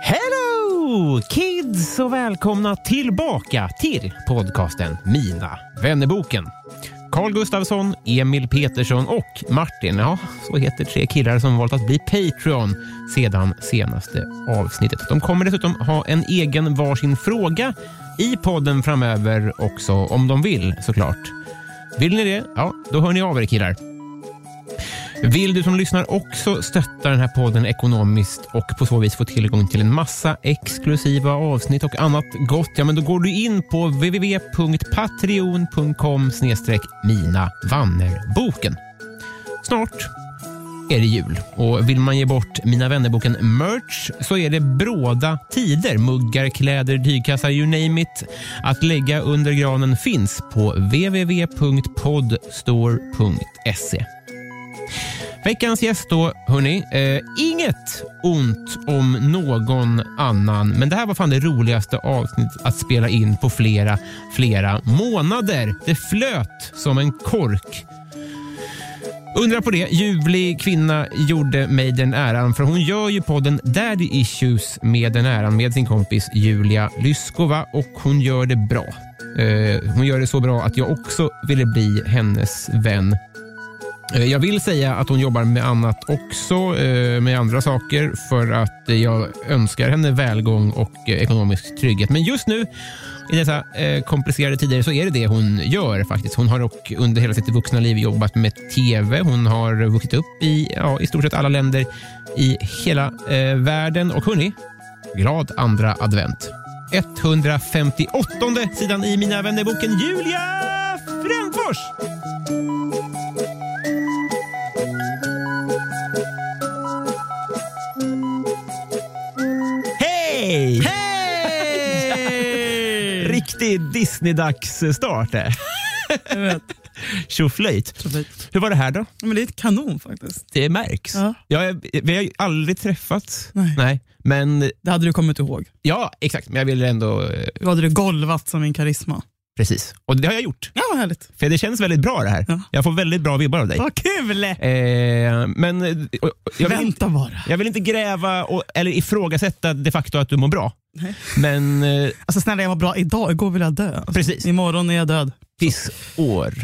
Hello kids och välkomna tillbaka till podcasten Mina vännerboken. Carl Gustafsson, Emil Petersson och Martin, ja, så heter tre killar som valt att bli Patreon sedan senaste avsnittet. De kommer dessutom ha en egen varsin fråga i podden framöver också, om de vill såklart. Vill ni det? Ja, då hör ni av er killar. Vill du som lyssnar också stötta den här podden ekonomiskt och på så vis få tillgång till en massa exklusiva avsnitt och annat gott, ja men då går du in på www.patreon.com minavannerboken. Snart är det jul och vill man ge bort Mina vännerboken merch så är det bråda tider. Muggar, kläder, tygkassar, you name it. Att lägga under granen finns på www.podstore.se. Veckans gäst då, hörni. Eh, inget ont om någon annan, men det här var fan det roligaste avsnittet att spela in på flera, flera månader. Det flöt som en kork. Undra på det. Ljuvlig kvinna gjorde mig den äran, för hon gör ju podden Daddy Issues med den äran med sin kompis Julia Lyskova och hon gör det bra. Eh, hon gör det så bra att jag också ville bli hennes vän. Eh, Jag vill säga att hon jobbar med annat också, eh, med andra saker, för att eh, jag önskar henne välgång och eh, ekonomisk trygghet. Men just nu, i dessa eh, komplicerade tider, så är det det hon gör faktiskt. Hon har dock under hela sitt vuxna liv jobbat med TV. Hon har vuxit upp i ja, i stort sett alla länder i hela eh, världen. Och hörni, glad andra advent. 158 sidan i Mina vännerboken Julia Frändfors! Hej! Hej! Riktig Disney-dags-start där. Jag vet. Tjoflöjt. Perfekt. Hur var det här då? Ja, Men det är ett kanon faktiskt. Det märks. Ja. Jag, vi har ju aldrig träffats. Nej. Men Det hade du kommit ihåg. ja, exakt. Men jag ville ändå... eh, Då hade du golvat som min karisma. Precis. Och det har jag gjort. Ja, vad härligt. För det känns väldigt bra det här. Ja. Jag får väldigt bra vibbar av dig. Vad kul! Eh, men eh, och- och- jag vill, inte, Vänta bara. jag vill inte gräva och, eller ifrågasätta de facto att du mår bra. Men eh, Alltså snälla, jag var bra idag. Igår ville jag dö. Alltså, precis, imorgon är jag död. pissår.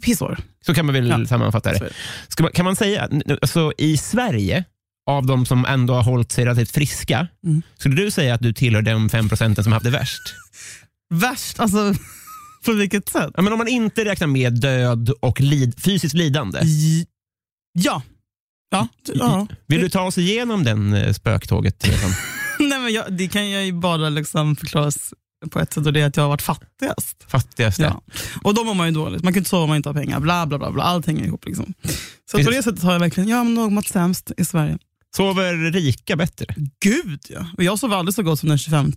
Pissår. Så kan man väl Ja. sammanfatta Så det. är det. Ska man, kan man säga, att nu- alltså, i Sverige, av de som ändå har hållit sig relativt friska, Mm. skulle du säga att du tillhör de fem procenten som haft det värst? Värst, alltså på vilket sätt? Ja, men om man inte räknar med död och lid, fysiskt lidande, J- Ja. Ja. ja. vill du ta oss igenom den eh, spöktåget? Liksom? Nej, men jag, det kan jag ju bara liksom förklaras på ett sätt och det är att jag har varit fattigast. Fattigaste. Ja. Och då mår man ju dåligt. Man kan inte sova om man inte har pengar. Bla, bla, bla, bla. Allt hänger ihop. Liksom. Så Precis. på det sättet har jag verkligen, ja men nog mått sämst i Sverige. Sover rika bättre? Gud ja. Och jag sov aldrig så gott som den 25.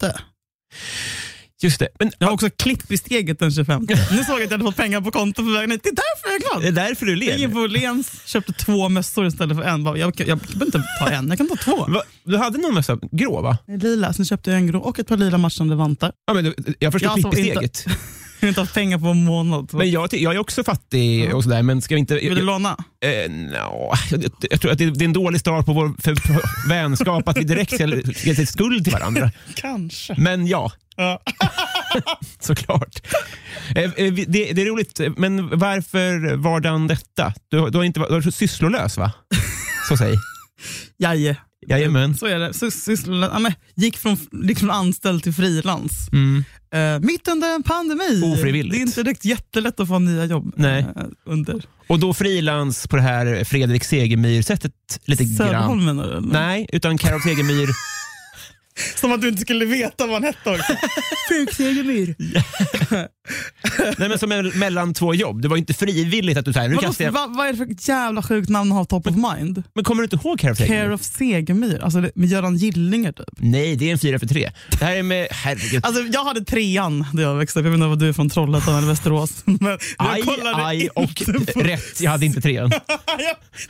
Just det. Men, Jag har också klippt i steget den 25. nu såg jag att jag hade fått pengar på kontot på vägen hit. Det är därför jag är glad. det är därför du Jag ler. gick på Åhléns, köpte två mössor istället för en. Bara, Jag, jag, jag behöver inte ta en, jag kan ta två. Va? Du hade någon mössa, grå va? Lila, sen köpte jag en grå och ett par lila matchande vantar. Ja, men, du- jag förstår Jag klipp i sov inte. steget. Jag har inte haft pengar på en månad. Men jag, jag är också fattig och sådär, men ska vi inte... Vill du låna? Eh, no. jag, jag- jag tror att det, det är en dålig start på vår för, för, vänskap att vi direkt ska ge till skuld till varandra. Kanske. Men ja, Ja. såklart. Eh, eh, vi- Det, det är roligt, eh, men varför var den detta? Du, du, har inte, varit- du har varit sysslolös, va? Så säg. Jaje. Jajamän. Så är det. Sys- syssla- ja, men, gick, från, gick från anställd till frilans. Mm. Eh, mitt under en pandemi. Ofrivilligt. Det är inte direkt jättelätt att få nya jobb. Nej. eh, under. Och då frilans på det här Fredrik Segemyhr-sättet lite grann. Söderholm menar du? eller? Nej, utan Carol Segemyhr. Som att du inte skulle veta vad han hette också. Fredrik Segemyhr. Nej, men som en mellan två jobb. Det var ju inte frivilligt att du sa nu Vadå, kastar jag... Vad vad är det för jävla sjukt namn att ha top of mind? Men kommer du inte ihåg Carol Care Segemyhr? of Segemyhr, alltså det, med Göran Gillinger typ. Nej, det är en fyra för tre. Det här är med... Herregud. Alltså, jag hade trean när jag växte upp. Jag vet inte vad du är från Trollhättan eller Västerås. Men jag Aj, kollade aj inte och på- rätt. Jag hade inte trean. Ja,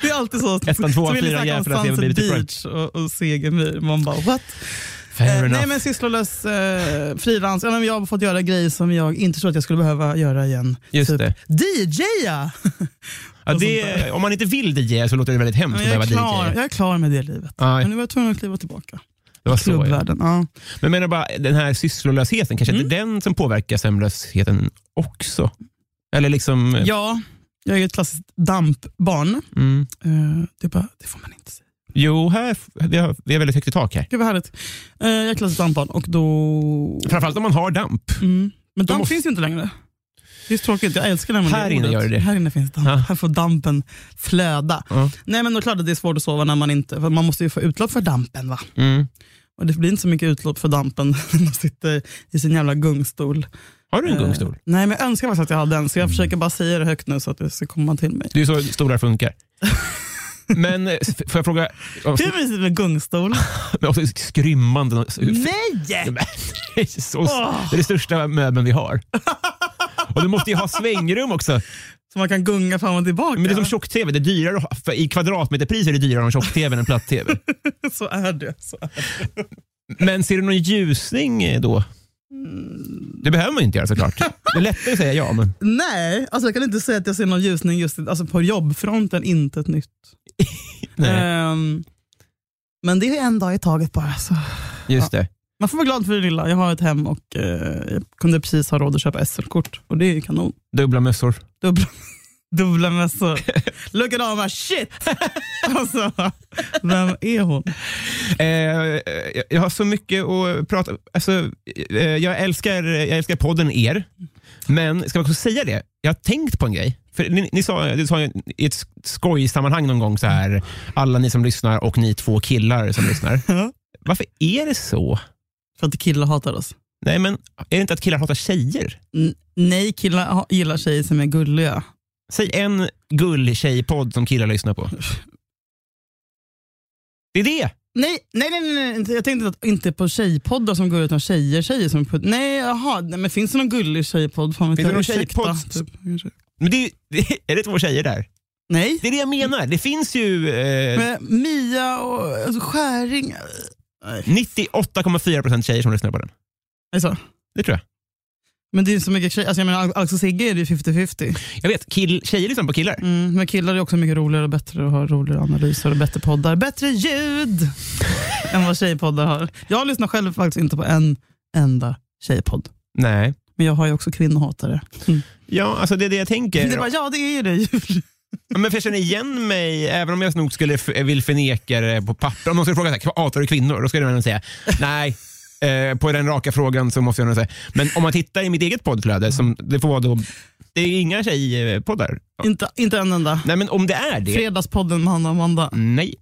det är alltid så. Ettan, tvåan, Så vill ni fyran snacka om jämfört med Sunset Beauty Beach och, och Segemyhr. Man bara what? Fair Eh, enough. nej men sysslolös eh, frilans. Ja, men jag har fått göra grejer som jag inte trodde att jag skulle behöva göra igen. Just det. DJa! Ja, och sånt det, om man inte vill DJ så låter det väldigt hemskt Men att jag, behöva är klar, DJ. jag är klar med det livet. Aj. Men nu var jag tvungen att kliva tillbaka. Det var så, ja. Klubbvärlden. Ja. Men jag menar bara, den här sysslolösheten, kanske inte Mm. den som påverkar sömnlösheten också? Eller liksom... eh, ja, jag är ju ett klassiskt dampbarn. Mm. Eh, det, är bara, det får man inte säga. Jo, här, vi, har, vi har väldigt högt i tak här. Gud vad härligt. Eh, jag är klassiskt dampbarn och då... Framförallt om man har damp. Mm. Men damp måste- finns ju inte längre. Det är så tråkigt. Jag älskar nämligen Här inne ordet. gör det det. Här inne finns damp. Ja. Här får dampen flöda. Ja. Nej men då är det klart att det är svårt att sova när man inte... För man måste ju få utlopp för dampen va? Mm. Och det blir inte så mycket utlopp för dampen när man sitter i sin jävla gungstol. Har du en Eh, gungstol? Nej men jag önskar faktiskt att jag hade en så jag Mm. försöker bara säga det högt nu så att det ska komma till mig. Det är så stolar funkar. Men eh, f- får jag fråga, Hur mysigt med gungstol? men också skrymmande. Nej! Det är så- det är det största möbeln vi har. Och du måste ju ha svängrum också. Så man kan gunga fram och tillbaka. Men det är som tjock-tv, det är dyrare att ha- för I kvadratmeterpris är det dyrare att ha en tjock-tv än en platt-tv. så är det. Så är det. Men ser du någon ljusning eh, då? Det behöver man ju inte göra såklart. Det är lättare att säga ja, men Nej, alltså jag kan inte säga att jag ser någon ljusning just alltså på jobbfronten, inte ett nytt. nej, Ehm, men det är en dag i taget bara. Så. just det. Man får vara glad för det lilla. Jag har ett hem och eh, jag kunde precis ha råd att köpa SL-kort och det är ju kanon. Dubbla mössor. Dubbla, dubbla mössor. Look at all my shit! alltså, vem är hon? Eh, jag- jag har så mycket att prata alltså, eh, jag, älskar, jag älskar podden er, men ska man också säga det? Jag har tänkt på en grej. För ni, ni sa, du sa ju i ett skojsammanhang någon gång så här, alla ni som lyssnar och ni två killar som lyssnar. Ja. Varför är det så? För att killar hatar oss. Nej, men är det inte att killar hatar tjejer? N- nej, killar ha- gillar tjejer som är gulliga. Säg en gull tjejpodd som killar lyssnar på. Det är det! Nej, nej, nej, nej, nej. inte- jag tänkte att, inte på tjejpoddar som går ut utan tjejer, tjejer som... put- Nej, jaha, nej, men finns det någon gullig tjejpodd? Fan, vet Finns jag, det någon ursäkta, tjejpodd? typ, kanske. Men det är, ju- det är det två tjejer där? Nej, Det är det jag menar. Det finns ju eh, men Mia och alltså, Skäring. 98,4 procent tjejer som lyssnar på den. Alltså, Det tror jag. men det är ju så mycket tjejer. Alltså, jag menar, Al- Alex och Sigge är det ju 50-50. Jag vet, kill, tjejer lyssnar på killar. Mm, men killar är också mycket roligare och bättre och har roligare analyser och bättre poddar. Bättre ljud än vad tjejpoddar har. Jag lyssnar själv faktiskt inte på en enda tjejpodd. Nej. Men jag har ju också kvinnohatare. Ja, alltså det är det jag Det tänker. är bara, ja det är ju det. Julia. Men för jag känner igen mig, även om jag nog skulle f- vill förneka det på papper. Om någon skulle fråga så här, hatar du kvinnor? Då skulle jag nog säga nej. Eh, på den raka frågan så måste jag nog säga. Men om man tittar i mitt eget poddflöde, som det får vara då, det är inga tjejpoddar. Inte, inte en enda. Nej, men om det är det, Fredagspodden med Hanna och Amanda. nej.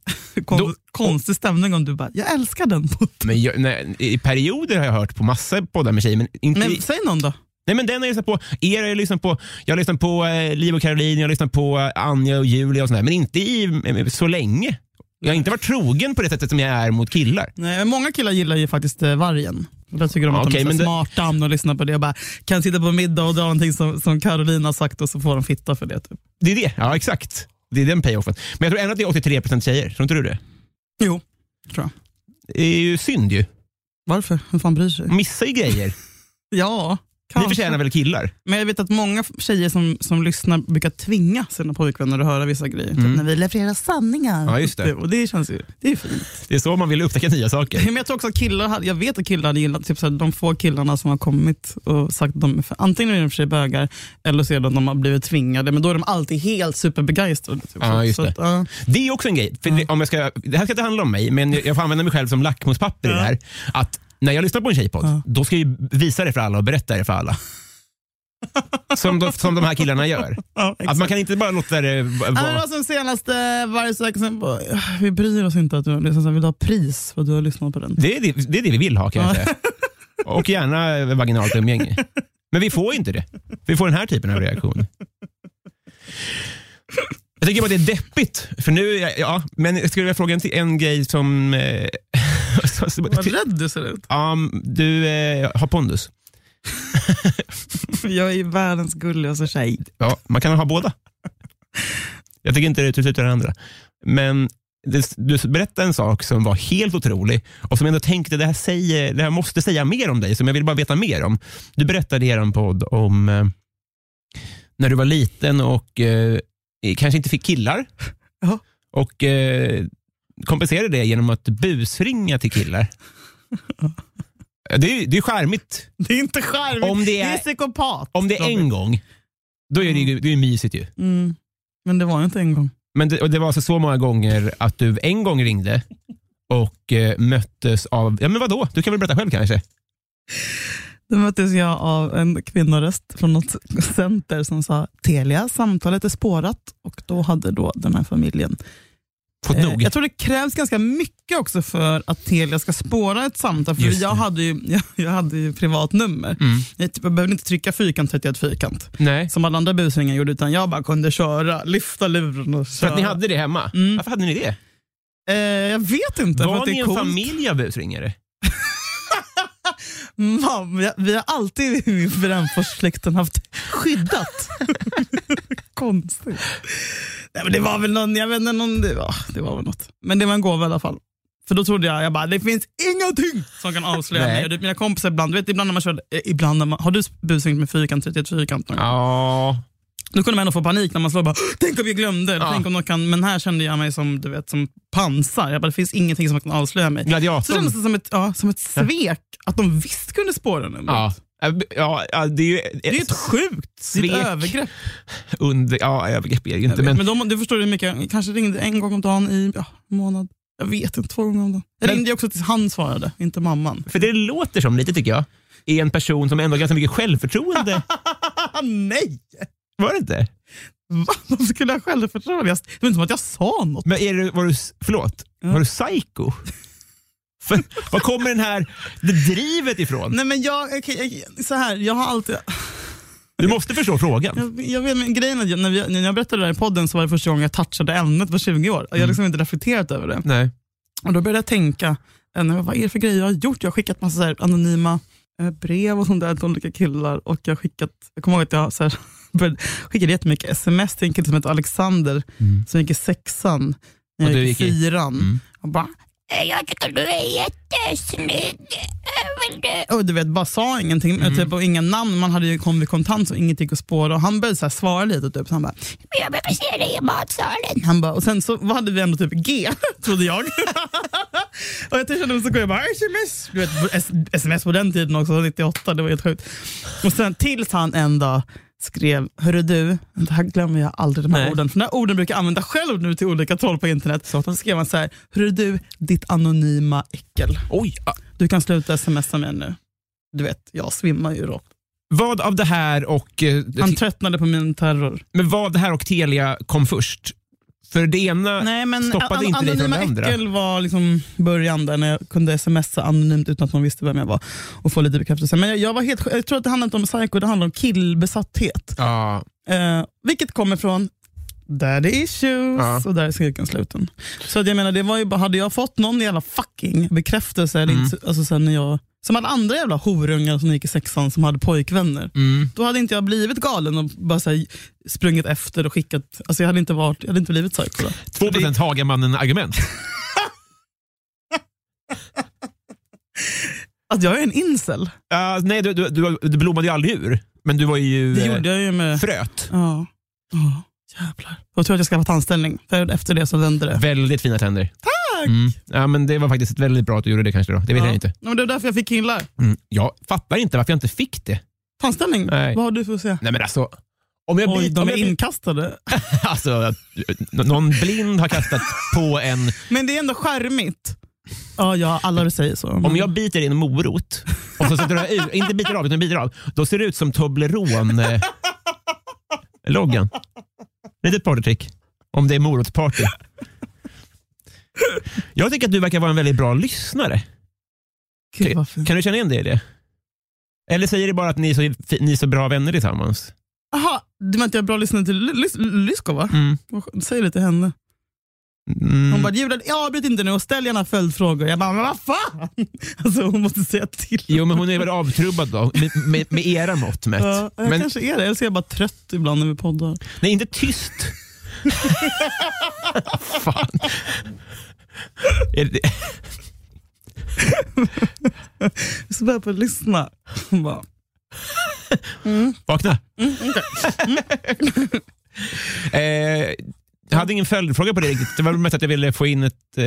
Kon, Då- konstig stämning om du bara, jag älskar den podden. Men jag, nej, I perioder har jag hört på massa poddar med tjejer, men inte Men i- säg någon då. Nej, men den har jag lyssnat på. Er har jag lyssnat på. Jag har lyssnat på eh, Liv och Caroline, jag har lyssnat på eh, Anja och Julia och sådär. Men inte i, eh, så länge. Jag har inte varit trogen på det sättet som jag är mot killar. Nej, men många killar gillar ju faktiskt eh, vargen. Och Där tycker de Ja, att okej, de är men så det- smarta om de lyssnar på det och bara kan sitta på middag och dra någonting som, som Carolina har sagt och så får de fitta för det. Typ. Det är det. Ja, exakt. Det är den payoffen. Men jag tror ändå att det är 83 procent tjejer. Tror inte du det? Jo, tror jag. Det är ju synd ju. Varför? Vem fan bryr sig? Man missar ju grejer. Ja, Ni förtjänar väl killar? Men jag vet att många tjejer som, som lyssnar brukar tvinga sina pojkvänner att höra vissa grejer. Typ när vi levererar sanningar. Mm. Ja, just det. Typ, Och det känns ju det är fint. Det är så man vill upptäcka nya saker. Men jag tror också att killar, hade- jag vet att killar hade gillat typ, såhär, de få killarna som har kommit och sagt att de är för, antingen är de för sig bögar eller så är det att de har blivit tvingade. Men då är de alltid helt superbegeistrade. Typ. Ja, just så att, ja. Det är också en grej. För Mm. det, om jag ska, det här ska inte handla om mig, men jag får använda mig själv som lackmuspapper i det här. Att när jag lyssnar på en tjejpodd, då ska jag ju visa det för alla och berätta det för alla. Som de, som de här killarna gör. Ja, Att exakt. man kan inte bara låta det v- Ja, men det vara... var som senaste varje sökare som bara, vi bryr oss inte att du har lyssnat, vi vill ha pris för att du har lyssnat på den. Det är det, det är det vi vill ha kan jag Ja. säga. Och gärna vaginalt umgänge. Men vi får ju inte det. Vi får den här typen av reaktion. Jag tycker bara det är deppigt. För nu, är jag- ja, men jag skulle vilja fråga en, till- en grej som... Eh, som- Vad rädd du ser ut. Ja, m, du eh, har pondus. Jag är världens gulligaste tjej. Ja, man kan ha båda. Jag tycker inte det utesluter det andra. Men det, du berättade en sak som var helt otrolig och som jag ändå tänkte, det här, säger, det här måste säga mer om dig, som jag vill bara veta mer om. Du berättade i er podd om eh, när du var liten och eh, kanske inte fick killar. Ja. Och eh, kompenserade det genom att busringa till killar. Det är ju det är charmigt. Det är inte charmigt, Om det det är är- psykopat. Om det är en Robin. gång, då är det ju det är ju mysigt ju. Mm. Men det var ju inte en gång. Men det, och det var alltså så många gånger att du en gång ringde och eh, möttes av, ja men vadå, du kan väl berätta själv kanske? Då möttes jag av en kvinnoröst från något center som sa Telia, samtalet är spårat. Och då hade då den här familjen Fått Eh, nog? Jag tror det krävs ganska mycket också för att Telia ska spåra ett samtal. För Just det. jag hade, ju, jag, jag hade ju privat nummer. Mm. Jag, typ, jag behövde inte trycka fyrkant 31 fyrkant, Nej. som alla andra busringar gjorde, utan jag bara kunde köra, lyfta luren och För köra. att ni hade det hemma? Varför hade ni det? eh, jag vet inte. för Mm. att Var det är ni en coolt. familj av busringare? Mam, vi, vi har alltid i Brännforssläkten haft skyddat. Konstigt. Nej, men det var väl någon, jag vet inte, någon, det, var, det var väl något. Men det var en gåva i alla fall. För då trodde jag, jag bara, det finns ingenting som kan avslöja Nej. mig. Och det- Mina kompisar ibland, du vet ibland när man kör, eh, ibland när man, har du busringt med fyrkant, 31 fyrkant någon gång? Ja. Då kunde man ändå få panik när man slår bara, tänk om vi glömde, eller Ja. tänk om någon kan, men här kände jag mig som, du vet, som pansar. Jag bara, det finns ingenting som kan avslöja mig. Så Gladiatorn? kändes det som ett, ja, som ett svek, att de visst kunde spåra numret. Ja. Ja, b- Ja, ja, det är ju ett, Det är ett sjukt svek. svek. övergrepp. under... Ja, övergrepp är det ju inte. Men, Men, de, du förstår hur mycket jag kanske ringde en gång om dagen i ja, en månad. Jag vet inte, två gånger om dagen. Jag Men- ringde ju också tills han svarade, inte mamman. för det låter som lite, tycker jag, är en person som ändå har ganska mycket självförtroende. Ah, nej! Var det inte? Va? Varför skulle jag självförtroende? Jag- Det var inte som att jag sa något. Men är du, var du, förlåt, var du psycho? För, var kommer den här, det drivet ifrån? Nej men jag, okej, jag, så här, jag har alltid... Du måste förstå frågan. Jag, jag vet, men grejen är, att jag- när, vi, när jag berättade det här i podden så var det första gången jag touchade ämnet på 20 år. Jag har liksom inte reflekterat över det. Nej. Och Då började jag tänka, eh, nej, vad är det för grejer jag har gjort? Jag har skickat massa så här anonyma eh, brev och sånt där till olika killar. Och jag, har skickat, jag kommer ihåg att jag så här, började, skickade jättemycket sms till en kille som heter Alexander som gick i sexan när Mm. Och jag du gick i gick i- fyran. Och bara, Jag tycker du är jättesnygg. Jag vill du? och du vet, bara sa ingenting eh, typ, och inga namn. Man hade ju kommit i kontant så inget gick att spåra. Och han började så här, svara lite. Typ, så han bara, Jag brukar se dig i matsalen. Han bara, och sen så vad hade vi ändå typ G, trodde jag. och jag kände mig så går jag bara sms. Du vet, s- sms på den tiden också, 98, det var helt sjukt. Och sen tills han en dag skrev, hörru du, det här glömmer jag aldrig de här Nej. orden, för de här orden brukar jag använda själv nu till olika troll på internet. Så då skrev han så här, hörru du, ditt anonyma äckel. Oj, ah, Du kan sluta smsa mig nu. Du vet, jag svimmar ju rakt. vad av det här och, eh, Han tröttnade på min terror. men vad av det här och Telia kom först? För det ena Nej, men stoppade an- inte dig från det Anonyma andra. Äckel var liksom början där när jag kunde smsa anonymt utan att någon visste vem jag var och få lite bekräftelse. Men jag, jag, var helt, jag tror att det handlar inte om psycho, det handlar om killbesatthet. Ja, Eh, vilket kommer från Daddy issues Ja. och där är cirkeln sluten. Så att jag menar, det var ju, bara- hade jag fått någon jävla fucking bekräftelse, Mm. eller inte, alltså sen när jag, som alla andra jävla horungar som gick i sexan som hade pojkvänner, mm. då hade inte jag blivit galen och bara så här, sprungit efter och skickat, alltså jag hade inte, varit, jag hade inte blivit psycho då. 2 procent Hagamannen-argument. Att jag är en incel. Ja, nej, du, du, du, du blommade ju aldrig ur, men du var ju Det eh, gjorde jag ju med... fröt. Ja. Oh, jävlar. Jag tror att jag skaffat anställning. För efter det så vände det. Väldigt fina tänder. Tack! Mm. Ja, men det var faktiskt väldigt bra att du gjorde det kanske. Då. Det vet Ja. jag inte. Ja, men det var därför jag fick killar. Mm. Jag fattar inte varför jag inte fick det. Anställning? Nej. Vad har du för att säga? Nej, men alltså, om jag Oj, blir- de om är jag blir- inkastade. alltså, att- n- någon blind har kastat på en... Men det är ändå charmigt. Ja, ja alla säger så. Om jag biter i en morot, och så, så drar jag ur, inte biter av, utan biter av, då ser det ut som Toblerone-loggan. Det är ett partytrick. Om det är morotsparty. Jag tycker att du verkar vara en väldigt bra lyssnare. Gud, vad fint. Kan du känna igen dig i det? Eller säger det bara att ni är så, ni är så bra vänner tillsammans? Jaha, du menar att jag är bra lyssnare till Lys- Lysko va? Mm. Vad skönt. Säg det till henne. Mm. Hon bara, Julia, jag avbryt inte nu och ställ gärna följdfrågor. Jag bara, men vad fan! Alltså hon måste säga till. Jo, men hon är väl avtrubbad då, med, med, med era mått mätt. Ja, jag men kanske är det, eller så är jag bara trött ibland när vi poddar. nej, inte tyst. Fan. Är det, Så börjar jag på att lyssna. Hon bara, vakna. eh, jag hade ingen följdfråga på det riktigt. Det var väl mest att jag ville få in ett, eh,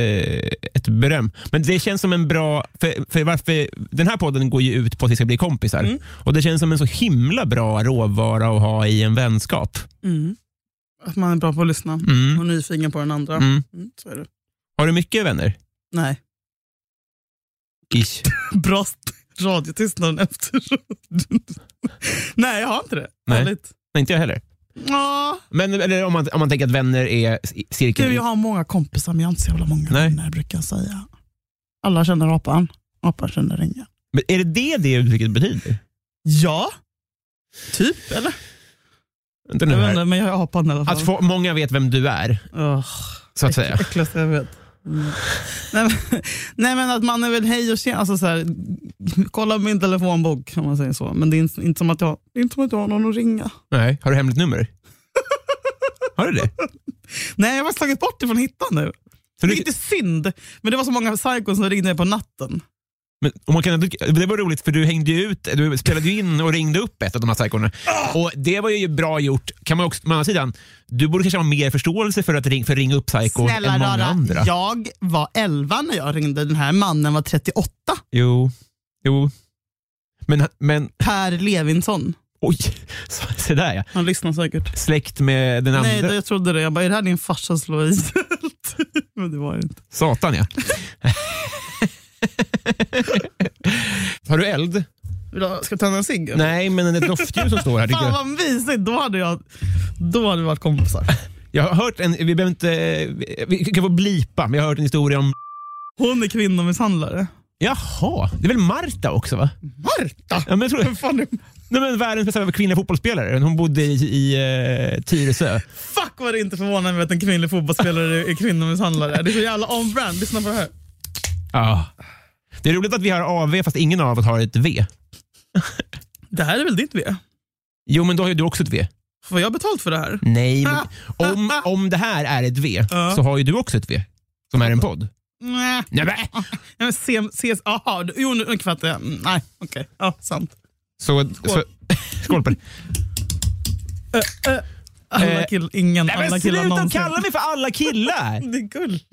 ett beröm. Men det känns som en bra... För, för varför, den här podden går ju ut på att vi ska bli kompisar. Mm. Och Det känns som en så himla bra råvara att ha i en vänskap. mm. Att man är bra på att lyssna Mm. och nyfiken på den andra. Mm. Mm. så är det. Har du mycket vänner? Nej, Ish. bra st- radiotystnaden efteråt. Nej, jag har inte det. Nej. Ärligt. Nej, inte jag heller. Ja, Men eller om, man, om man tänker att vänner är i- cirkeln. du, jag har många kompisar men jag har inte så jävla många Nej. vänner brukar jag säga. Alla känner apan, apan känner ingen. Men är det det det uttrycket betyder? Ja, typ eller? Vänta nu Jag vet här. inte, men jag är apan i alla fall. Att få, många vet vem du är, Ugh, så att säga. äckligaste jag vet. Mm. Nej, men, nej men att man är väl hej och tjena, alltså så här, kolla min telefonbok kan man säga så. Men det är inte, inte, som att jag, det är inte som att jag har någon att ringa. Nej. Har du hemligt nummer? Har du det? Nej jag har slagit bort det från hitta nu. Så du, Vilket är synd, men det var så många psykon som ringde mig på natten. men, om man kan, det var roligt för du hängde ju ut, du spelade ju in och ringde upp ett av de här psykorna. Och det var ju bra gjort. Kan man också, å andra sidan, du borde kanske ha mer förståelse för att ring, för ringa upp psykon än många rara, andra. jag var 11 när jag ringde, den här mannen var 38. Jo. jo. Men, men Per Levinson. oj, så, så där ja. Han lyssnar säkert. Släkt med den andra. Nej, det, jag trodde det. Jag bara, är det här din farsas Louise? men det var det inte. Satan ja. Har du eld? Vill du ha- Ska jag tända en cigg? eller? Nej, men ett doftljus som står här. Tycker Fan jag. vad mysigt, då hade, jag, då hade vi varit kompisar. jag har hört en, vi behöver inte, vi kan få blipa, men jag har hört en historia om... Hon är kvinnomisshandlare. Jaha, det är väl Marta också va? Marta! Ja, men jag tror, Vem fan är nej, men världens bästa kvinnliga fotbollsspelare. Hon bodde i, i eh, Tyresö. Fuck vad det inte förvånar mig att en kvinnlig fotbollsspelare är kvinnomisshandlare. Det är så jävla on-brand. Lyssna på det här. Ja. Det är roligt att vi har AV fast ingen av oss har ett V. Det här är väl ditt V? Jo, men då har ju du också ett V. Får jag betalt för det här? Nej, men om, om det här är ett V Ja. så har ju du också ett V, som är en podd. Nej. Nej, men. Nej, men se, ses, aha, du- jo nu nu fattar jag. Mm, Nej, okej. Ja, sant. Så, så, skål på det. Alla Eh, kill, ingen Nej, alla men killar sluta någonsin. kalla mig för alla killar! I Det är gulligt.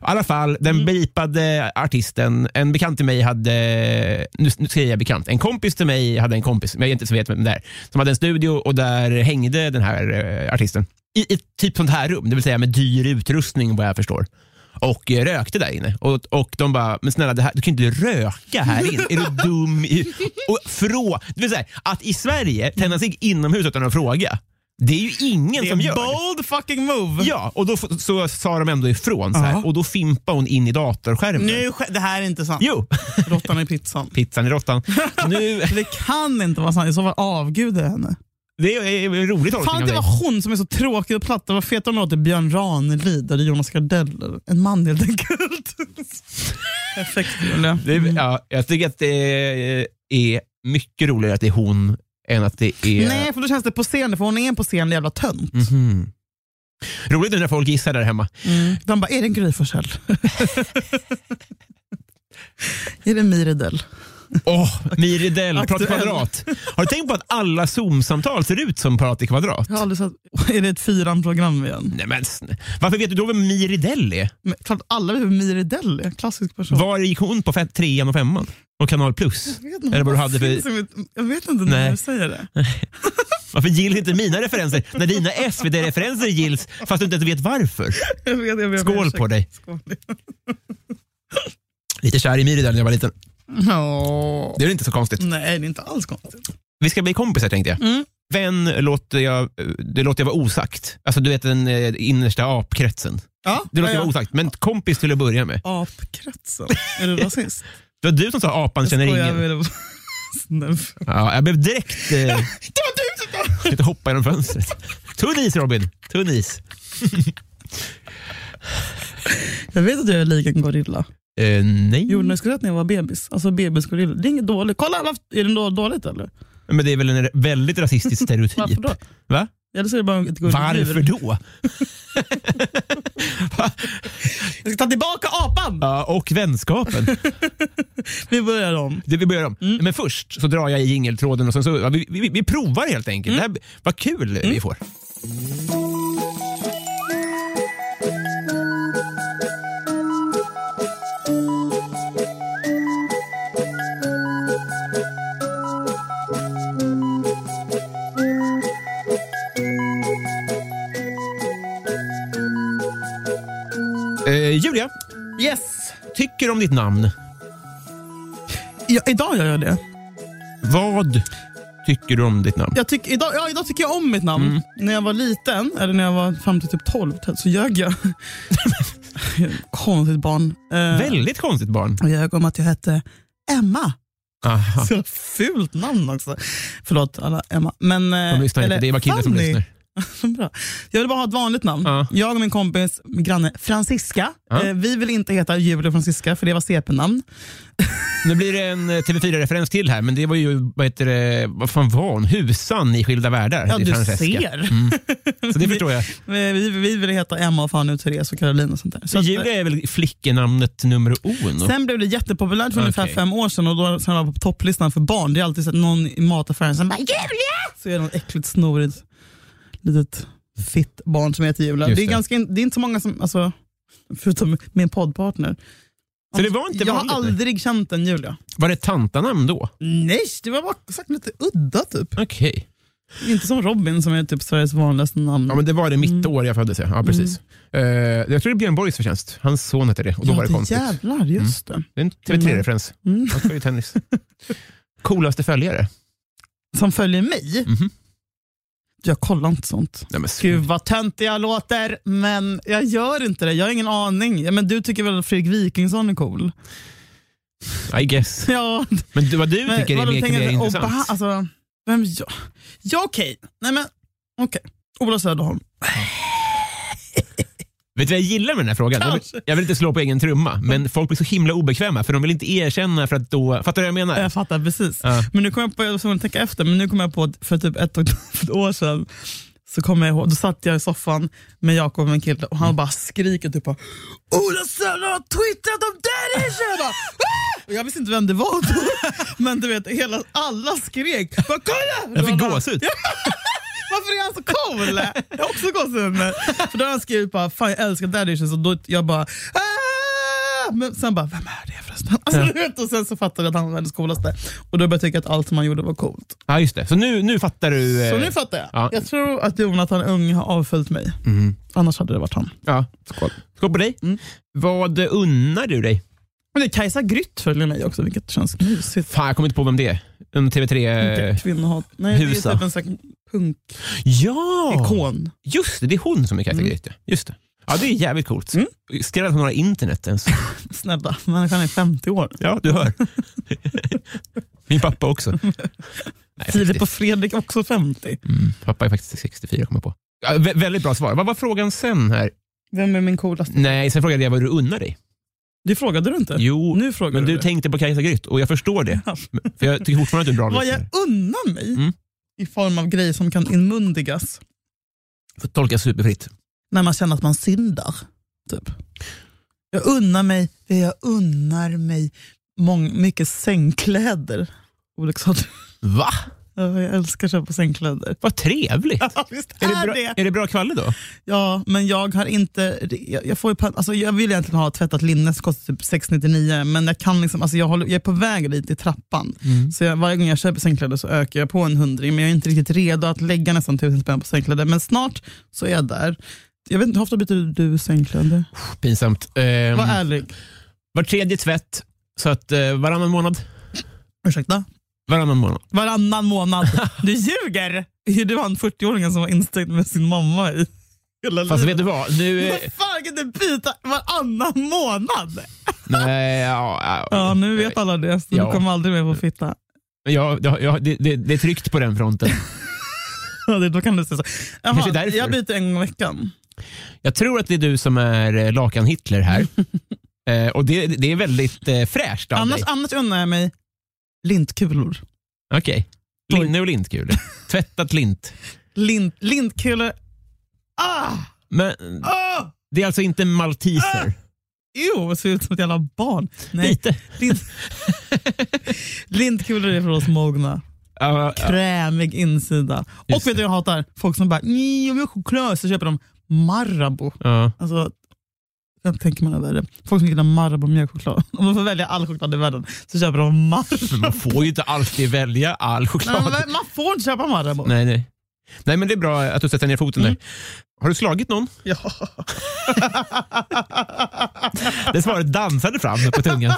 alla fall, den Mm. beepade artisten, en bekant till mig hade, nu, nu säger jag bekant, en kompis till mig hade en kompis, men jag inte så vet vem det är, som hade en studio och där hängde den här eh, artisten. I ett typ sånt här rum, det vill säga med dyr utrustning vad jag förstår. Och eh, rökte där inne. Och, och de bara, men snälla det här, du kan ju inte röka här inne. Är du dum? i- Och frå, det vill säga, att i Sverige tända sig inomhus utan att fråga, det är ju ingen Det är som gör. bold fucking move. Ja, och då f- så sa de ändå ifrån så här, Ja. och då fimpade hon in i datorskärmen. Nu, sk- det här är inte sant. Jo, Råttan i pizzan. pizzan i råttan. Nu, Det kan inte vara sant. I så fall avgudar jag henne. det är en rolig tolkning Fan av det dig. var hon som är så tråkig och platt. Det var fetare om det låter Björn Ranelid eller Jonas Gardell. En man helt enkelt. Perfekt Julia. Det, är- ja, jag tycker att det är mycket roligare att det är hon än att det är... Nej, för då känns det poserande, för hon är en poserande jävla tönt. Mhm. Roligt nu Mm. när folk gissar där hemma. De bara, är det en Gry Forssell? Jeremy Rydell. Åh, Miridell, Prat i Aktuell. kvadrat. Har du tänkt på att alla Zoom-samtal ser ut som Prat i kvadrat? Jag har aldrig sett... Är det ett fyran-program igen? Nej, men, sn- varför vet du då vem Miridell är? Men, klart alla vet hur Miri Dell är. Klassisk person. Var gick hon på fem, trean och femman? Och Kanal Plus? Jag vet inte, Eller vad du hon hade för... finns som ett- Jag vet inte Nej. när du säger det. Varför gills inte mina referenser när dina SVT-referenser gills fast du inte ens vet varför? Jag vet, jag vet, Skål ursäkta. på dig. Skål. Lite kär i Miridell när jag var liten. Ja. Det är inte så konstigt. Nej, det är inte alls konstigt. Vi ska bli kompisar tänkte jag. Mm. Vän låter jag, det låter jag vara osagt. Alltså du vet den eh, innersta apkretsen. Ja, Det låter jag ja, vara osagt, men kompis till att börja med. ja. Apkretsen. Är du rasist? Det var du som sa apan känner skojar, ingen. jag ville- Snälla. Ja, jag blev direkt... Eh, det var du som sa! hoppa genom fönstret. Tunn is Robin, tunn is. Jag vet att jag är lik en gorilla. Eh, nej, Jo, när skulle jag att när jag var bebis. Alltså bebisgorilla. Det är inget dåligt. Kolla, alla, är det då- dåligt eller? men det är väl en väldigt rasistisk Varför stereotyp? då? Va? Eller så är det bara ett gulligt Varför djur. då? Va? Jag ska ta tillbaka apan! Ja, och vänskapen. Vi börjar om. Det vi börjar om. Men först så drar jag i jingeltråden och sen så, ja, vi, vi, vi provar helt enkelt. Det här, vad kul vi får. Eh, Julia, Yes! tycker om ditt namn. Ja, idag gör jag det. Vad tycker du om ditt namn? Jag tyck, idag, ja, idag tycker jag om mitt namn. Mm. När jag var liten, eller när jag var fram till typ 12, så ljög jag. Konstigt barn. Eh, Väldigt konstigt barn. Jag ljög om att jag hette Emma. Aha. Så jävla fult namn också. Förlåt alla Emma. Men, eh, De lyssnar inte, eller det är bara killar som Fanny. lyssnar. Bra. Jag vill bara ha ett vanligt namn. Ja. Jag och min kompis, min granne Francisca. Ja. Eh, vi vill inte heta Julia Francisca för det var CP-namn. Nu blir det en eh, TV4-referens till här, men det var ju, vad heter det, vad fan var hon? Husan i Skilda världar. Ja, Det är du Francesca. ser. Så det förstår jag. Vi, vi, vi vill heta Emma, och Fanny, och Therese och Caroline och sånt där. Så att, Julia är väl flickenamnet nummer O? ändå? Sen blev det jättepopulärt för ungefär Okej. fem år sedan och då sen var jag på topplistan för barn. Det är alltid så att någon i mataffären som bara “Julia!” så är det något äckligt snorigt litet fitt barn som heter Julia. Det. Just är det. ganska, in- det är inte så många som, alltså, förutom min poddpartner. Så det var inte jag vanligt? har aldrig känt en Julia. Var det ett tantanamn då? Nej, det var bara sagt lite udda typ. Okej. Inte som Robin som är typ Sveriges vanligaste namn. Ja, men det var det mitt Mm. år jag föddes. Ja, Ja, precis. Eh, jag tror det är Björn Borgs förtjänst. Hans son heter det och då Ja, var det konstigt. Mm. jävlar, just det. Det är en TV3-referens. Mm. Han spelar ju tennis. Coolaste följare? Som följer mig. Mhm. Jag kollar inte sånt. Nej, men, Gud vad töntig jag låter, men jag gör inte det. Jag har ingen aning. Ja, men du tycker väl att Fredrik Wikingsson är cool? I guess. Ja, Men du- vad du men tycker är vadå, mer, tänker mer du- intressant? Obaha- alltså, vem, ja, ja okej. Nej men, okej. Ola Söderholm. Vet du vad jag gillar med den här frågan? Jag Kanske. vill, jag vill inte slå på egen trumma, men folk blir så himla obekväma för de vill inte erkänna för att då... Fattar du vad jag menar? Jag fattar precis. Ja. Men nu kom jag på, jag var tvungen att tänka efter, men nu kom jag på att för typ ett, och, för ett år sedan så kom jag ihåg, då satt jag i soffan med Jakob, min kille, och han Mm. bara skriker typ bara, Ola Söderholm har twittrat om dig i tjena! Ah! Och Jag visste inte vem det var då, men du vet, hela, alla skrek. Bara, Kolla! Jag fick Det var- gåshud. varför är han så cool? Jag har också gåshud. nu. För då har han skrivit bara, fan jag älskar Daddy Issues och då jag bara, "Ah!" men sen bara, vem är det förresten? Alltså, du vet, och sen så fattade jag att han var världens coolaste. Och då började jag tycka att allt som han gjorde var coolt. Ja, just det. Så nu, nu fattar du... Så eh, nu fattar jag. Ja. Mm-hmm. Jag tror att Jonathan Ung har avföljt mig. Annars hade det varit han. ja. Skål. Skål på dig. Mm. Vad unnar du dig? Men det är Kajsa Grytt följer mig också, vilket känns mysigt. Fan, jag kommer inte på vem det är. En TV3... Inte Kvinnohat. Nej, det Eh, Husa. är typ en sån punkikon. Ja! Just det, det är hon som är Kajsa Mm. Grythe. Just det. Ja, det är jävligt coolt. Mm. Stirrar hon några internet ens? Snälla, människan är 50 år. Ja, du hör. Min pappa också. Nej, Filip faktiskt. och Fredrik också 50. Mm, pappa är faktiskt 64 kommer jag på. Ja, vä- väldigt bra svar. Vad var frågan sen? här? Vem är min coolaste? Nej, sen frågade jag vad du unnar dig. Det frågade du inte. Jo, Nu frågar men du. du det. tänkte på Kajsa Grytt och jag förstår det. För jag tycker fortfarande att du är en bra Vad lyssnare. jag unnar mig Mm. i form av grejer som kan inmundigas Får tolka superfritt. när man känner att man syndar. Typ. Jag unnar mig det jag unnar mig mång, mycket sängkläder. Olika sorter. Va? Ja, Jag älskar att köpa sängkläder. Vad trevligt. Ja, visst Är det, bra, är det bra kvalle då? Ja, men jag har inte... Jag, jag, får ju, pan- alltså jag vill egentligen ha tvättat linne som kostar typ 699 men jag kan liksom, alltså jag, håller, jag är på väg dit i trappan. Mm. Så jag, varje gång jag köper sängkläder så ökar jag på en hundring men jag är inte riktigt redo att lägga nästan tusen spänn på sängkläder. Men snart så är jag där. Jag vet inte, hur ofta byter du sängkläder? Pinsamt. Ehm, Var ärlig. var tredje tvätt, så att eh, varannan månad. Ursäkta? Varannan månad. Varannan månad. Du ljuger! Du var en 40-åring som var instängd med sin mamma i hela Fast livet. vet du vad? Nu... eh, Vad fan kan du byta varannan månad? nej, ja, Ja, nu vet alla det. Så Ja. Du kommer aldrig mer få fitta. Ja, det- ja, det, det, det är tryggt på den fronten. Ja, det- Då kan du säga så. Kanske Jaha, därför. jag byter en gång i veckan. Jag tror att det är du som är eh, Lakan-Hitler här. Eh, och det, det är väldigt eh, fräscht av Annars, dig. annars unnar jag mig lintkulor. Okej. Linne och lintkul. Tvättat lint. Lint, lintkulor. Ah! Men Ah! det är alltså inte malteser? Jo, det ser ut som ett jävla barn. Nej, Lite. lint, lintkulor är för oss mogna. Ja, Ah! ja. Krämig insida. Och vet Just du vad jag hatar? Folk som bara "Nej, jag vill ha choklad, så köper de Marabou. ja. Alltså, jag tänker man över det. Folk som gillar Marabou mjölkchoklad. Om de får välja all choklad i världen så köper de Marabou. Men man får ju inte alltid välja all Men choklad. Man får inte köpa Marabou. Nej, nej. Nej, men det är bra att du sätter ner foten Mm. där. Har du slagit någon? Ja. Det svaret dansade fram på tungan.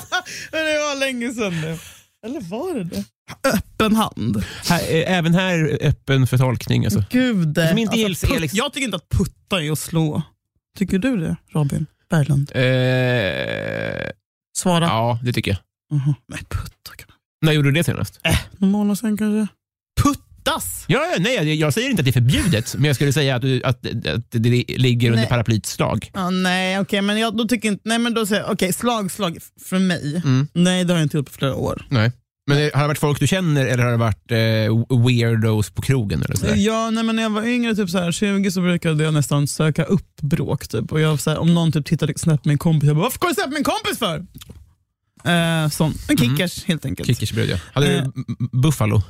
Men det var länge sedan nu. Eller var det det? Öppen hand. Här, eh, även här är öppen för tolkning. Alltså. Gud. Som inte gills är putt- liksom- Jag tycker inte att putta är att slå. Tycker du det, Robin Berglund? Eh, Svara. ja, det tycker jag. Mhm. Nej, putta kan man. När gjorde du det senast? Någon månad sen kanske? Puttas! Ja, ja, nej, jag, jag säger inte att det är förbjudet, men jag skulle säga att, du, att, att det ligger under Nej. paraplyets slag. Ja, nej, okej, men jag, då tycker inte... Nej, men då säger jag, okej, slag, slag f- för mig. Mm. Nej, det har jag inte gjort på flera år. Nej. Men det, har det varit folk du känner eller har det varit eh, weirdos på krogen? Eller sådär? Ja, nej, men när jag var yngre, typ så här, 20, så brukade jag nästan söka upp bråk. Typ. Och jag, så här, om någon typ tittade snett på min kompis, jag bara, varför kollar du snett på min kompis för? Eh, sån. En Mm. kickers helt enkelt. Kickersbröd, ja. Hade du Eh. m- Buffalo?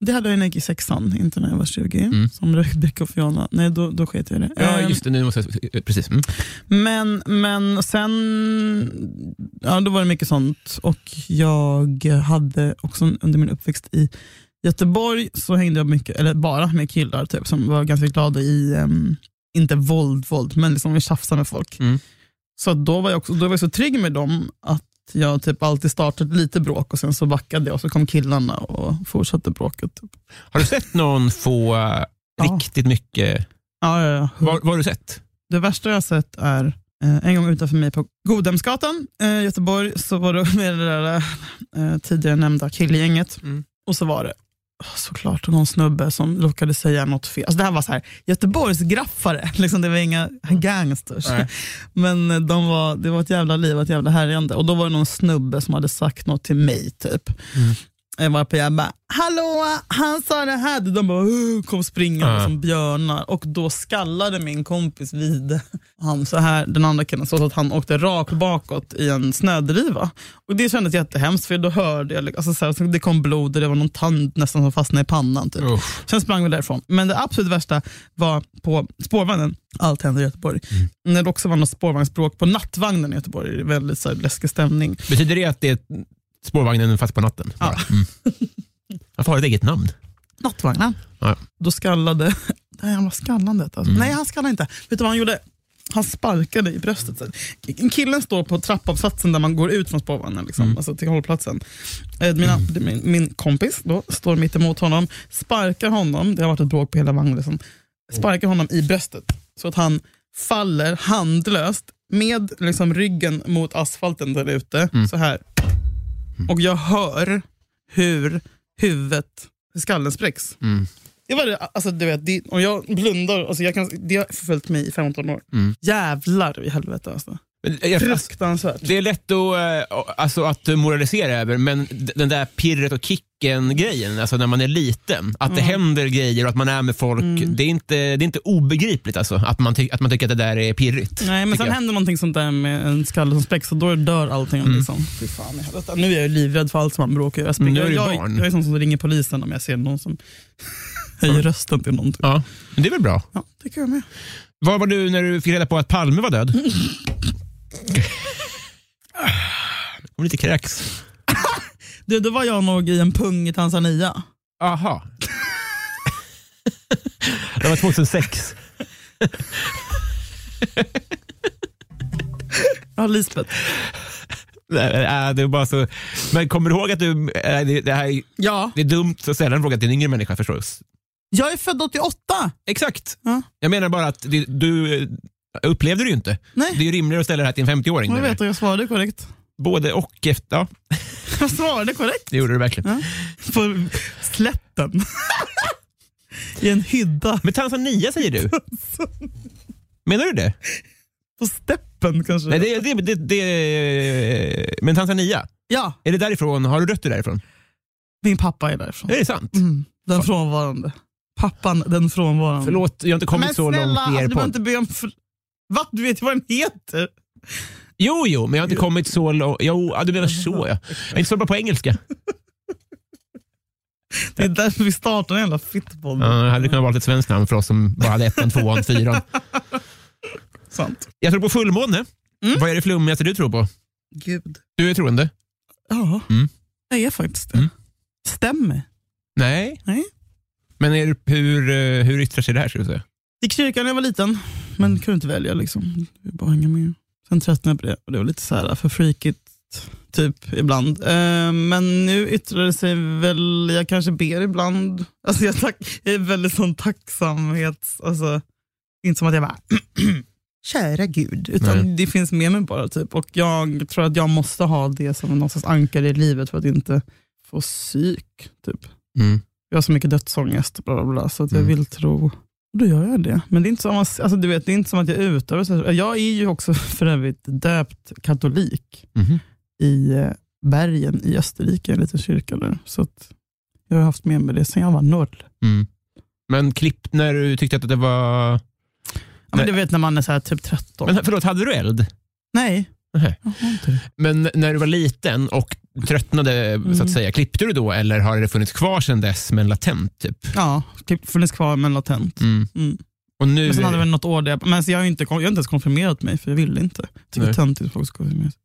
Det hade jag ju när jag gick i sexan, inte när jag var 20, Mm. som rök Beck och Fiona. Nej, då, då sket jag i det. Ja, Eh, just det. Nu måste jag, precis. Mm. Men, men sen, ja då var det mycket sånt. Och jag hade också under min uppväxt i Göteborg så hängde jag mycket, eller bara med killar typ, som var ganska glada i, em, inte våld, våld, men liksom vi tjafsade med folk. Mm. Så då var, jag också, då var jag så trygg med dem att jag typ alltid startade lite bråk och sen så backade jag och så kom killarna och fortsatte bråket. Typ. Har du sett någon få eh, Ja. Mm. riktigt mycket... Ja, ja, ja. Vad vad har du sett? Det värsta jag har sett är eh, en gång utanför mig på Godhemsgatan i eh, Göteborg så var det med det där eh, tidigare nämnda killgänget Mm. och så var det oh, såklart någon snubbe som råkade säga något fel. Alltså det här var så här, Göteborgsgraffare, liksom, det var inga gangsters. Mm. Nej. Men eh, de var, det var ett jävla liv, ett jävla härjande. Och då var det någon snubbe som hade sagt något till mig typ. Jag var på jag bara, hallå, han sa det här. De bara, "Uh", kom springande Ja. som björnar. Och då skallade min kompis vid han så här, den andra killen, så att han åkte rakt bakåt i en snödriva. Och det kändes jättehemskt för då hörde jag, alltså så här, så det kom blod och det var någon tand nästan som fastnade i pannan. Typ. Uff. Sen sprang vi därifrån. Men det absolut värsta var på spårvagnen. Allt hände i Göteborg. När det också var något spårvagnsbråk på nattvagnen i Göteborg. Det är väldigt så här, läskig stämning. Betyder det att det är spårvagnen fast på natten? Ja. Bara. Mm. Varför har det ett eget namn? Nattvagnen. Ja. Då skallade... Nej, han var skallandet. Alltså. Nej, han skallade inte. Vet du vad han gjorde? Han sparkade i bröstet. så här. Killen står på trappavsatsen där man går ut från spårvagnen, liksom, alltså till hållplatsen. Eh, Mina, min, min kompis då, står mitt emot honom, sparkar honom, det har varit ett bråk på hela vagnen, liksom. sparkar honom i bröstet så att han faller handlöst med liksom, ryggen mot asfalten där ute, så här. Och jag hör hur huvudet, skallen spräcks. Det var det, alltså du vet, det, om jag blundar, alltså jag kan, det har förföljt mig i 15 år. Jävlar i helvete alltså. Men Mm. jag- alltså, Fruktansvärt. Det är lätt att, eh, alltså, att moralisera över, men d- den där pirret och kicken-grejen, alltså när man är liten, att det Mm. händer grejer och att man är med folk, det, är inte, det är inte obegripligt alltså, att, man ty- att man tycker att det där är pirrigt. Nej, men tycker sen jag. händer någonting sånt där med en skalle som spräcks och då dör allting. Mm. Liksom. Fy fan, jag, detta, nu är jag ju livrädd för allt som man bråkar jag, springer- Mm, nu är du jag, barn. jag, jag är sån som ringer polisen om jag ser någon som höjer rösten till någonting. Ja, men det är väl bra. Ja, tycker jag med. Var var du när du fick reda på att Palme var död? Det kom lite kräks. Du, då var jag nog i en pung i Tanzania. Aha. Det var 2006. Ja, Lisbeth. Nej, nej, det är bara så. Men kommer du ihåg att du... nej, Det, det, här, är- Ja. det är dumt att ställa en fråga till en yngre människa förstås. Jag är född 88! Exakt. Ja. Jag menar bara att det, du eh, upplevde det ju inte. Nej. Det är ju rimligare att ställa det här till en 50-åring. Jag eller? vet och jag svarade korrekt. Både och. Efter, ja, Jag svarade korrekt det gjorde du verkligen. på slätten. I en hydda Men Tanzania säger du? Menar du det? på steppen kanske. Nej, det, det, det, det, men Tanzania, Ja, är det därifrån? Har du rötter därifrån? min pappa är därifrån. Är det sant? Mm, den frånvarande. Pappan, den frånvarande. Förlåt, jag har inte kommit men så snälla, långt i alltså, er du behöver podd. inte be om... För... Va? Du vet ju vad den heter. Jo, jo, men jag har inte kommit så långt. Jo, ja, du menar så ja. Jag är inte så bra på engelska. Det är därför vi startar en jävla fittpodd. Ja, jag hade kunnat valt ett svenskt namn för oss som bara hade ettan, tvåan, fyran. Sant. Jag tror på fullmåne. Vad är det flummigaste du tror på? Gud. Du är troende? Ja, Mm. jag är faktiskt det. Mm. Stämmer. Nej. Nej. Men är, du- hur, eh, hur yttrar sig det här? Ska du säga? Gick kyrkan när jag var liten, men kunde inte välja. liksom. Jag bara hänga med. Sen tröttnade jag på det och det var lite så här för freakigt typ ibland. Eh, men nu yttrar det sig väl, jag kanske ber ibland. Alltså jag, tack, jag är väldigt sån tacksamhets... Alltså, inte som att jag bara kära gud, utan det finns med mig bara. typ. Och jag tror att jag måste ha det som någon slags ankare i livet för att inte få psyk. Typ. Mm. Jag har så mycket dödsångest, bla bla bla, så att jag Mm. vill tro. Och då gör jag det. Men det är inte som, att- alltså, du vet, det är inte som att jag utövar så- Jag är ju också för övrigt döpt katolik Mhm. i eh, Bergen i Österrike, en liten kyrka där. Så att jag har haft med mig det sedan jag var noll. Mm. Men klipp när du tyckte att det var... Ja, men Nej. du vet när man är så här, typ 13. Men förlåt, hade du eld? Nej, Nej. jag har inte det. Men när du var liten och tröttnade, så Mm. att säga, klippte du då eller har det funnits kvar sedan dess men latent? Typ? Ja, typ funnits kvar men latent. Mm. Mm. Och nu... Men sen hade vi något år där jag, men så jag, har ju inte, jag har inte ens konfirmerat mig för jag ville inte. Jag Tycker det Nej. är töntigt att folk ska konfirmera sig.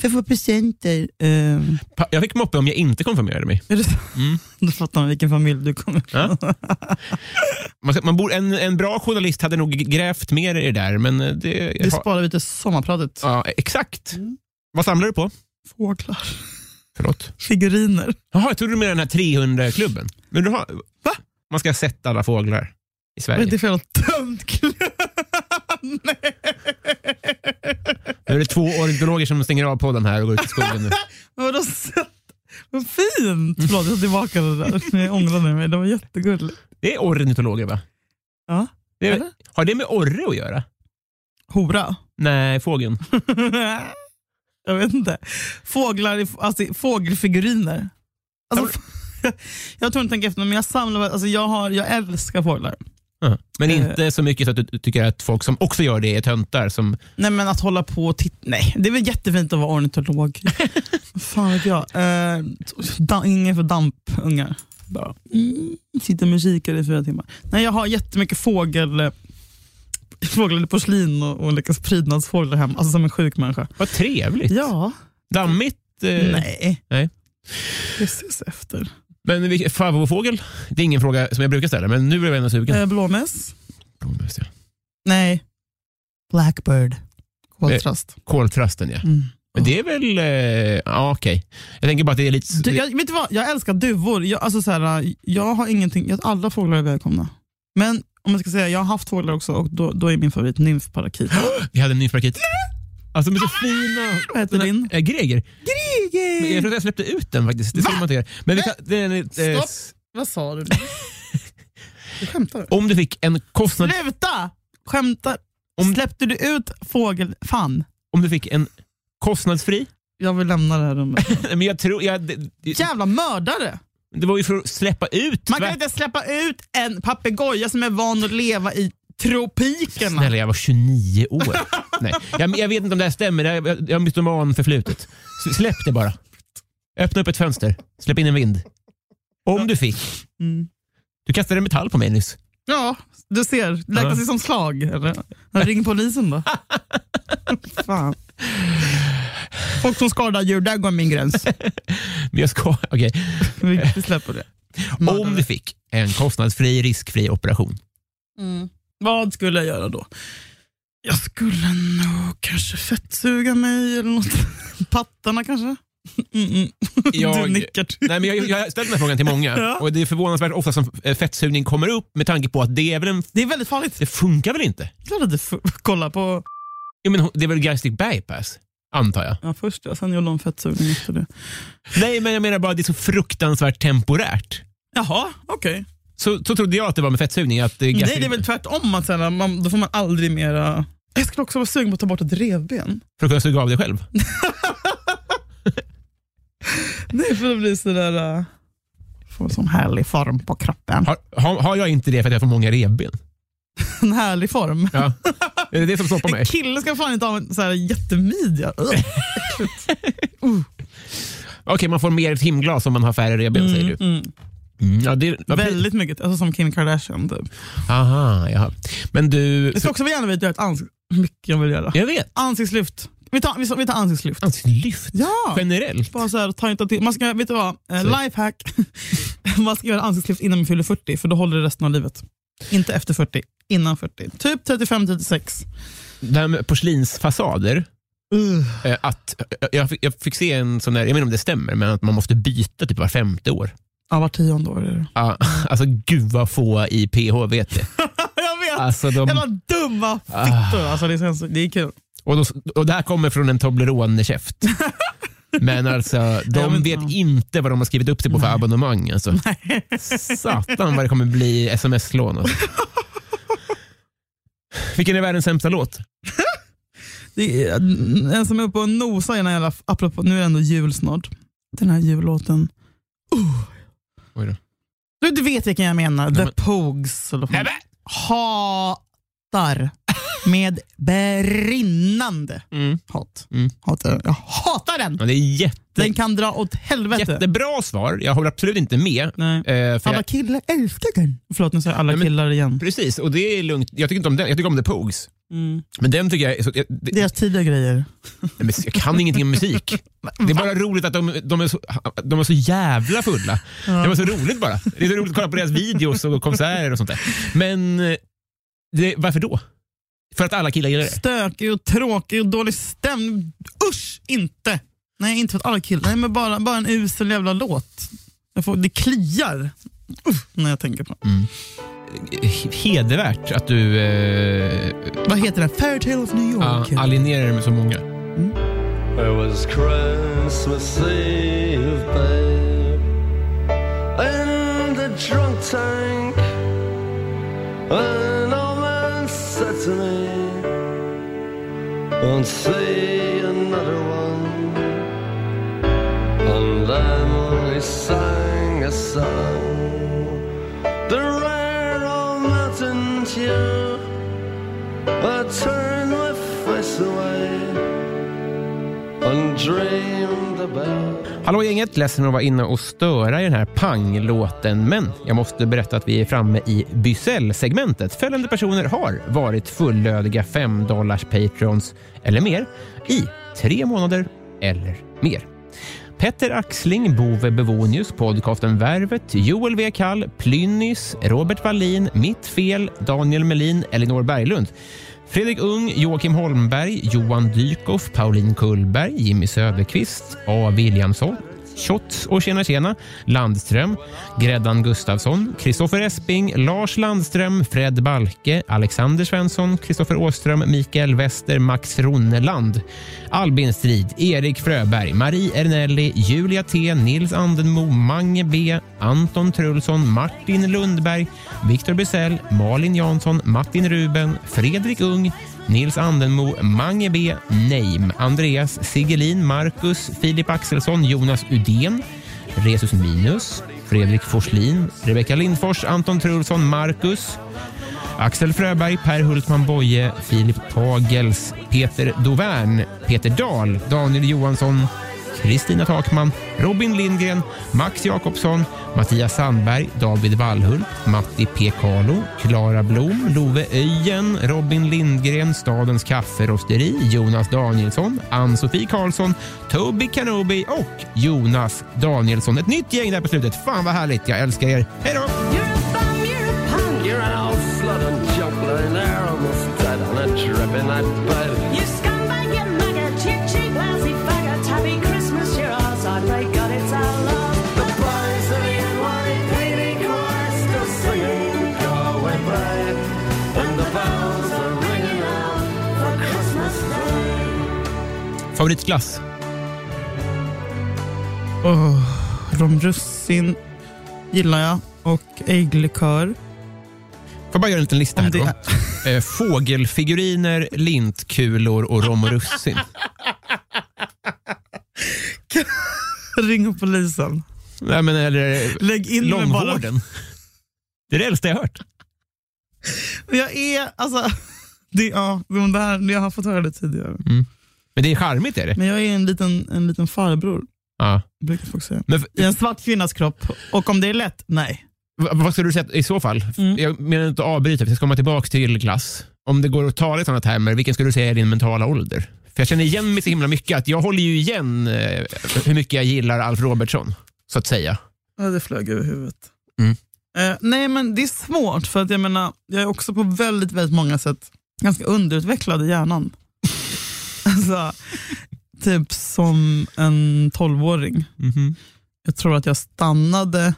För jag får presenter. Eh, Pa- Jag fick moppe om jag inte konfirmerade mig. är det så? Mm. Då fattar man vilken familj du kommer Ja. ifrån. Man, ska- man bor, en, en bra journalist hade nog grävt mer i det där, men eh, det... Vi sparar vi till sommarpratet. ja, exakt. Mm. Vad samlar du på? Fåglar. Förlåt. Figuriner. Jaha, jag trodde du menade den här 300-klubben. Men du har, Va? Man ska ha sett alla fåglar i Vad Sverige. är det för jävla tönt Nej. Nu är det två ornitologer som stänger av podden här och går ut i skogen nu. Vadå sött? Vad Mm. fint! Förlåt, jag tar tillbaka det där. Jag ångrade mig. Det var jättegulligt. Det är ornitologer, va? Ja. Det är, Eller? har det med orre att göra? Hora. Nej, fågeln. jag vet inte. Fåglar, i- alltså, fågelfiguriner. Alltså, jag tror inte tänka efter, men jag samlar, alltså, jag, har, jag älskar fåglar. Ja. Men Eh. inte så mycket så att du tycker att folk som också gör det är töntar. Som, Nej men att hålla på och titta, nej det är väl jättefint att vara ornitolog. Fan vet jag. Eh, da, ingen för dampungar. Bara, mm, sitta med kikare i fyra timmar. Nej jag har jättemycket fågel, fåglar i porslin och olika prydnadsfåglar hemma, alltså som en sjuk människa. vad trevligt. Ja, Dammigt. Eh, nej. nej. Det ses efter. Men vilken favoritfågel? Det är ingen fråga som jag brukar ställa, men nu blev jag ändå sugen. Eh, blåmes? Blåmes, ja. Nej. Blackbird. Koltrast. Koltrasten, ja. Mm. Men det är väl... eh, Ja, okej. Jag tänker bara att det är lite... Du, jag, vet du vad? jag älskar duvor. Jag, alltså så här, jag har ingenting, jag, alla fåglar är välkomna. Men om jag ska säga, jag har haft fåglar också och då, då är min favorit nymfparakit. Vi hade en ny paket. Alltså de är så fina. Vad heter din? Äh, Greger. Men Jag tror att jag släppte ut den faktiskt. Det skulle man inte göra. Men vi kan, den, är, eh, Stopp. Vad sa du? Du skämtar? om du fick en kostnad... Sluta! Skämtar. Släppte du ut fågelfan? om du fick en kostnadsfri... Jag vill lämna det här rummet. Nej, Men jag tror, jag, det, det- Jävla mördare! det var ju för att släppa ut. Man kan tvärt- inte släppa ut en papegoja som är van att leva i tropikerna. Snälla, jag var 29 år. Nej, jag, jag vet inte om det här stämmer. Jag, jag, jag har mytoman förflutet. S- Släpp det bara. Öppna upp ett fönster. Släpp in en vind. Om du fick. Mm. Du kastade en metall på mig nyss. Ja, du ser. Räknas det som slag? Eller? Men Ring polisen då. Fan. Folk som skadar djur, där går min gräns. Men jag ska... Okej. Vi vi släpper det. Om du fick en kostnadsfri, riskfri operation. Mm. Vad skulle jag göra då? Jag skulle nog kanske fettsuga mig eller något. Pattarna kanske? Mm-mm. Jag- Du nickar. till. Nej, men jag, jag har ställt den här frågan till många Ja. och det är förvånansvärt ofta som eh, fettsugning kommer upp med tanke på att det är väl en... Det är väldigt farligt. Det funkar väl inte? Klart att du f- kollar på... Jo, men hon- det är väl gastric bypass? Antar jag. Ja, först ja, sen gjorde hon fettsugning efter det. Nej, men jag menar bara att det är så fruktansvärt temporärt. Jaha, okej. Så, så trodde jag att det var med fettsugning. Att det är gastric... Nej, det är väl tvärtom. Att sen, man, då får man aldrig mera... Jag skulle också vara sugen på att ta bort ett revben. För att kunna suga av dig själv. Nej, för det blir sådär... Uh... Får en sån härlig form på kroppen. Har, har, har jag inte det för att jag får många revben? En härlig form. Ja. Är det det som stoppar mig? En kille ska fan inte ha en sån här jättemidja. Ugh. Okej, man får mer timglas om man har färre revben, säger du. Mm, Mm, ja, det, vad- Väldigt mycket. Alltså som Kim Kardashian. Typ. Aha, jaha. Men du... Jag skulle också gärna vilja göra ett ansiktslyft. mycket jag vill göra. Jag vet. Ansiktslyft. Vi tar, vi, vi tar ansiktslyft. Ansiktslyft. Ja! Generellt. Bara så här, ta inte till. Man ska, vet du vad? Eh, lifehack. man ska göra ansiktslyft innan man fyller 40, för då håller det resten av livet. Inte efter 40, innan 40. Typ 35-36. Det här med porslinsfasader. eh, Att, eh, jag, fick, jag fick se en sån där, jag vet inte om det stämmer, men att man måste byta typ var femte år. Ja, var tionde år är det. Ah, alltså gud vad få i PH vet det. Jag vet! Alltså, Jävla de, dumma fittor. Alltså, det, känns, det är kul. och, då, och det här kommer från en Toblerone-käft. Men alltså, Ja, de men- vet inte vad de har skrivit upp sig på för abonnemang. Alltså. Satan vad det kommer bli sms-lån. Alltså. Vilken är världens sämsta låt? Det är, en som är uppe och nosar i den här jävla, apropå, nu är det ändå jul snart. Den här jullåten. Oj då. Du, du vet vilken jag menar. The Nej, men- Pogues. Eller vad Nej, fan. Hatar. Med brinnande Mm. hat. Mm. Hatar. Jag hatar den! Ja, det är jätte, Den kan dra åt helvete. jättebra svar. Jag håller absolut inte med. Nej. Eh, för Alla jag, killar älskar den. Förlåt, nu säger jag alla Nej, men- killar igen. precis, och det är lugnt. Jag tycker inte om den. Jag tycker om The Pogues. Mm. Men den tycker jag... är Så, jag, det, Deras tidiga grejer. Nej, men jag kan ingenting om musik. Det är bara roligt att de, de, är, så, de är så jävla fulla. Det var så roligt bara. Det är så roligt att kolla på deras videos och konserter och sånt där. Men eh, det, varför då? För att alla killar gillar det? Stökig och tråkig och dålig stämning. Usch, inte! Nej, inte för att alla killar. Nej, men bara, bara en usel jävla låt. Jag får, det kliar Uff, när jag tänker på det. Mm. Hedervärt att du eh, Vad heter den? Fairytale of New ah, York. heter den. alienerar dig med så många. It was Christmas Eve, babe, in the drunk tank. An old man said to me, "Won't see another one." And then he sang a song, the rare old mountain tune. I turned my face away and dreamed about Hallå gänget, ledsen att vara inne och störa i den här panglåten, men jag måste berätta att vi är framme i Bysell-segmentet. Följande personer har varit fullödiga 5 dollars patrons eller mer i tre månader eller mer. Petter Axling, Bove Bevonius, podcasten Värvet, Joel W. Kall, Plynnis, Robert Wallin, Mitt Fel, Daniel Melin, Elinor Berglund. Fredrik Ung, Joakim Holmberg, Johan Dykhoff, Pauline Kullberg, Jimmy Söderqvist, A. Williamson, Shots och Tjena Tjena, Landström, Gräddan Gustafsson, Kristoffer Esping, Lars Landström, Fred Balke, Alexander Svensson, Kristoffer Åström, Mikael Wester, Max Ronneland, Albin Strid, Erik Fröberg, Marie Ernelli, Julia T, Nils Andenmo, Mange B, Anton Trulsson, Martin Lundberg, Viktor Bysell, Malin Jansson, Martin Ruben, Fredrik Ung, Nils Andenmo, Mange B, Neim, Andreas Sigelin, Marcus, Filip Axelsson, Jonas Udén, Resus Minus, Fredrik Forslin, Rebecka Lindfors, Anton Trulsson, Marcus, Axel Fröberg, Per Hultman Boye, Filip Pagels, Peter Dovern, Peter Dahl, Daniel Johansson, Kristina Takman, Robin Lindgren, Max Jakobsson, Mattias Sandberg, David Wallhult, Matti P. Carlo, Klara Blom, Love Öjen, Robin Lindgren, Stadens kafferosteri, Jonas Danielsson, Ann-Sofie Karlsson, Toby Kanobi och Jonas Danielsson. Ett nytt gäng där på slutet. Fan vad härligt. Jag älskar er. Hej då! You're an old slut and juggler and they're almost dead on a trip in that bed. You scumbag, you maggot, cheap, cheap, lousy faggot. Happy Christmas, you're ours. I pray God it's our love. The boys of the NYPD chorus still singing Galway Bride. And the bells are ringing out for Christmas Day. Favoritglass? Oh, romrussin gillar jag och ägglikör. Får jag bara göra en liten lista här Om det då? är- Eh, Fågelfiguriner, lintkulor och rom och russin. Ring polisen. Nej, men eller eh, Lägg in mig bara. långvården. Det är det äldsta jag hört. Jag är, alltså, det, ja, det här, jag har fått höra det tidigare. Men det är charmigt är det. Men jag är en liten, en liten farbror, Ja. brukar folk säga. Men f- I en svart kvinnas kropp. Och om det är lätt, nej. v- vad skulle du säga i så fall? Mm. Jag menar inte att avbryta, för jag ska komma tillbaka till glass. Om det går att tala i sådana termer, vilken skulle du säga är din mentala ålder? För jag känner igen mig så himla mycket. Att jag håller ju igen eh, hur mycket jag gillar Alf Robertson, så att säga. Ja, det flög över huvudet. Mm. Eh, nej, men det är svårt för att jag menar, jag är också på väldigt, väldigt många sätt ganska underutvecklad i hjärnan. alltså, typ som en tolvåring. Jag tror att jag stannade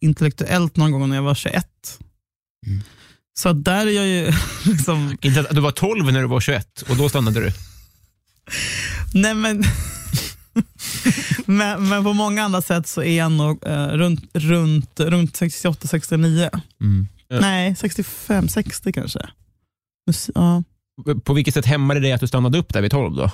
intellektuellt någon gång när jag var 21. Så att där är jag ju liksom, Inte att du var 12 när du var 21 och då stannade du. nej men, men, men på många andra sätt så är jag nog eh, runt, runt, runt 68-69. Ja. Nej, 65, 60 kanske. Mus- Ja. På vilket sätt hämmade det att du stannade upp där vid 12 då?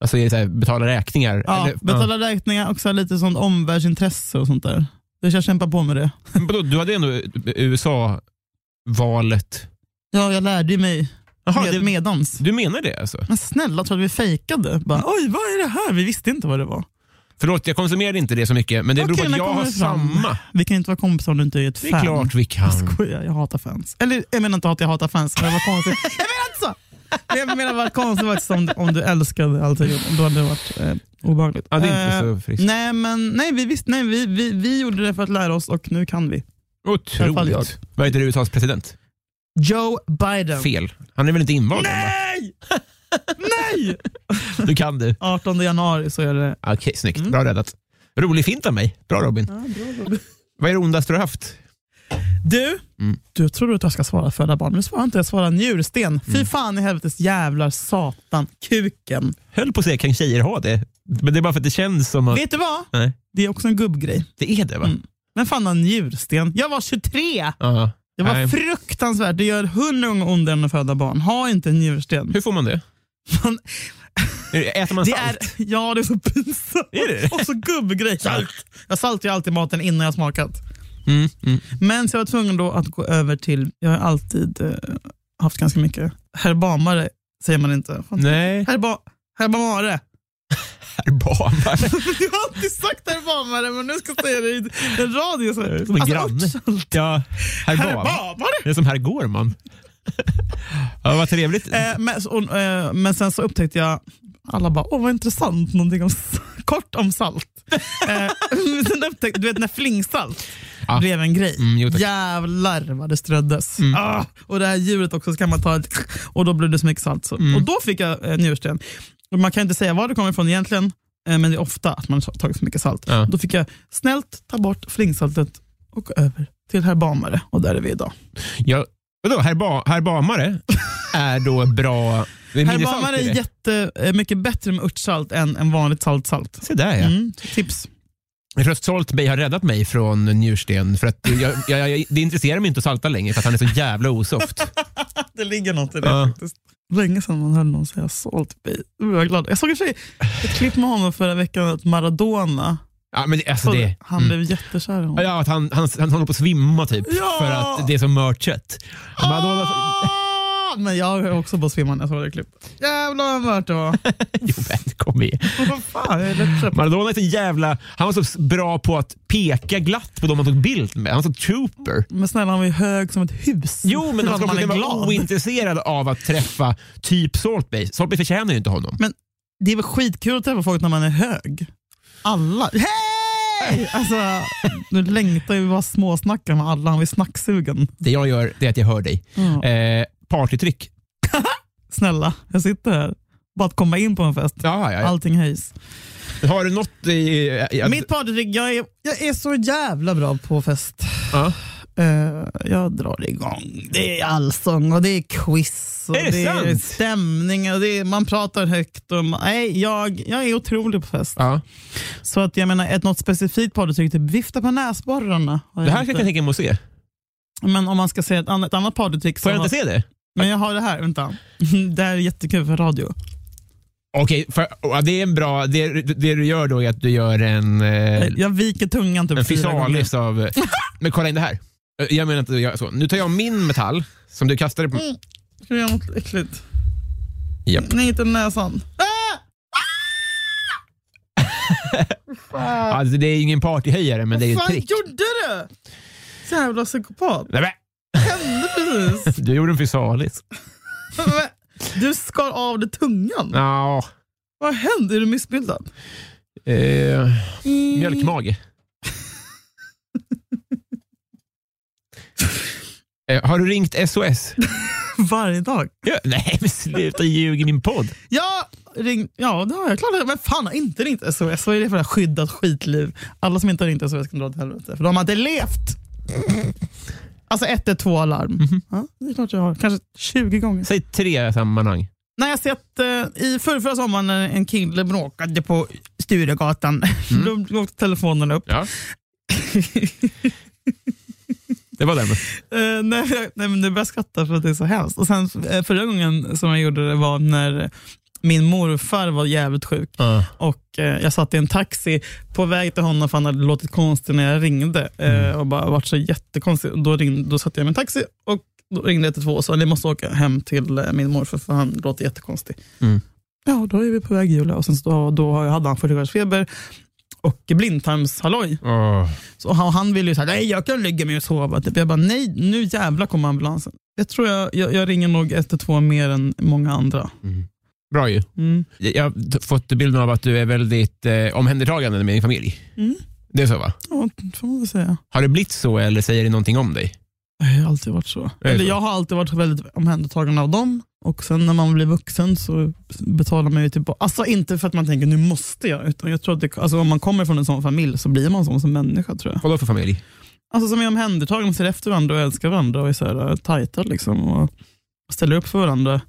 Alltså är det så här, betala räkningar? Ja, Eller- betala räkningar och så här lite sånt omvärldsintresse och sånt där. Jag ska kämpa på med det. Ja. Men vadå, Du hade ändå USA-valet. Ja, jag lärde ju mig Jaha, med, det- medans. Du menar det alltså? Men snälla, tror du att vi fejkade? Bara, Oj, vad är det här? Vi visste inte vad det var. Förlåt, jag konsumerade inte det så mycket, men det beror Okej, på när att jag kommer har det fram? samma. Vi kan ju inte vara kompisar om du inte är ett Det fan. är klart vi kan. Jag skojar, jag hatar fans. Eller jag menar inte att jag hatar fans, men vad konstigt. jag menar inte så! Men Jag menar vad konstigt faktiskt om, om du älskade allt jag gjorde. Då hade det varit eh, obehagligt. Ja, det är inte Eh, så friskt. Nej, men nej, vi, visst, nej vi, vi, vi gjorde det för att lära oss och nu kan vi. alla fall jag. Otroligt. Vad heter USAs president? Joe Biden. Fel. Han är väl inte invald? än, va? Nej! nej! Du kan du. 18 januari så är det... Okej, snyggt. Mm. Bra räddat. Rolig fint av mig. Bra Robin. Vad är det ondaste du har haft? Du, Mm. du tror att jag ska svara föda barn, men jag svarar inte. Jag svarar njursten. Fy Mm. fan i helvetes jävlar satan, kuken. Höll på att säga, kan tjejer ha det? Men det är bara för att det känns som att... Vet du vad? Nej, Det är också en gubbgrej. det är det va? Mm. Men fan en njursten? Jag var 23! Ja. Det var Nej. fruktansvärt. Det gör hundra gånger ondare än att föda barn. Ha inte en njursten. Hur får man det? Man- Äter man Det salt? är, ja, det är så pinsamt. Är det? Och så gubbgrej. Salt. Jag saltar ju alltid maten innan jag smakat. Mm, mm. Men så jag var tvungen då att gå över till, jag har alltid eh, haft ganska mycket herbamare, säger man inte. Fan, Nej. Herba, herbamare. Herbamare. Jag har alltid sagt herbamare men nu ska jag säga det i en radio. Alltså, Så. Som en granne. Ja, herbam. Herbamare! Det är som herr Gårman. ja, vad trevligt. Eh, men, så- och, eh, men sen så upptäckte jag, alla bara, åh vad intressant, någonting om, s- kort om salt. eh, men sen upptäckte, du vet när flingsalt Ja. blev en grej. Mm, jo, tack. Mm. Jävlar vad det ströddes. Ah, och det här djuret också, så kan man ta ett, och då blev det så mycket salt. Så. Mm. Och då fick jag eh, njursten. Och man kan inte säga var det kommer ifrån egentligen, eh, men det är ofta att man har tagit för mycket salt. Ja. Då fick jag snällt ta bort flingsaltet och gå över till herbamare och där är vi idag. Ja, vadå, herba, herbamare är då bra... Det är mindre salt Herbamare i är det. jätte, eh, mycket bättre med örtsalt än, än vanligt saltsalt. Se där ja. Mm, tips. Röstsalt Bey har räddat mig från njursten. För att jag, jag, jag, det intresserar mig inte att salta längre för att han är så jävla osoft. Det ligger något i det Ja. faktiskt. Länge sedan man hörde någon säga så. Typ. Jag är glad. Jag såg i och för sig ett klipp med honom förra veckan, att Maradona, Ja, men det, alltså det, han blev jättekär i honom. ja, att han, han, han håller på att svimma typ Ja! för att det är så mört kött. Madonna, Ah! Men jag har också bara svimmat när jag såg det klippet. Jävlar vad mört det var. jo, men, kom igen. Vad fan, jag är lättköpt. Maradona är så jävla... Han var så bra på att peka glatt på de han tog bild med. Han var så trooper. Men snälla, han var ju hög som ett hus. Jo, men han Klart ska också alltså, man är kunna vara glad. ointresserad av att träffa typ Salt Bay. Salt Bay förtjänar ju inte honom. Men det är väl skitkul att träffa folk när man är hög? Alla. Hej! Alltså, nu längtar vi bara småsnacka med alla. Han är snacksugen. Det jag gör det är att jag hör dig. Ja. Eh, partytryck. Snälla, jag sitter här. Bara att komma in på en fest. Ja, ja, ja. Allting höjs. Har du något i... i- att- Mitt partytrick, jag är, jag är så jävla bra på fest. Ja. Eh, jag drar igång. Det är allsång och det är quiz och Är det sant? stämning och det är, man pratar högt. Och man, nej, jag, jag är otrolig på fest. Ja. Så att jag menar, ett något specifikt partytrick, typ vifta på näsborrarna. har jag Det här inte. kan jag tänka mig att se. Men om man ska säga ett annat, ett annat partytrick. Får som jag inte har- se det? Men jag har det här, vänta. det här är jättekul för radio. Okej, för, ja, det är en bra... Det, det du gör då är att du gör en... Eh, Jag viker tungan typ en fyra gånger. fysalis av... eh, Men kolla in det här. Eh, Jag menar inte att göra så. Nu tar jag min metall som du kastade på... Mm. Ska vi göra något äckligt? Japp. Nej, inte näsan. Alltså, det är ingen partyhöjare, men det är ju Vad ett Ah! fan trick. gjorde du? Jävla psykopat. Nej, men, Hände precis. du gjorde en fysalis. Du skar av dig tungan. Ja, Vad hände? Är du missbildad? eh, mjölkmage. eh, har du ringt SOS? Varje dag. Ja, nej, men sluta ljug i min podd. Ja, ring, ja det har jag. Klart jag- Men fan, har inte ringt SOS. Vad är det för det här skyddat skitliv? Alla som inte har ringt SOS kan dra åt helvete. För de har inte levt. Alltså 112-alarm. Ja, det är klart jag har. Kanske 20 gånger. Säg tre sammanhang. När jag sett eh, i förra, förra sommaren när en kille bråkade på Sturegatan, då åkte telefonen upp. Ja. Det var den. Eh, nej, jag- nej, men nu börjar jag skratta för att det är så hemskt. Och sen, eh, förra gången som jag gjorde det var när min morfar var jävligt sjuk och eh, jag satt i en taxi på väg till honom för han hade låtit konstig när jag ringde eh, och bara varit så jättekonstig. Och Då, ringde, då satt jag i min taxi och då ringde jag till två och sa ni måste åka hem till eh, min morfar för han låter jättekonstig. Mm. Ja, då är vi på väg Julia och sen så, då, då hade han 40 feber och blindtarmshalloj. Åh. Så han, han ville ju säga nej jag kan lägga mig och sova. Typ. Jag bara nej, nu jävlar kommer ambulansen. Jag tror jag, jag, jag ringer nog 112 mer än många andra. Bra ju. Mm. Jag har t- fått bilden av att du är väldigt eh, omhändertagande med din familj. Mm. Det är så va? Ja, det får man väl säga. Har det blivit så eller säger det någonting om dig? Jag har alltid varit så. det så? Eller jag har alltid varit väldigt omhändertagande av dem. Och sen när man blir vuxen så betalar man ju tillbaka. Alltså inte för att man tänker nu måste jag. Utan jag tror att det, alltså, om man kommer från en sån familj så blir man sån som människa tror jag. Vadå för familj? Alltså som är omhändertagna, ser efter varandra och älskar varandra och är så här, eh, tajta liksom. Och ställer upp för varandra.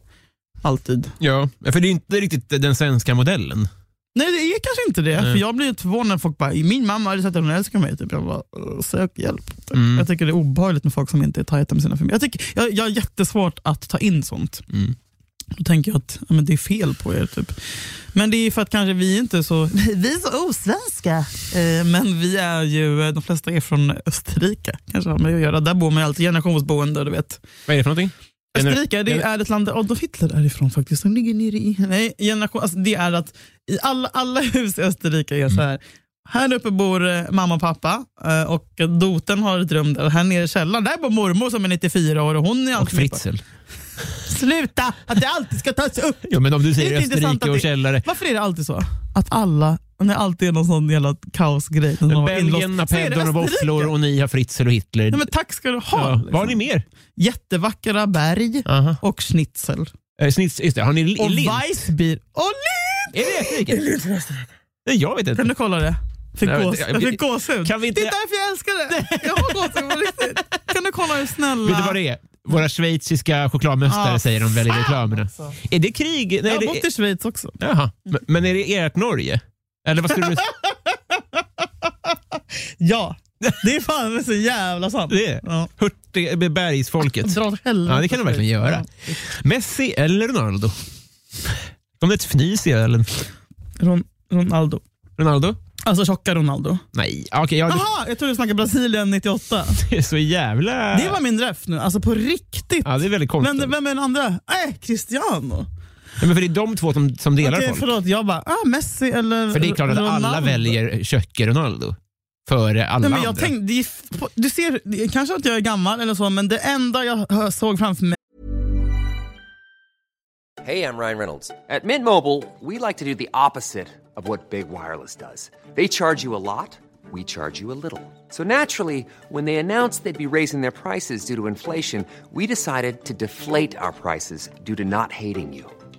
Alltid. Ja, för det är inte riktigt den svenska modellen. Nej det är kanske inte det. Nej. För jag blir lite förvånad när folk bara, min mamma hade sagt att hon älskar mig. Typ. Jag bara, "Åh, sök hjälp. Typ. Mm. Jag tycker det är obehagligt med folk som inte är tajta med sina familjer. Jag, tycker, jag, jag har jättesvårt att ta in sånt. Mm. Då tänker jag att ja, men det är fel på er. Typ. Men det är för att kanske vi inte är så, vi är så osvenska. Eh, men vi är ju, eh, de flesta är från Österrike. Kanske har med det att göra. Där bor man ju alltid generationsboende, du vet. Vad är det för någonting? Gener- Österrike det är ett land där Adolf Hitler är ifrån faktiskt. De ligger nere i... Nej, generation, alltså det är att i alla, alla hus i Österrike är så här. Här uppe bor eh, mamma och pappa eh, och doten har ett rum där. Här nere i källaren, där bor mormor som är 94 år och hon är Och alltid med på- Fritzl. Sluta! Att det alltid ska tas upp. Ja, men om du Det är säger inte intressant Österrike att och det- källare. Varför är det alltid så? Att alla, när det alltid är någon sån jävla kaosgrej. när någon har Belgien inlåst- har så är det peddon och Österrike. våfflor och ni har Fritzl och Hitler. Nej, men tack ska du ha. ja. Vad har liksom. ni mer? Jättevackra berg Aha. och schnitzel. Eh, Snitz, just det. Har ni li- Och lint? Weissbier. Och Lind! Är det Österrike? Nej, jag vet Kan inte. du kolla det? Fick Nej, men- gås, jag fick gåshud. Kan vi inte- Det är därför jag älskar det. Jag har gåshud på riktigt. Kan du kolla hur snälla... Vet du vad det är? Våra schweiziska chokladmästare Ah, säger de väl i fan reklamerna. alltså. Är det krig? Jag Nej, har det bott i Schweiz också. Jaha. Men- Men är det ert Norge? Eller vad skulle du... Ja, Det är fan väl så jävla sant. Det är Ja. Hurtigbergsfolket. Dra åt helvete. eh, Ja, det kan de verkligen göra. Messi eller Ronaldo? Kom det ett fnys i ölen? Ron, Ronaldo. Ronaldo? Alltså tjocka Ronaldo. Nej, ja, okej. ja, Jaha, jag trodde du snackade Brasilien 98. det är så jävla... Det var min ref nu, alltså på riktigt. Ja, det är väldigt konstigt. Vem, vem är den andra? Nej, Cristiano. Ja, men för det är de två som, som delar Okej, folk. förlåt. Jag bara, ah, Messi eller För det är klart att alla Ronaldo. väljer Köcke Ronaldo före alla Nej, men jag andra. tänkte, det är f- på- du ser, det är kanske att jag är gammal eller så, men det enda jag hö- såg framför mig Hey, I'm Ryan Reynolds. At Mint Mobile, we like to do the opposite of what Big Wireless does. They charge you a lot, we charge you a little. So naturally, when they announced they'd be raising their prices due to inflation, we decided to deflate our prices due to not hating you.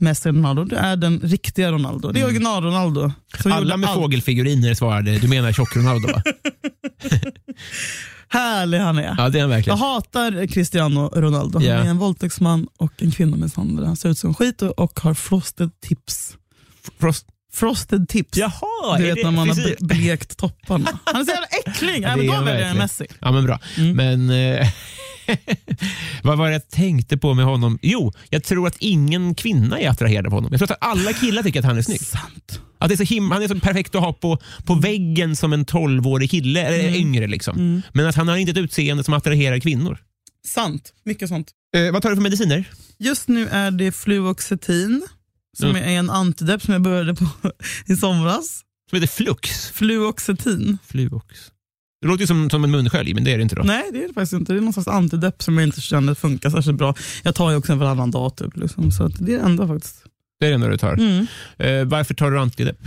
Messi och Ronaldo. Du är den riktiga Ronaldo. Det är original-Ronaldo. som Mm. Alla gjorde med allt. fågelfiguriner svarade, du menar Tjock Ronaldo va? Härlig han är. Ja, det är han verkligen. Jag hatar Cristiano Ronaldo. Han Ja. är en våldtäktsman och en kvinnomisshandlare. Han ser ut som skit och, och har frosted tips. Frost. Frosted tips. Jaha, du är vet det när man har frisyr? ble- blekt topparna. Han är så jävla äcklig. Ja, Även det är då han väljer jag verkligen. Messi. Mm. Ja, men bra. Men eh, vad var det jag tänkte på med honom? Jo, jag tror att ingen kvinna är attraherad av honom. Jag tror att alla killar tycker att han är snygg. Sant. Att det är så him- han är så perfekt att ha på, på väggen som en 12-årig kille, eller Mm. yngre liksom. Men att han har inte ett utseende som attraherar kvinnor. Sant. Mycket sånt. Eh, vad tar du för mediciner? Just nu är det fluoxetin som Mm. är en antidepp som jag började på i somras. Som heter Flux. Fluoxetin. Fluox. Det låter ju som, som en munskölj, men det är det inte då. Nej, det är det faktiskt inte. Det är någon slags antidepp som jag inte känner funkar särskilt bra. Jag tar ju också en varannan dag typ, liksom, så att det är det enda faktiskt. Det är det enda du tar. Mm. Eh, varför tar du antidepp?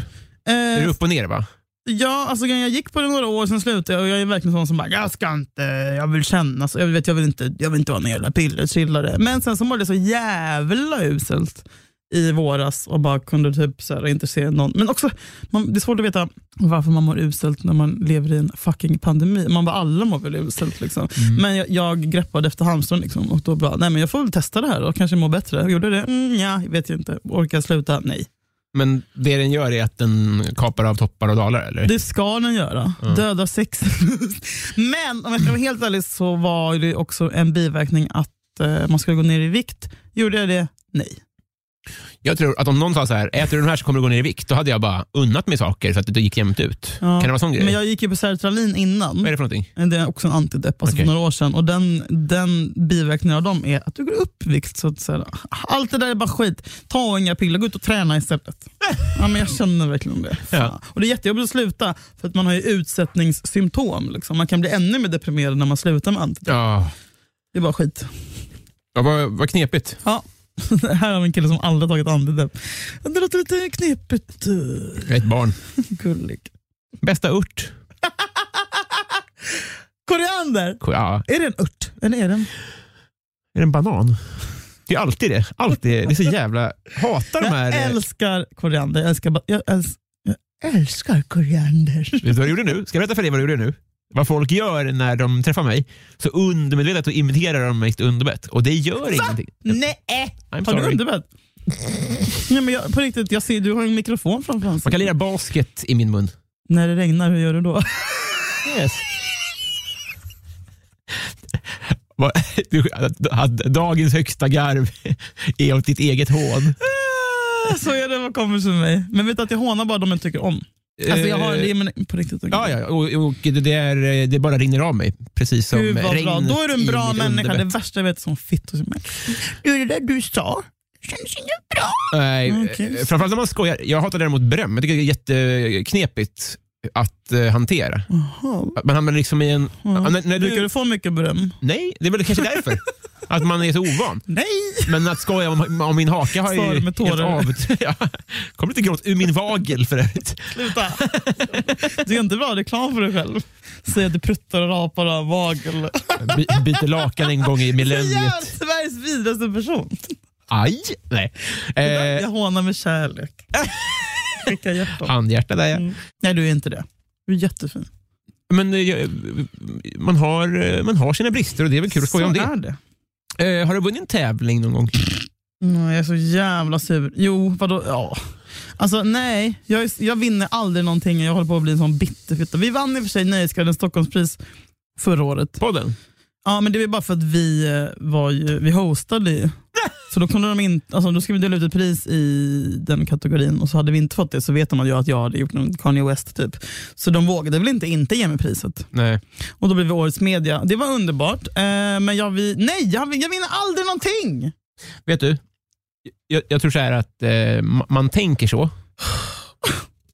Det är Eh, upp och ner va? ja, alltså, grejen, jag gick på det några år, sen slutade jag och jag är verkligen sån som bara, jag ska inte, jag vill känna, så, jag, vet, jag, vill inte, jag vill inte vara någon jävla pillerchillare. Men sen så mådde jag så jävla uselt i våras och bara kunde typ så här, inte se någon. Men också, man, det är svårt att veta varför man mår uselt när man lever i en fucking pandemi. Man bara, alla mår väl uselt liksom. Men jag, jag greppade efter halmstrån liksom, och då bara, nej men jag får väl testa det här och kanske må bättre. Jag gjorde det, mm, ja, vet jag inte. Orkar jag sluta? Nej. Men det den gör är att den kapar av toppar och dalar eller? Det ska den göra. Mm. Döda sex. Men om jag ska vara helt ärlig så var det också en biverkning att eh, man skulle gå ner i vikt. Gjorde jag det? Nej. Jag tror att om någon sa så här, äter du den här så kommer du gå ner i vikt, då hade jag bara unnat mig saker så att det gick jämnt ut. Ja. Kan det vara sån grej? Men jag gick ju på sertralin innan. Vad är det för någonting? Det är också en antidepp, alltså Okej. för några år sedan. Och den, den biverkningen av dem är att du går upp i vikt. Så att, säga. allt det där är bara skit. Ta inga piller, gå ut och träna istället. ja, men jag känner verkligen det. Fan. Ja. Och Det är jättejobbigt att sluta, för att man har ju utsättningssymptom. Liksom. Man kan bli ännu mer deprimerad när man slutar med antidepp. Ja, Det är bara skit. ja vad, vad knepigt. Ja, det här har en kille som aldrig tagit antidepp. Det låter lite knepigt. eh, Ett barn. Gullig. Bästa ört? Koriander! Ja, Är det en ört? Eller är det en... är det en banan? Det är alltid det. Alltid. Det är så jävla... Hatar de här... Jag älskar koriander. Jag älskar, ba- jag äls- jag älskar koriander. Vet du vad du gjorde nu? Ska jag berätta för dig vad du gjorde nu? Vad folk gör när de träffar mig, så undermedvetet så imiterar de mitt underbett. Och det gör ingenting. Nej! I'm Har du sorry. underbett? Nej, men jag, på riktigt, jag ser, du har en mikrofon framför Man kan ansiktet. lira basket i min mun. När det regnar, hur gör du då? Yes. Vad- du- att- att Dagens högsta garv är åt ditt eget hån. Ah, Så är det vad kommer till mig. Men vet du att jag hånar bara de jag tycker om. Alltså jag har, det är, men på riktigt. Eh, Ja, ja och, och det, är, det bara rinner av mig. Precis som Gud vad bra. regnet Då är du en i bra mitt människa. underbett. Det värsta jag vet är som fittor. som är, Det är det där du sa. känns inget bra. Nej, Mm, Okej. eh, framförallt när man skojar. Jag hatar däremot beröm. Jag tycker det är jätteknepigt att eh, hantera. Mm. Jaha. Att Man hamnar liksom i en... Mm. Ja, när, när Brukar du, du få mycket beröm? nej, det är väl kanske därför. att man är så ovan. Nej! Men att skoja om, om min haka har ju... Svar med tårar. helt av- ja. Kommer lite gråt ur min vagel för övrigt. Sluta! Du är inte bra reklam för dig själv. Säg att du pruttar och rapar och har vagel. By, byter lakan en gång i Jag är millenniet. Sveriges vidrigaste person. Aj! Nej. Jag Eh, hånar med kärlek. Skicka hjärtan. handhjärta där ja. Mm. Nej, du är inte det. Du är jättefin. Men eh, jag- man har, eh, man har sina brister och det är väl kul att skoja om Så det. är det. Eh, har du vunnit en tävling någon gång? Nej, Mm, jag är så jävla sur. Jo, vadå? Ja. Alltså nej, jag, är- jag vinner aldrig någonting. Jag håller på att bli en sån bitterfitta. Vi vann i och för sig Nöjesguiden Stockholmspris förra året. Podden? Ja, men det var bara för att vi eh, var ju, vi hostade ju. Så då kunde de inte, alltså då skulle vi dela ut ett pris i den kategorin och så hade vi inte fått det så vet de att jag, att jag hade gjort någon Kanye West typ. Så de vågade väl inte inte ge mig priset. Nej. Och då blev vi årets media. Det var underbart. Eh, men jag, vi, nej, jag, jag vinner aldrig någonting. Vet du? Jag, jag tror så här att eh, ma- man tänker så.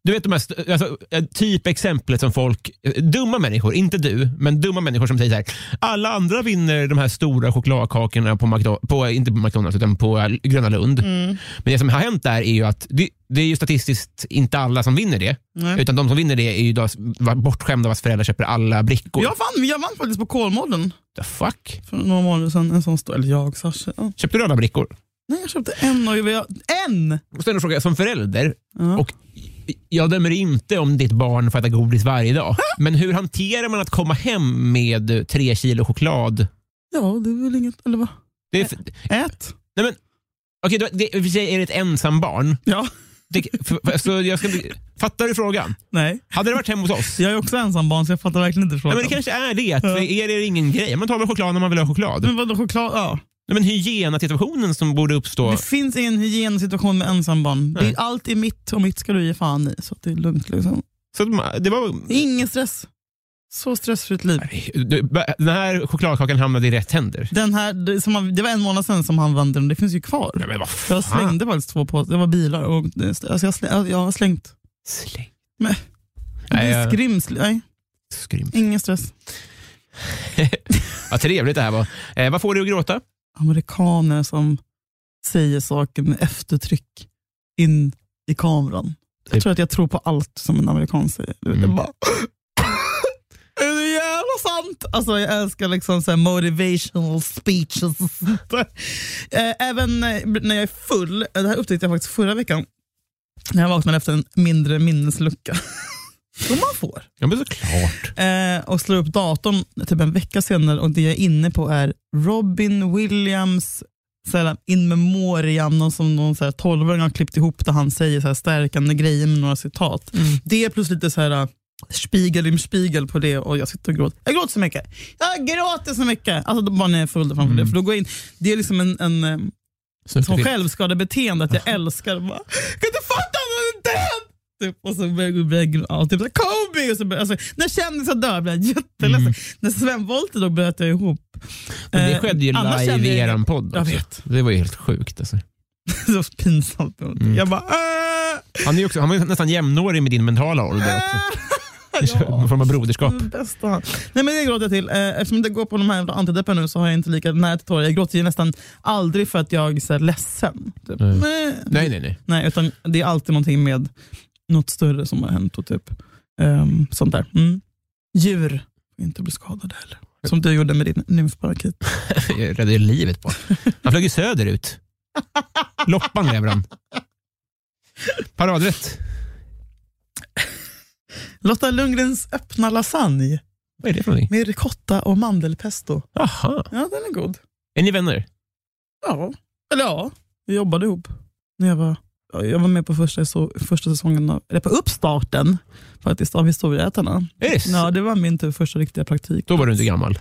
Du vet de här, st- alltså, eh, typ exemplet som folk, eh, dumma människor, inte du, men dumma människor som säger så här. Alla andra vinner de här stora chokladkakorna på, McDo- på inte på McDonalds, utan på eh, Gröna Lund. Men det som har hänt där är ju att det, det är ju statistiskt inte alla som vinner det. Nej. Utan de som vinner det är ju då s- va- bortskämda vars föräldrar köper alla brickor. Jag vann, jag vann faktiskt på Kolmården The fuck? för några månader sedan. En sån stor, eller jag, Sasha. Ja. Köpte du alla brickor? Nej, jag köpte en och jag, en! Och sen en fråga, som förälder, Ja. och jag dömer inte om ditt barn får äta godis varje dag, men hur hanterar man att komma hem med tre kilo choklad? Ja, det är väl inget, eller vad? Det är, f- Ät. nej men, okej, då- det, i och för sig är det ett ensam barn. Ja. Det, för, för, så jag ska, bli- fattar du frågan? Nej, Hade det varit hemma hos oss? jag är också ensambarn så jag fattar verkligen inte Nej, frågan. men det kanske är det, att för er är det ingen grej. Man tar väl choklad när man vill ha choklad. Men vadå choklad? Ja. Nej, men hygienasituationen som borde uppstå. Det finns ingen hygiensituation med ensambarn. Det är, allt är mitt och mitt ska du ge fan i. Så att det är lugnt. Liksom. Så att man- det var, Ingen stress. Så stressfritt liv. den här chokladkakan hamnade i rätt händer. Den här, det, som han, det var en månad sedan som han vann den och det finns ju kvar. Nej, men vad fan. jag slängde faktiskt två påsar. Det var bilar och alltså jag, slä, jag har slängt. Släng. Men- Nej, det är jag- skrimsl. Nej, Skrym. ingen stress. Vad trevligt det här var. Eh, vad får du att gråta? Amerikaner som säger saker med eftertryck in i kameran. Jag Typ. tror att jag tror på allt som en amerikan säger. Du vet, Mm. jag bara, det är så jävla sant! Alltså, jag älskar liksom så här motivational speeches. och sånt där. Eh, Även eh, när jag är full, eh, det här upptäckte jag faktiskt förra veckan, när jag vaknade efter en mindre minneslucka. Som man får. Ja, men såklart. Eh, och slår upp datorn typ en vecka senare och det jag är inne på är Robin Williams såhär, in memoriam, någon som någon såhär, 12-åring har klippt ihop där han säger såhär, stärkande grejer med några citat. Det är plus lite eh, såhär, spigel im spigel på det och jag sitter och gråter. Jag gråter så mycket. Jag gråter så mycket! Alltså då- bara när jag är full framför det. För då går jag in. Det är liksom en, en eh, som Snuttefilm. självskadebeteende att jag älskar och bara, kan du fatta han är död? Typ, och så börjar jag börjar jag gråta. Typ såhär, Kobe! Och så börjar, alltså, när kändisar dör blir jag jätteledsen. När Sven Wollter då bröt jag ihop. Mm. Men det Eh, skedde ju annars live kände i jag- eran podd. Jag också. vet. Det var ju helt sjukt. Alltså. Det var så pinsamt. Mm. Jag bara, äh, Han, är ju också, han var ju nästan jämnårig med din mentala ålder. Eh, Också. Någon form av broderskap. Det bästa. Nej, men det gråter jag till. Eh, Eftersom det går på de här jävla antideppen nu så har jag inte lika nära till tårar. Jag gråter ju nästan aldrig för att jag är så här ledsen. Typ. Nej. Nej. Nej, nej, nej. Nej, utan det är alltid någonting med något större som har hänt och typ ehm, sånt där. Mm. Djur får inte bli skadade heller. Som du gjorde med din nymfparakit. Jag räddade ju livet på Han flög ju söderut. Loppan lever han. Paradrätt. Lotta Lundgrens öppna lasagne Vad är det för någonting? med ricotta och mandelpesto. Aha. Ja, den är god. Är ni vänner? Ja. Eller ja, vi jobbade ihop. När jag, var, ja, jag var med på första, så, första säsongen, av, eller på uppstarten faktiskt, av Historieätarna. Är det så? Ja, det var min typ, första riktiga praktik. Då var du inte gammal.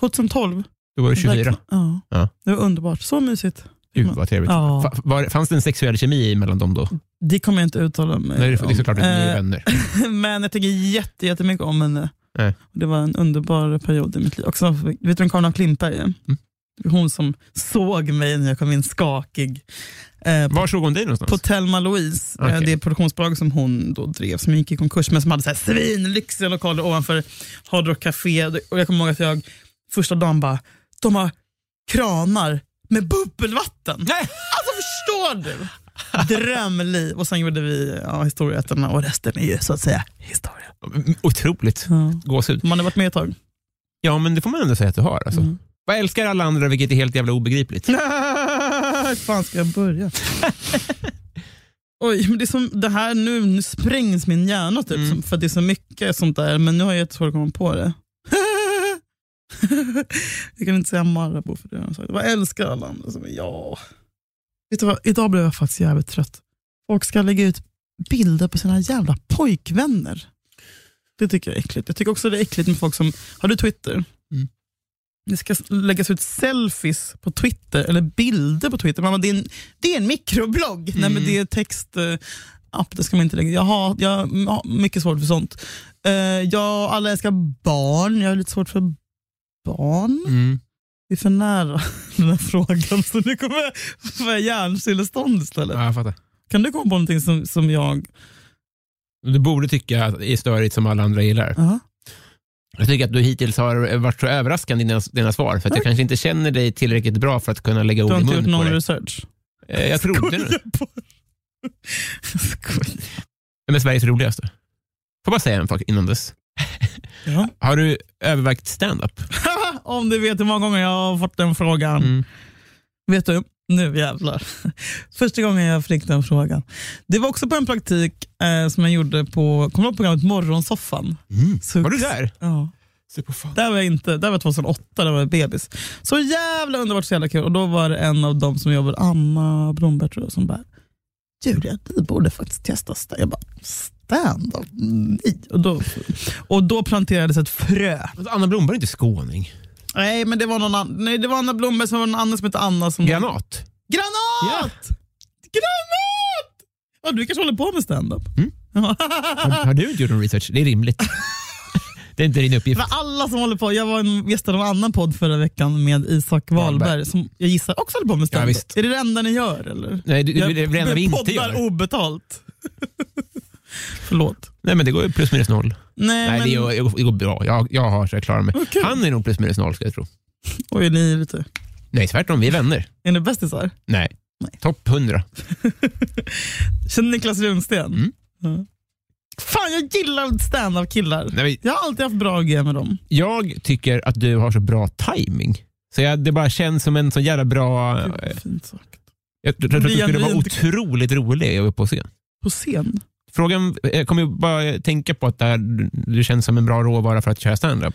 2012. Då var du 24. Ja. Ja. Det var underbart. Så mysigt. Gud vad trevligt. Ja. Fa- Var, fanns det en sexuell kemi mellan dem då? Det kommer jag inte uttala mig Nej, det är det är såklart att ni är Eh, vänner. Men jag tycker jätte, jättemycket om henne. Nej. Mm. Och Det var en underbar period i mitt liv. Också, vet du vem Karin af Klintberg är? hon som såg mig när jag kom in skakig. Eh, på, Var såg hon dig någonstans? på Thelma Louise, eh, Okej. det produktionsbolag som hon då drev, som gick i konkurs, men som hade så här svinlyxiga lokaler ovanför Hard Rock Café. Och jag kommer ihåg att jag första dagen bara, de har kranar med bubbelvatten. Alltså förstår du? Drömliv. Och sen gjorde vi ja, historieätarna och resten är ju så att säga historia. Mm, Otroligt. Gåshud. Man har varit med ett tag. Ja, men det får man ändå säga att du har. Alltså. Mm. Jag älskar alla andra, vilket är helt jävla obegripligt. Hur fan ska jag börja? Oj, men det är som det här nu, nu sprängs min hjärna typ, Mm. som- för att det är så mycket sånt där, men nu har jag jättesvårt att komma på det. jag kan inte säga Marabou för det har jag sagt. Jag älskar alla andra som är jag. Vet du vad, idag blev jag faktiskt jävligt trött. Folk ska lägga ut bilder på sina jävla pojkvänner. Det tycker jag är äckligt. Jag tycker också det är äckligt med folk som, har du Twitter? det ska läggas ut selfies på Twitter eller bilder på Twitter. Mamma, det, är en, det är en mikroblogg. Nej, men det är text... eh, App, det ska man inte lägga. Jag har, jag har mycket svårt för sånt. Eh, jag, alla älskar barn. Jag har lite svårt för barn. Mm. Det är för nära den här frågan så nu kommer jag få hjärnstillestånd istället. Ja, jag fattar. Kan du komma på någonting som, som jag... Du borde tycka att det är störigt som alla andra gillar. Ja. Jag tycker att du hittills har varit så överraskande i dina, dina svar, för att jag kanske inte känner dig tillräckligt bra för att kunna lägga Du ord har i inte gjort mun på någon dig. research? Eh, Jag trodde det. Skojar bara. Jag skojar. Men Sveriges roligaste. Får bara säga en sak innan dess. Ja. Har du övervägt stand-up? Mm. Om du vet hur många gånger jag har fått den frågan. Mm. Vet du, nu jävlar. Första gången jag fick den frågan. Det var också på en praktik eh, som jag gjorde på, kommer du ihåg programmet Morgonsoffan? Så- Mm. Var du där? Ja. Där var jag inte, där var jag 2008, där var jag bebis. Så jävla underbart, så jävla kul. Och då var det en av dem som jobbar, Anna Bromberg tror jag, som bara, Julia, du borde faktiskt testa stand Jag bara, stand-up? Nej. Och då, och då planterades ett frö. Anna Blomberg är inte skåning. Nej, men det var, någon annan, nej, det var Anna Blomberg som var någon annan som hette Anna som... Granat. Granat! Granat! Ja, du kanske håller på med standup? Mm. Har, har du inte gjort någon research? Det är rimligt. det är inte din uppgift. För alla som håller på. Jag var en gäst av en annan podd förra veckan med Isak Wahlberg Wahlberg. som jag gissar också håller på med standup. visst. är det det enda ni gör eller? Nej, det- det- det är det enda vi inte poddar gör. obetalt. Förlåt. Nej, men det går ju plus minus noll. Nej, Nej, men... det, gör, det går- det går bra. Jag, jag har så jag klarar mig. Okej. Han är nog plus minus noll, ska jag tro. Oj, ni är lite... Nej, tvärtom. Vi är vänner. Är ni bästisar? Nej. Topp 100. Känner Niklas Runsten? Mm. Ja. Fan, jag gillar stand-up killar. Nej, men Jag har alltid haft bra grejer med dem. jag tycker att du har så bra timing. Så jag, det bara känns som en så jävla bra... eh, Fint sagt. Jag tror att du Blir skulle vara genuint- otroligt rolig uppe på scen. På scen? Frågan, jag kommer ju bara tänka på att det här, du känns som en bra råvara för att köra standup.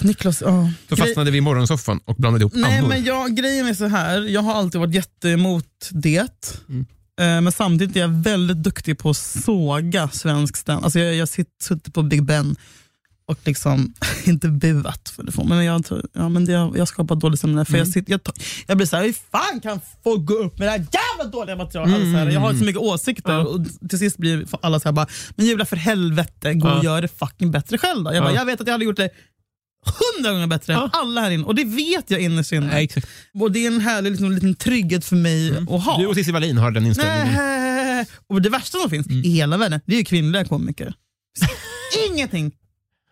Niklas, ja. Så fastnade vi i morgonsoffan och blandade ihop Nej, ammor. men jag, grejen är så här. Jag har alltid varit jätteemot det. Mm. Eh, Men samtidigt är jag väldigt duktig på att såga svensk stand. Alltså jag jag har suttit på Big Ben och liksom, inte buat för det får man, men jag, tror- ja, men det, jag har skapat dålig stämning. där, För Mm. jag, sitter, jag, tar- jag blir så här, hur fan kan folk gå upp med det här jävla dåliga materialet? Mm. Så här, jag har så mycket åsikter och till sist blir alla så här bara, men Julia för helvete, gå och Ja. gör det fucking bättre själv då. Jag, bara, Ja. jag vet att jag hade gjort det hundra gånger bättre än alla här inne. Och det vet jag innerst inne. Nej, exakt. Och det är en härlig liksom, liten trygghet för mig att ha. Du och Cissi Wallin har den inställningen. Nej. Och det värsta som finns Mm. i hela världen, det är ju kvinnliga komiker. Ingenting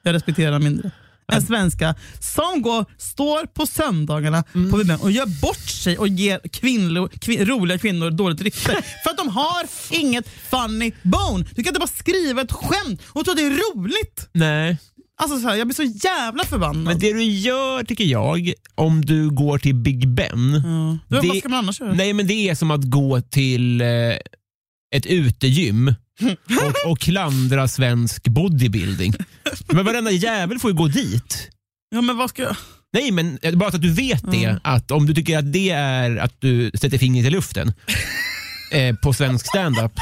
jag respekterar mindre än svenska som går, står på söndagarna Mm. på Bibeln och gör bort sig och ger kvinnor, kvin, roliga kvinnor dåligt rykte. för att de har inget funny bone. Du kan inte bara skriva ett skämt och tro att det är roligt. Nej. Alltså så här, Jag blir så jävla förbannad. Men det du gör, tycker jag, om du går till Big Ben, ja. det, det- vad ska man annars göra? Nej, men det är som att gå till eh, ett utegym och, och klandra svensk bodybuilding. Men varenda jävel får ju gå dit. Ja, men vad ska jag? Nej, men eh, bara så att du vet det, att om du tycker att det är att du sätter fingret i luften eh, på svensk standup,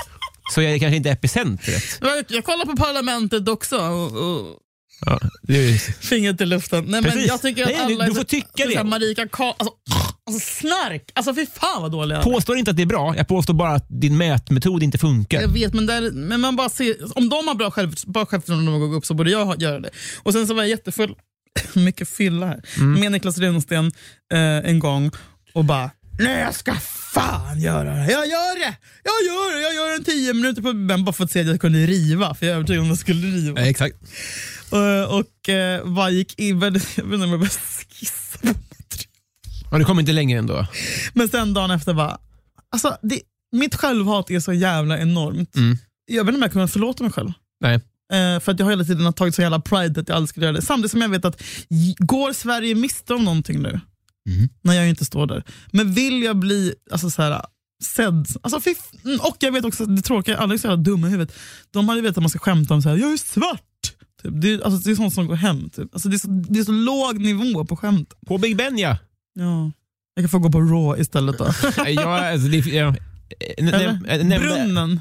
så är det kanske inte epicentret. Jag, jag kollar på Parlamentet också och, och Ja, det är, fingret i luften. Nej, men Precis. jag tycker att Nej, du- alla är du får så- tycka så det. här Marika Karl, alltså, alltså snark. Alltså fy fan vad dåliga. påstår inte att det är bra, jag påstår bara att din mätmetod inte funkar. Jag vet, men, där, men man bara ser, om de har bra själv- bra självförtroende när de går upp så borde jag ha- göra det. Och Sen så var jag jättefull mycket fylla här, Mm. med Niklas Runsten eh, en gång och bara Nej, jag ska fan göra det! Jag gör det! Jag gör det! Jag gör en tio minuter på men bara för att se att jag kunde riva, för jag är övertygad om att jag skulle riva. Exakt. Och, och eh, bara gick in, jag vet inte om jag började skissa på material. Ja, du kommer inte längre ändå. Men sen dagen efter bara, alltså, det, mitt självhat är så jävla enormt. Mm. Jag vet inte om jag kommer förlåta mig själv. Nej. Eh, för att jag har hela tiden tagit så jävla pride att jag aldrig skulle göra det. Samtidigt som jag vet att j- går Sverige miste om någonting nu? När jag inte står där. Men vill jag bli alltså, så här, sedd? Alltså, fy f- mm, och jag vet också att det tråkiga, alla är så jävla dumma i huvudet. De hade vetat att man ska skämta om så här, jag är svart. Typ. Det, är, alltså, det är sånt som går hem. Typ. Alltså, det, är så, det är så låg nivå på skämt. På Big Ben, ja. Ja. Jag kan få gå på Raw istället då. ja, alltså, det, ja. Eh, Eller? näm- eh, nämnde- Brunnen.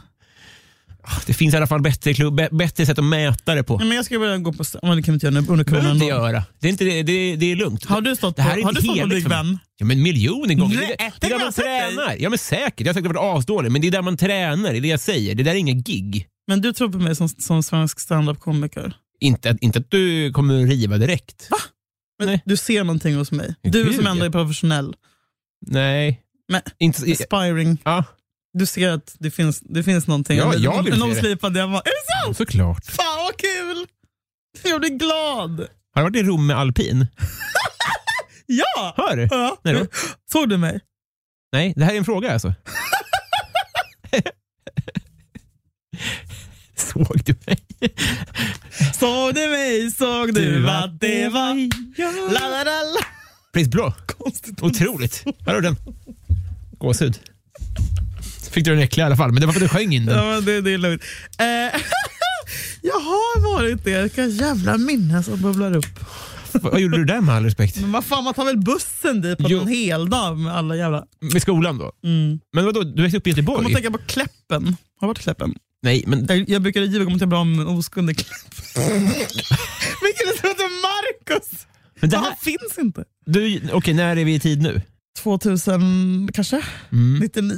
Det finns i alla fall bättre, klubb, bä- bättre sätt att mäta det på. Nej, men jag ska börja gå på... st- Men det kan vi inte göra nu under Det behöver coronan. inte då. göra. Det är, inte, det, det, det är lugnt. Mm. Har du stått Det på, här är har inte du stått på heligt Big för mig. Ben? Ja, men miljoner gånger. Nej, det är, det tänk är där om man jag sett dig. tränar. Ja, men säkert. Jag har säkert varit asdålig, men det är där man tränar. Det är det jag säger. Det där är ingen gig. Men du tror på mig som, som svensk standup-komiker. Inte, att- inte att du kommer riva direkt. Va? Men Nej. Du ser någonting hos mig. Jag Du som ljuger. ändå är professionell. Nej. Men- inte, så- Aspiring. ja, Du ser att det finns, det finns någonting. Ja, jag vill se Någon det. slipade jag bara, är det sant? såklart. Fan vad kul! Jag blir glad. Har du varit i Rom med alpin? Ja! Hör du? ja. Nej då. Såg du mig? Nej, det här är en fråga alltså. Såg du mig? Såg du mig? Såg du vad det var? La, la, la, la. Prins Blå. Konstigt. Otroligt. Här har du den. Gåshud. Fick du den äckliga i alla fall, men det var för att du sjöng in den. Ja, men det, det är lugnt. Eh, jag har varit det. Vilka jävla minnen som bubblar upp. Vad gjorde du där med all respekt? Men vad fan, man tar väl bussen dit på Jo. en hel dag med alla jävla... Med skolan då? Mm. Men vadå, du växte upp i Kom och Göteborg? tänka på Kläppen. Har du varit i Kläppen? Nej, men Jag, jag brukade ljuga om att jag blev av med en oskuld i Kläppen. Min kille som heter Marcus. Men det Han här- finns inte. du, okej, när är vi i tid nu? 2000 kanske? 99?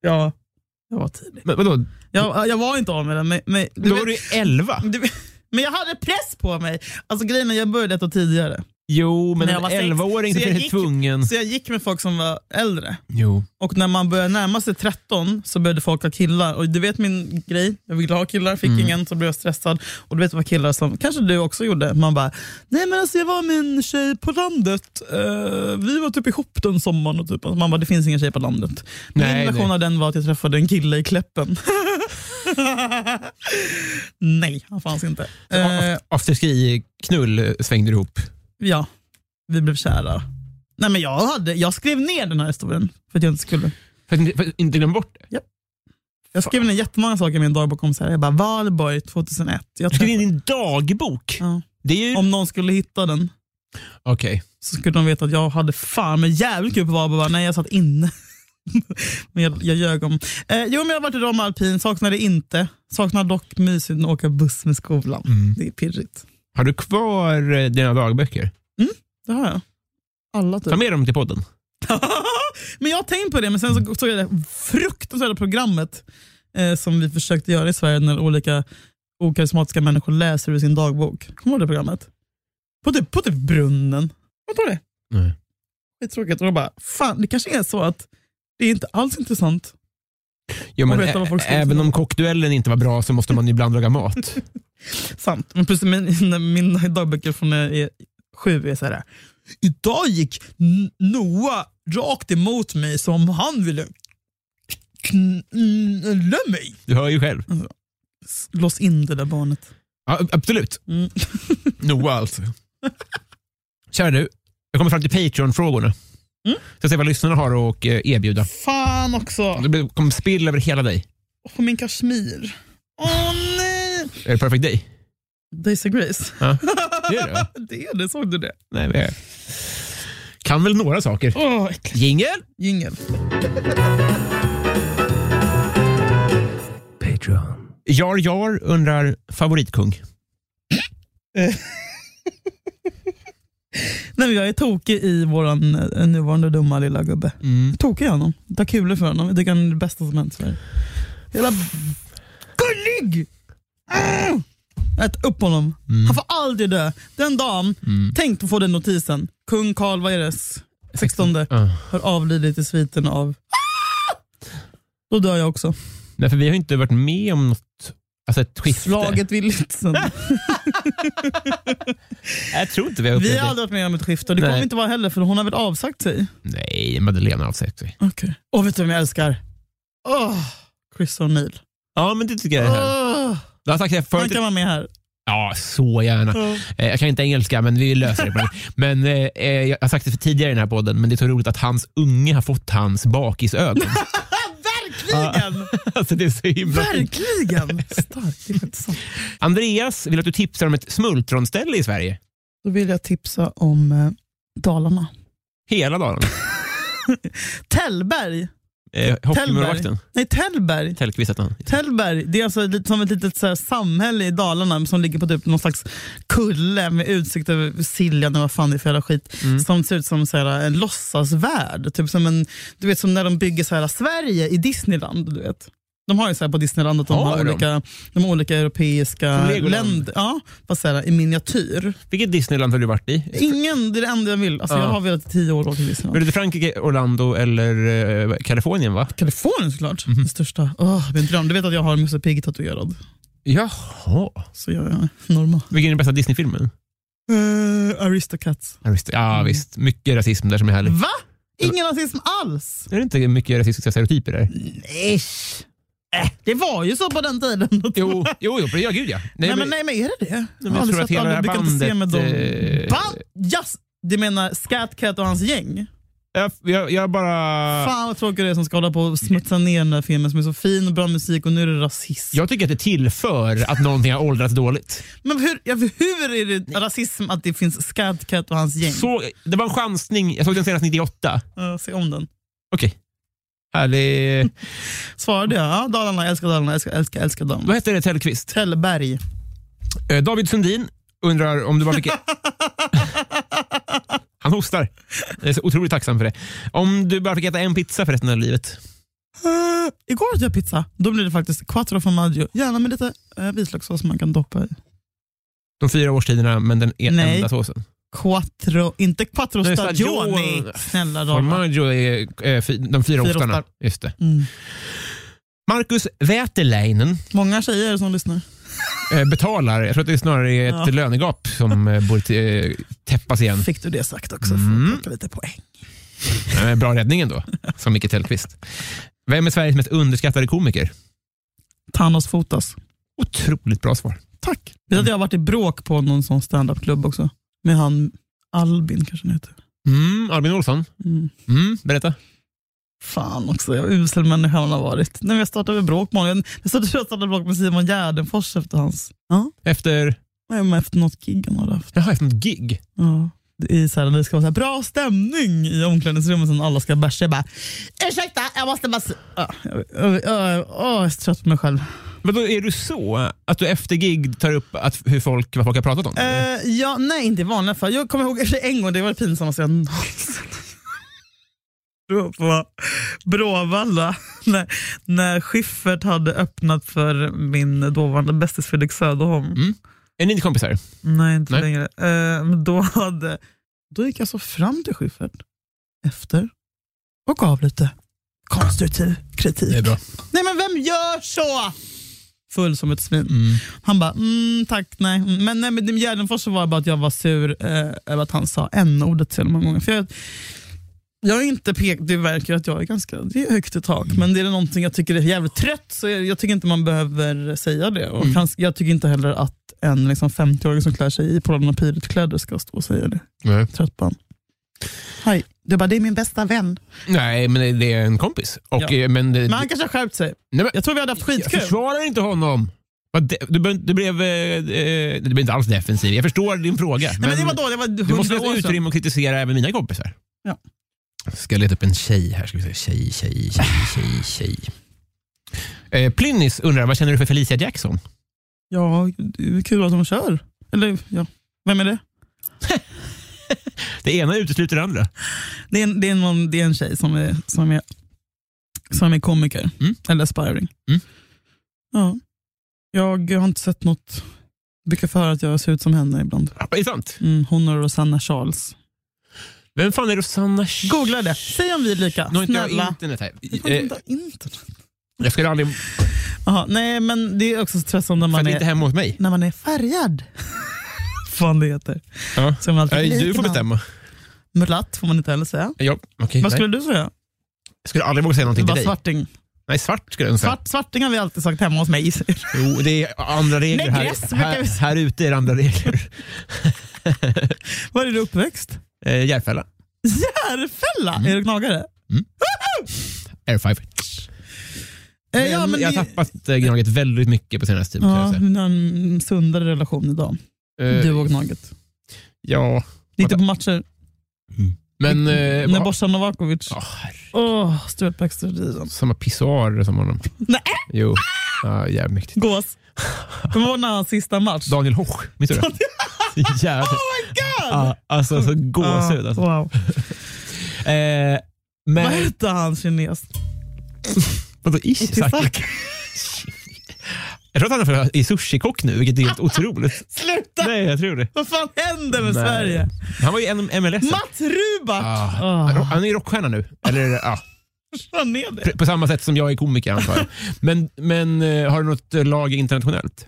ja, jag var tidig. Men vadå, Jag, jag var inte av med den, men, men, du då vet- var du 11? Du, men jag hade press på mig. Alltså grejen är, jag började detta tidigare. Jo, men När jag en var 11-åring sex. Så så är jag det gick- tvungen. Så jag gick med folk som var äldre. Jo. Och när man började närma sig 13 så började folk ha killar. Och du vet min grej, jag ville ha killar, Mm. fick ingen, så blev jag stressad. Och du vet vad killar som, kanske du också gjorde, man bara, nej men alltså jag var med en tjej på landet. Eh, vi var typ ihop den sommaren. Och typ, man bara, det finns ingen tjej på landet. Nej, min version nej. av den var att jag träffade en kille i Kläppen. nej, han fanns inte. Eh, Afterski-knull svängde du ihop. Ja, vi blev kära. Nej, men jag, hade, jag skrev ner den här historien för att jag inte skulle. För att inte- för att inte glömma bort det. Jag skrev ner jättemånga saker i min dagbok om så här. Jag bara, Valborg 2001. Jag Du skrev träffade, in din dagbok. ja. Det är ju... Om någon skulle hitta den Okej. så skulle de veta att jag hade fan med jävligt kul på Valborg. Bara, Nej, jag satt inne. men jag, jag ljög om. Eh, jo, men jag har varit i Roma alpin, saknar det inte. Saknar dock mysigt att åka buss med skolan. Det är pirrigt. Har du kvar eh, dina dagböcker? Det har jag. Alla typ. Ta med dem till podden. men jag har tänkt på det, men sen så såg jag det fruktansvärda programmet eh, som vi försökte göra i Sverige när olika okarismatiska människor läser ur sin dagbok. Kommer du ihåg det programmet? På typ, på typ brunnen. Vad tror du? Nej. Det är tråkigt. Och då bara, fan det kanske är så att det är inte alls intressant. Jo, men Och veta vad folk ä- skriver. även om kockduellen inte var bra så måste man ibland laga mat. Sant. Men plus min, när mina dagböcker från när jag är sju är så här. Idag gick N- Noah rakt emot mig som han ville kn- knulla mig. Du hör ju själv. Lås in det där barnet. Ja, absolut. Mm. Noah alltså. Kära du, jag kommer fram till Patreon-frågorna. Så jag ser vad lyssnarna har att eh, erbjuda. Fan också! Det blir- kommer spill över hela dig. På min kashmir. Åh nej! Är det perfect day? Daisy Grace. Ja. Det är det. Det är det, såg du det? Nej, men jag kan väl några saker. Åh, äckligt. Jingel! Jingel. Patreon. Jar Jar undrar favoritkung. Nej, men jag är tokig i våran eh, nuvarande dumma lilla gubbe. Mm. Tokig i honom. Tar kulor för honom. Jag tycker han är det bästa som hänt Sverige. Jävla gullig! Mm! Ät upp honom. Mm. Han får aldrig dö. Den dagen, tänk att få den notisen. Kung Karl, vad är det? 16 har avlidit i sviten av... Då dör jag också. Nej, för vi har ju inte varit med om något, alltså ett skifte. Slaget vid Lützen. Jag tror inte vi har upplevt Vi det. har aldrig varit med om ett skifte och det kommer Nej. inte vara heller för hon har väl avsagt sig. Nej, Madeleine har avsagt sig. Okay. Och vet du vem jag älskar? Åh, Chris O'Neill. Ja, men det tycker jag är härligt. Åh, Du har sagt det han förut. kan vara med här. Ja, så gärna. Ja. Eh, Jag kan inte engelska, men vi löser det. ibland. Men eh, eh, jag har sagt det för tidigare i den här podden, men det är så roligt att hans unge har fått hans bakisögon. Verkligen! alltså, det är så himla fint. Verkligen! Starkt, det är faktiskt sant. Andreas vill att du tipsar om ett smultronställe i Sverige. Då vill jag tipsa om eh, Dalarna. Hela dagen. Tällberg. Eh, Hockeymålvakten. Nej, Tällberg. Tällkvistan. Tällberg, det är alltså lite som ett litet så här, samhälle i Dalarna som ligger på typ någon slags kulle med utsikt över Siljan och vad fan det är för jävla skit. Mm. Som ser ut som så här, en låtsasvärld. Typ som, en, du vet, som när de bygger så här, Sverige i Disneyland. Du vet. De har ju så här på Disneyland att de Har har de? olika, de olika europeiska Som Legoland? länder ja, fast så här, i miniatyr. Vilket Disneyland har du varit i? Ingen, det är det enda jag vill. Alltså, Ja. Jag har velat i tio år åka till Blev Disneyland. det Frankrike, Orlando eller eh, Kalifornien? va? Kalifornien såklart, Mhm. den största. Åh, min dröm. Du vet att jag har Musse Pigg tatuerad. Jaha. Så jag är normal. Vilken är den bästa Disney-filmen? Eh, Aristocats. Arist- Ja, visst. Mm. Mycket rasism där som är härligt. Va? Ingen rasism alls? Är det inte mycket rasistiska stereotyper där? Ish. Äh, det var ju så på den tiden. Jo, jo, jo ja, gud ja. nej, Nej, men, nej, men är det det? men jag tror att hela det här du kan inte se med dem. bandet, eh, Band? Yes. Du menar Scatcat och hans gäng? jag, jag, jag bara... Fan vad tråkigt det är som ska hålla på och smutsa ner den där filmen som är så fin och bra musik och nu är det rasism. Jag tycker att det tillför att någonting har åldrats dåligt. Men hur, ja, hur är det rasism att det finns Scatcat och hans gäng? Så, det var en chansning. Jag såg den senast 98. Ja, se om den. Okej. Härlig... Svarade jag? Ja, Dalarna, jag älskar Dalarna, jag älskar, älskar, älskar Dalarna. Vad heter det, Tellqvist? Tällberg. Eh, David Sundin undrar om du var mycket... Han hostar. Jag är så otroligt tacksam för det. Om du bara fick äta en pizza för resten av livet? Eh, igår åt jag pizza. Då blir det faktiskt quattro formaggio. Gärna med lite uh, vitlökssås man kan doppa i. De fyra årstiderna, men den är Nej. enda såsen. Quattro, inte quattro Nej, stagioni. stagioni. Snälla rara. Formaggio är eh, fy- de fyra Fyra ostarna. ostar. Just det. Mm. Marcus Väteläinen Många tjejer som lyssnar. eh, betalar. Jag tror att det snarare är ett Ja. lönegap som eh, borde eh, täppas igen. Fick du det sagt också? För Mm. att plocka lite poäng. Nej, men Eh, bra räddning ändå, som Micke Tellqvist. Vem är Sveriges mest underskattade komiker? Thanos fotas. Otroligt bra svar. Tack. Vet att jag har varit i bråk på någon sån standupklubb också. Med han Albin kanske han heter. Mm, Albin Olsson, Mm. mm, berätta. Fan också, jag usel människa han har varit. Nej, men jag startade med bråk med honom. Jag startade, jag startade bråk med Simon Gärdenfors efter hans... Ja. Efter, Nej, men Efter något gig han hade haft. jaha, efter något gig? Ja. I så här, det ska vara så här, bra stämning i omklädningsrummet sen alla ska bärsa. Jag bara, ursäkta, jag måste bara... s-" Ja, jag, jag, jag, jag, jag är så trött på mig själv. Men då är du så att du efter gig tar upp att, hur folk, vad folk har pratat om? eller? Eh, ja, nej, inte i vanliga fall. Jag kommer ihåg en gång, det var det pinsammaste jag någonsin Det var på Bråvalla när, när Schiffert hade öppnat för min dåvarande bästis Fredrik Söderholm. Är ni inte kompisar? Nej, inte Nej. längre. Eh, men då, hade, då gick jag så fram till Schyffert efter och gav lite konstruktiv kritik. bra. Nej men vem gör så? Full som ett svin. Han bara, mm, tack, nej. Mm, Men, nej, men det med Gärdenfors så var det bara att jag var sur eh, över att han sa n-ordet så många gånger. För jag, jag är inte pek, det verkar att jag är ganska det är högt i tak, men är det någonting jag tycker är jävligt trött så jag, jag tycker inte man behöver säga det. Och Mm. kanske, jag tycker inte heller att en liksom 50-åring som klär sig i Polana Pyret-kläder ska stå och säga det. Nej. Trött på honom. Hej. Du bara, det är min bästa vän. Nej, men det- det är en kompis. Och, Ja. eh, men, det- Men han kanske har skärpt sig. nej, men, Jag tror vi hade haft jag skitkul. försvarar inte honom. Vad de- Du, blev- du, blev, eh, eh, du blev inte alls defensiv. Jag förstår din fråga. Nej, men det var då, det var Du 100 måste ha år sedan. utrymme att kritisera även mina kompisar. Ja. Ska leta upp en tjej här. Ska vi se. Tjej, tjej, tjej, tjej, tjej. Eh, Plynnis undrar, vad känner du för Felicia Jackson? Ja, det är kul att de kör. Eller ja, vem är det? Det ena utesluter det andra. Det är en, det är någon, det är en tjej som är, som är, som är komiker, Mm. eller aspiring. Mm. Ja. Jag har inte sett något brukar få höra att jag ser ut som henne ibland. Är det sant? Mm, hon och Rosanna Charles. Vem fan är Rosanna Sch- Googla det. Säg om vi är lika. Nu har inte jag Snälla. internet här. Jag får Eh, inte ha internet. Jag skulle aldrig... Jaha, nej, men det är också så tröttsamt när För att man det inte är är, hemma hos mig. när man är färgad. Fan det heter. Ja. Så är man alltid Nej, lik Eh, du får någon. bestämma. Mulatt får man inte heller säga. Ja, okay, Vad skulle... skulle du säga? Jag skulle aldrig våga säga någonting till Bara dig. svarting. Nej, svart skulle jag nog säga. Svart, svarting har vi alltid sagt hemma hos mig. Jo, det är andra regler Negress här. brukar Här, vi säga. här ute är det andra regler. Var är du uppväxt? Mm. Eh, Järfälla. Järfälla? Är du gnagare? Air five. Eh, Men ja, men jag det- har tappat eh, gnaget väldigt mycket på senaste tiden. Ja, måste jag ni har en sundare relation idag. säga. Eh, Du och Gnaget. Ja, Gick du på matcher? men... eh, Mm. När vad- Bosan Novakovic... Ja, Åh, herre- Stuart Baxter Dyson. Samma pissoar som honom. Nej! Jo, ja, jävligt mäktigt. Gås. Det var när hans sista match. Oh Daniel Hoch, minns du det? Jävlar. God! Ja, alltså, så gåshud. Ah, Alltså. wow. Eh, Vad men... hette han kines? Vadå Ishizaki? Isak. Jag tror att han är för- är sushikock nu, vilket är helt otroligt. Sluta! Nej, jag tror det. Vad fan händer med Nej. Sverige? Han var ju en MLS. Mats Rubart! Ah, Ah. han- Han är ju rockstjärna nu. Eller, ah, Han är det. pr- på samma sätt som jag är komiker antar jag. Men, men eh, har du något eh, lag internationellt?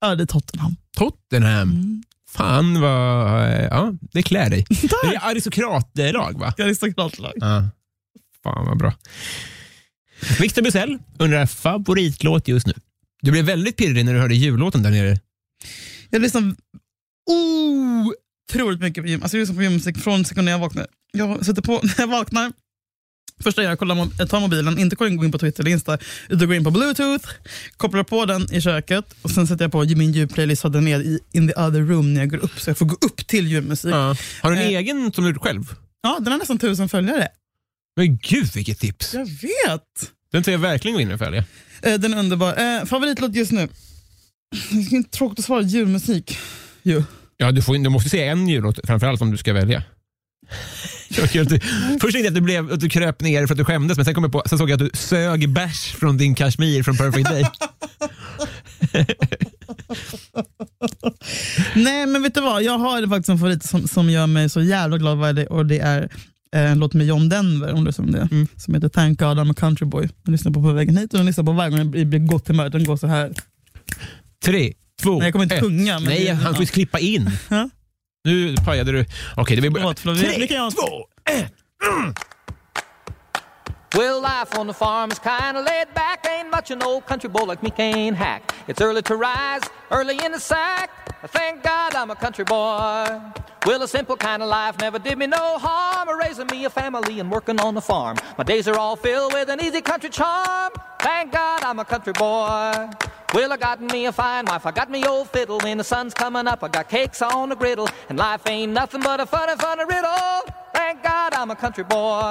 Ja, det är Tottenham. Tottenham. Mm. Fan vad... eh, Ja, det klär dig. Det är aristokratlag va? Aristokratlag. Ja. Fan vad bra. Victor Busell undrar favoritlåt just nu. Du blev väldigt pirrig när du hörde jullåten där nere. Jag lyssnar otroligt mycket på gym. Alltså jag lyssnar på gymmusik från sekunden jag vaknar. Jag sätter på när jag vaknar. Första jag gör, kollar, mo- jag tar mobilen, inte går in- går in på Twitter eller Insta, utan går in på Bluetooth, kopplar på den i köket och sen sätter jag på min ljudplaylist och har den med i In the other room när jag går upp så jag får gå upp till ljudmusik. Ja, Har du en Eh. egen som du gjort själv? den har nästan tusen följare. Men gud vilket tips! Jag vet! Den ska jag verkligen gå in och följa. Eh, den är underbar. Eh, favoritlåt just nu? Det är tråkigt att svara julmusik. Jo. Ja, du, får, du måste säga en jullåt framförallt om du ska välja. Jag kan inte- Först tänkte jag att du, blev, att du kröp ner för att du skämdes, men sen, kom jag på, sen såg jag att du sög bärs från din kashmir från Perfect Day. Nej, men vet du vad? Jag har faktiskt en favorit som, som gör mig så jävla glad varje dag och det är eh, en låt med John Denver, om du som det, Mm. som heter Thank God I'm a country boy. Jag lyssnar på på vägen hit och den lyssnar på varje gång jag blir- blir gott humör. Den går så här. Tre, två, Nej, jag kommer inte ett. sjunga. Men Nej, det, han får ju klippa in. Ja. Nu pajade du. Okej, det blir Förlåt, förlåt. Vi- vi kan göra- två, ett. Mm. Well, life on the farm is kind of laid back. Ain't much an old country boy like me can hack. It's early to rise, early in the sack. I thank God I'm a country boy. Well, a simple kind of life never did me no harm. Raising me a family and working on the farm. My days are all filled with an easy country charm. Thank God I'm a country boy. Well, I got me a fine wife. I got me old fiddle. When the sun's coming up, I got cakes on the griddle. And life ain't nothing but a funny, funny riddle. Thank God I'm a country boy.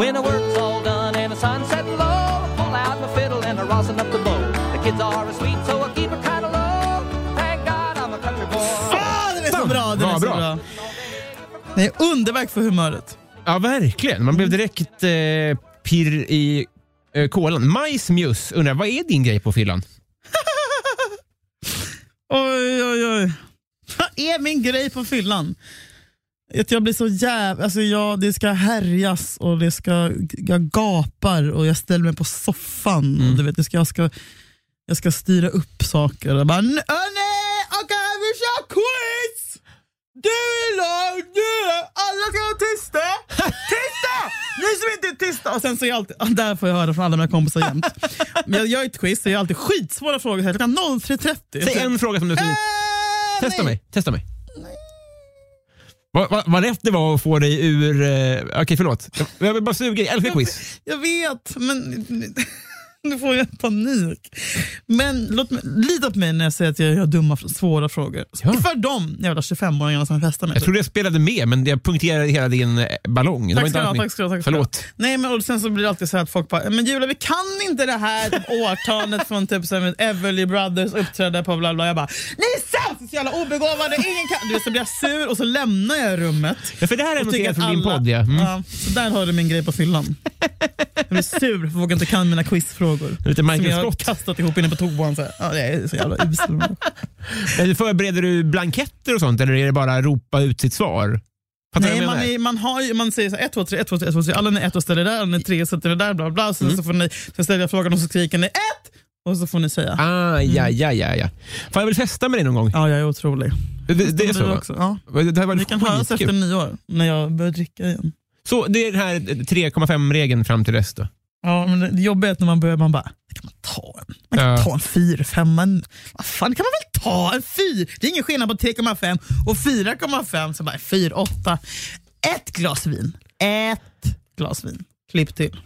When the work's all done and the sun's setting low, I pull out my fiddle and I rosin up the bow. The kids are sweet, so I keep it kind of low. Thank God I'm a country boy. Ah, den är så bra! Den Vad är så bra. bra. Den är underverk för humöret. Ja, verkligen. Man blev direkt eh, pirr i eh, kolan. Majsmjuss undrar, vad är din grej på fyllan? Oj, oj, oj. Vad är min grej på fyllan? Att jag blir så jävla... Alltså jag, det ska härjas och det ska, jag gapar och jag ställer mig på soffan. Mm. Och du vet, det ska, jag, ska, jag ska styra upp saker. Jag bara, "Åh, nej, okej vi kör quiz! Du är lång, du är... Alla ska vara tysta! Tysta! Ni som inte är tysta! Och sen så är jag alltid, där får jag höra från alla mina kompisar jämt. Men jag gör ett quiz så jag har alltid skitsvåra frågor. Så här, Klockan 03.30. Säg en fråga som du... Äh, Eh, testa nej. mig. Testa mig. Vad va, vad lätt det var att få dig ur... Eh, Okej, förlåt. Jag- Jag vill bara suga. Jag älskar quiz. Jag vet, men nu får jag panik. Men låt mig, lita på mig när jag säger att jag gör dumma, svåra frågor. Ja. För de jävla 25-åringarna som festar med. Jag trodde jag spelade med, men jag punkterade hela din eh, ballong. Det var Tack inte ska du ha, alls min- tack ska du ha, tack ska du ha. Förlåt. Nej, men och sen så blir det alltid så här att folk bara, men Julia vi kan inte det här typ, årtalet från typ så här, med Everly Brothers uppträdande på bla bla. Jag bara, ni är sämst! är så jävla obegåvade. Ingen kan... Du vet, så blir jag sur och så lämnar jag rummet. Ja, för det här är Och tycker noterat att från din alla- podd. Ja. Mm. Ja, så där har du min grej på fyllan. Jag blir sur för jag vågar inte kan mina quizfrågor. Lite Som Michael jag har Scott. kastat ihop inne på toan. Så här. Ja, det är så jävla usel. Eller Eh, Förbereder du blanketter och sånt eller är det bara ropa ut sitt svar? Fattar du vad Nej, jag man, menar? är, man, har, ju- man säger så här, 1, 2, 3, 1, 2, 3, 1, 2, 3. Alla ni 1 ställer där, alla ni 3 sätter det där, bla bla, bla. Sen Mm. så får ni, så ställer jag frågan och så skriker ni 1 och så får ni säga. Ah, ja, ja, ja, ja. Fan, jag vill festa med dig någon gång. Mm. Ja, jag är otrolig. Det, det är Du så? va? också. Ja. Det här var Ni kan höras skitkul. efter nyår när jag börjar dricka igen. Så det är den här 3,5-regeln fram till dess då? Ja, men det jobbiga är att när man börjar, man bara, kan man ta en? Man kan Ja. ta en 4, 5, en, vad fan kan man väl ta en 4? Det är ingen skillnad på 3,5 och 4,5. Så bara 4, 8. Ett glas vin. Ett glas vin. Klipp till.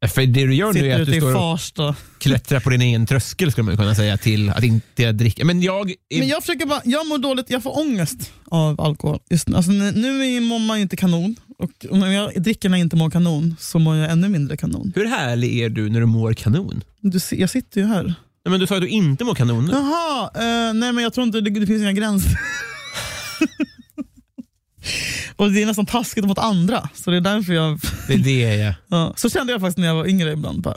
Ja, För det du gör nu Sitter är att ute du i står och Farsta. klättrar på din egen tröskel skulle man kunna säga till att inte dricka. Men jag... Är... Men jag försöker bara, jag mår dåligt, jag får ångest av alkohol. Just, nu. alltså, nu- nu är- mår man ju inte kanon och om jag dricker när jag inte mår kanon så mår jag ännu mindre kanon. Hur härlig är du när du mår kanon? Du, ser- jag sitter ju här. Nej, men du sa att du inte mår kanon. nu. Jaha, eh, nej men jag tror inte det, det finns inga gränser. och det är nästan taskigt mot andra, så det är därför jag... Det är det jag... Ja. Så kände jag faktiskt när jag var yngre ibland. Bara,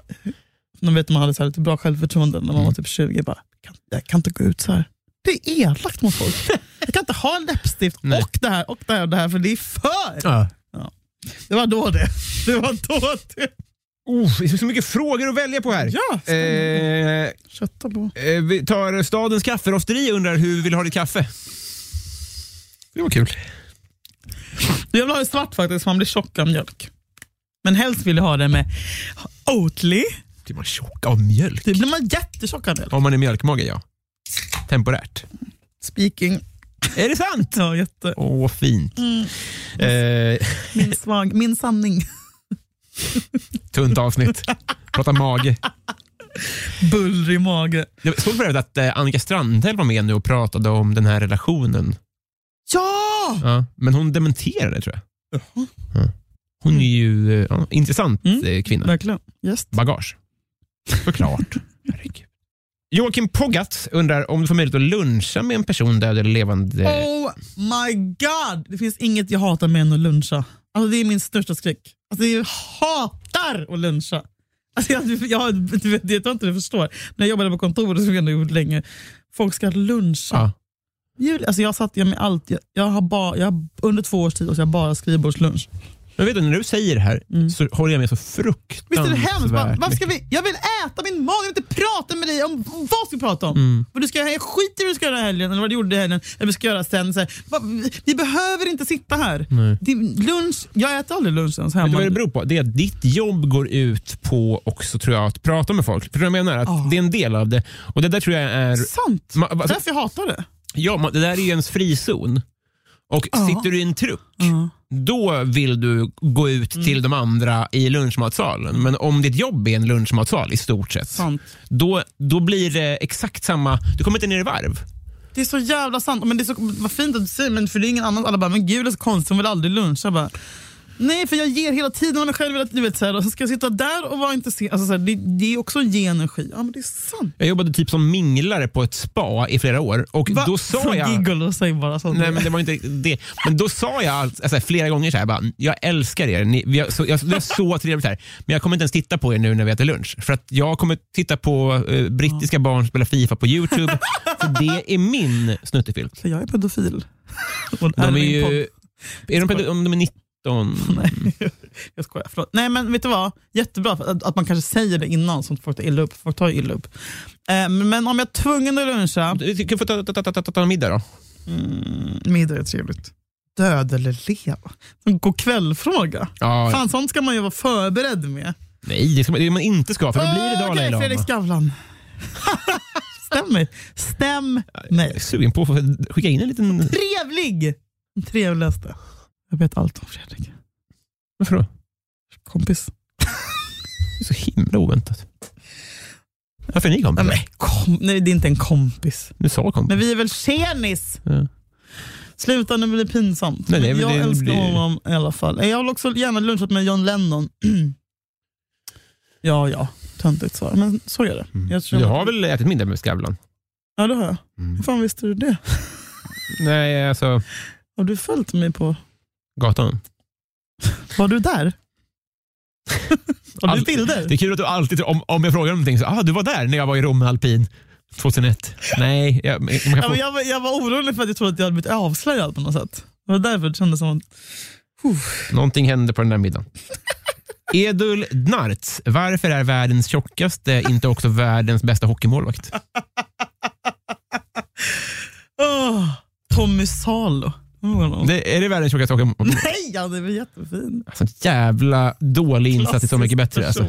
man, vet, man hade så här lite bra självförtroende när man Mm. var typ 20. Bara, kan, jag kan inte gå ut så här. Det är elakt mot folk. Jag kan inte ha en läppstift Nej. och det här och det här och det här för det är för. Ja. Det var då det. Det var då det. Oh, det finns så mycket frågor att välja på här. Ja, ska Eh, Kötta på. eh, vi tar stadens kafferosteri och undrar hur vi vill ha ditt kaffe. Det var kul. Jag vill ha det svart faktiskt, för man blir tjock av mjölk. Men helst vill jag ha det med Oatly. Blir man tjock av mjölk? Det blir man jättetjock av mjölk. Om man är mjölkmage, ja. Temporärt. Speaking. Är det sant? Ja, jätte. Åh, vad fint. Mm. Eh, Min, svag, min sanning. tunt avsnitt. Prata mage. Bullrig mage. Jag såg för övrigt att eh, Annika Strandhäll var med nu och pratade om den här relationen. Ja! Ja, men hon dementerade det, tror jag. Ja. Hon är ju eh, ja, intressant Mm. eh, kvinna. Verkligen. Yes. Bagage. Såklart. Herregud. Joakim Poggat undrar om du får möjlighet att luncha med en person död eller levande. Oh my god! Det finns inget jag hatar mer än att luncha. Alltså, det är min största skräck. Alltså, jag hatar att luncha. Alltså, jag, jag, du vet, jag tror inte du förstår. När jag jobbade på kontoret så jag gjort länge. Folk ska luncha. Ja. Jul, alltså, jag satt jag med allt. Jag, jag har bara, jag, har- under två års tid och jag har bara skrivbordslunch. Men vet du, när du säger det här så håller jag med så fruktansvärt Mm. Visst är det hemskt? Bara, mycket. varför ska vi, jag vill äta min mat, jag vill inte prata med dig om om vad ska vi prata om. Mm. Vad du ska, jag skiter i vad du ska göra den här helgen eller vad du gjorde i helgen eller vad du ska göra sen. Så här, va, vi behöver inte sitta här. Det, lunch, jag äter aldrig lunch ens Vet du hemma. vad det beror på? Det är att ditt jobb går ut på också tror jag att prata med folk. För jag menar att Ja. det är en del av det. Och det där tror jag är... Sant! Ma- Det är alltså, därför jag hatar det. ja, man, det där är ju ens frizon. Och Ja. sitter du i en truck, då vill du gå ut Mm. till de andra i lunchmatsalen. Men om ditt jobb är en lunchmatsal i stort sett, Sant. då, då blir det exakt samma... Du kommer inte ner i varv. Det är så jävla sant. Men det är så, vad fint att du säger men för det är ingen annan. Alla bara, men gud det är så konstigt, hon vill aldrig luncha. Jag Bara, Nej, för jag ger hela tiden av mig själv. hela- Du vet, så här, och så ska jag sitta där och vara intresserad. Alltså, så här, det, det är också att ge energi. Ja, men det är sant. Jag jobbade typ som minglare på ett spa i flera år. Och Va? då sa Från jag... Gigolo, säg bara sånt. Nej, men det var inte riktigt det. Men då sa jag allt- alltså, flera gånger så här, bara, jag älskar er. Ni, vi har, så, jag, det är så trevligt här. Men jag kommer inte ens titta på er nu när vi äter lunch. För att jag kommer titta på eh, brittiska barn spela Fifa på YouTube. så det är min snuttefilt. För jag är pedofil. Och det De här är min ju... podd. Är de, pedo- om de är 19? Nej, jag skojar. Förlåt. Nej, men vet du vad? Jättebra att, att man kanske säger det innan så att folk tar illa upp. Folk tar illa upp. Eh, men om jag är tvungen att luncha, Mm, Du kan få ta, ta, ta, ta, ta, ta en middag då. middag är trevligt. Död eller leva? En god kvällfråga. Ja, Fan, sånt ska man ju vara förberedd med. Nej, det ska man, det man inte ska för då blir det Dalai Okej, Lama. Fredrik Skavlan. Stäm mig. Stäm Jag är mig. sugen på att få skicka in en liten... Trevlig! Den trevligaste. Jag vet allt om Fredrik. Varför då? Kompis. Det är så himla oväntat. Varför är ni kompisar? Nej, kom, nej, det är inte en kompis. Nu sa kompis. Men vi är väl tjenis? Ja. Sluta, nu blir det pinsamt. Nej, det är väl jag det- det älskar blir- honom i alla fall. Jag har också gärna lunchat med John Lennon. ja, ja. Töntigt svar, men Mm. så är det. Jag tror- Du har väl ätit middag med Skavlan? Mm. Ja, det har jag. Hur fan visste du det? Nej, alltså Har du följt mig på... gatan. Var du där? Har du Allt- bilder? Det är kul att du alltid, om, om jag frågar om någonting, så ah, du var där när jag var i Romme Alpin 2001. Nej, jag, man kan Ja, få, men jag, var- jag var orolig för att jag trodde att jag hade blivit avslöjad på något sätt. Det var därför det kändes som att... någonting hände på den där middagen. Edul Dnarts, varför är världens tjockaste inte också världens bästa hockeymålvakt? Åh, Tommy Salo. Kommer du ihåg honom? Det, är det världens tjockaste hockeymålvakt? Nej, han är väl jättefin. Alltså, jävla dålig insats i Så mycket bättre. Alltså. Eh,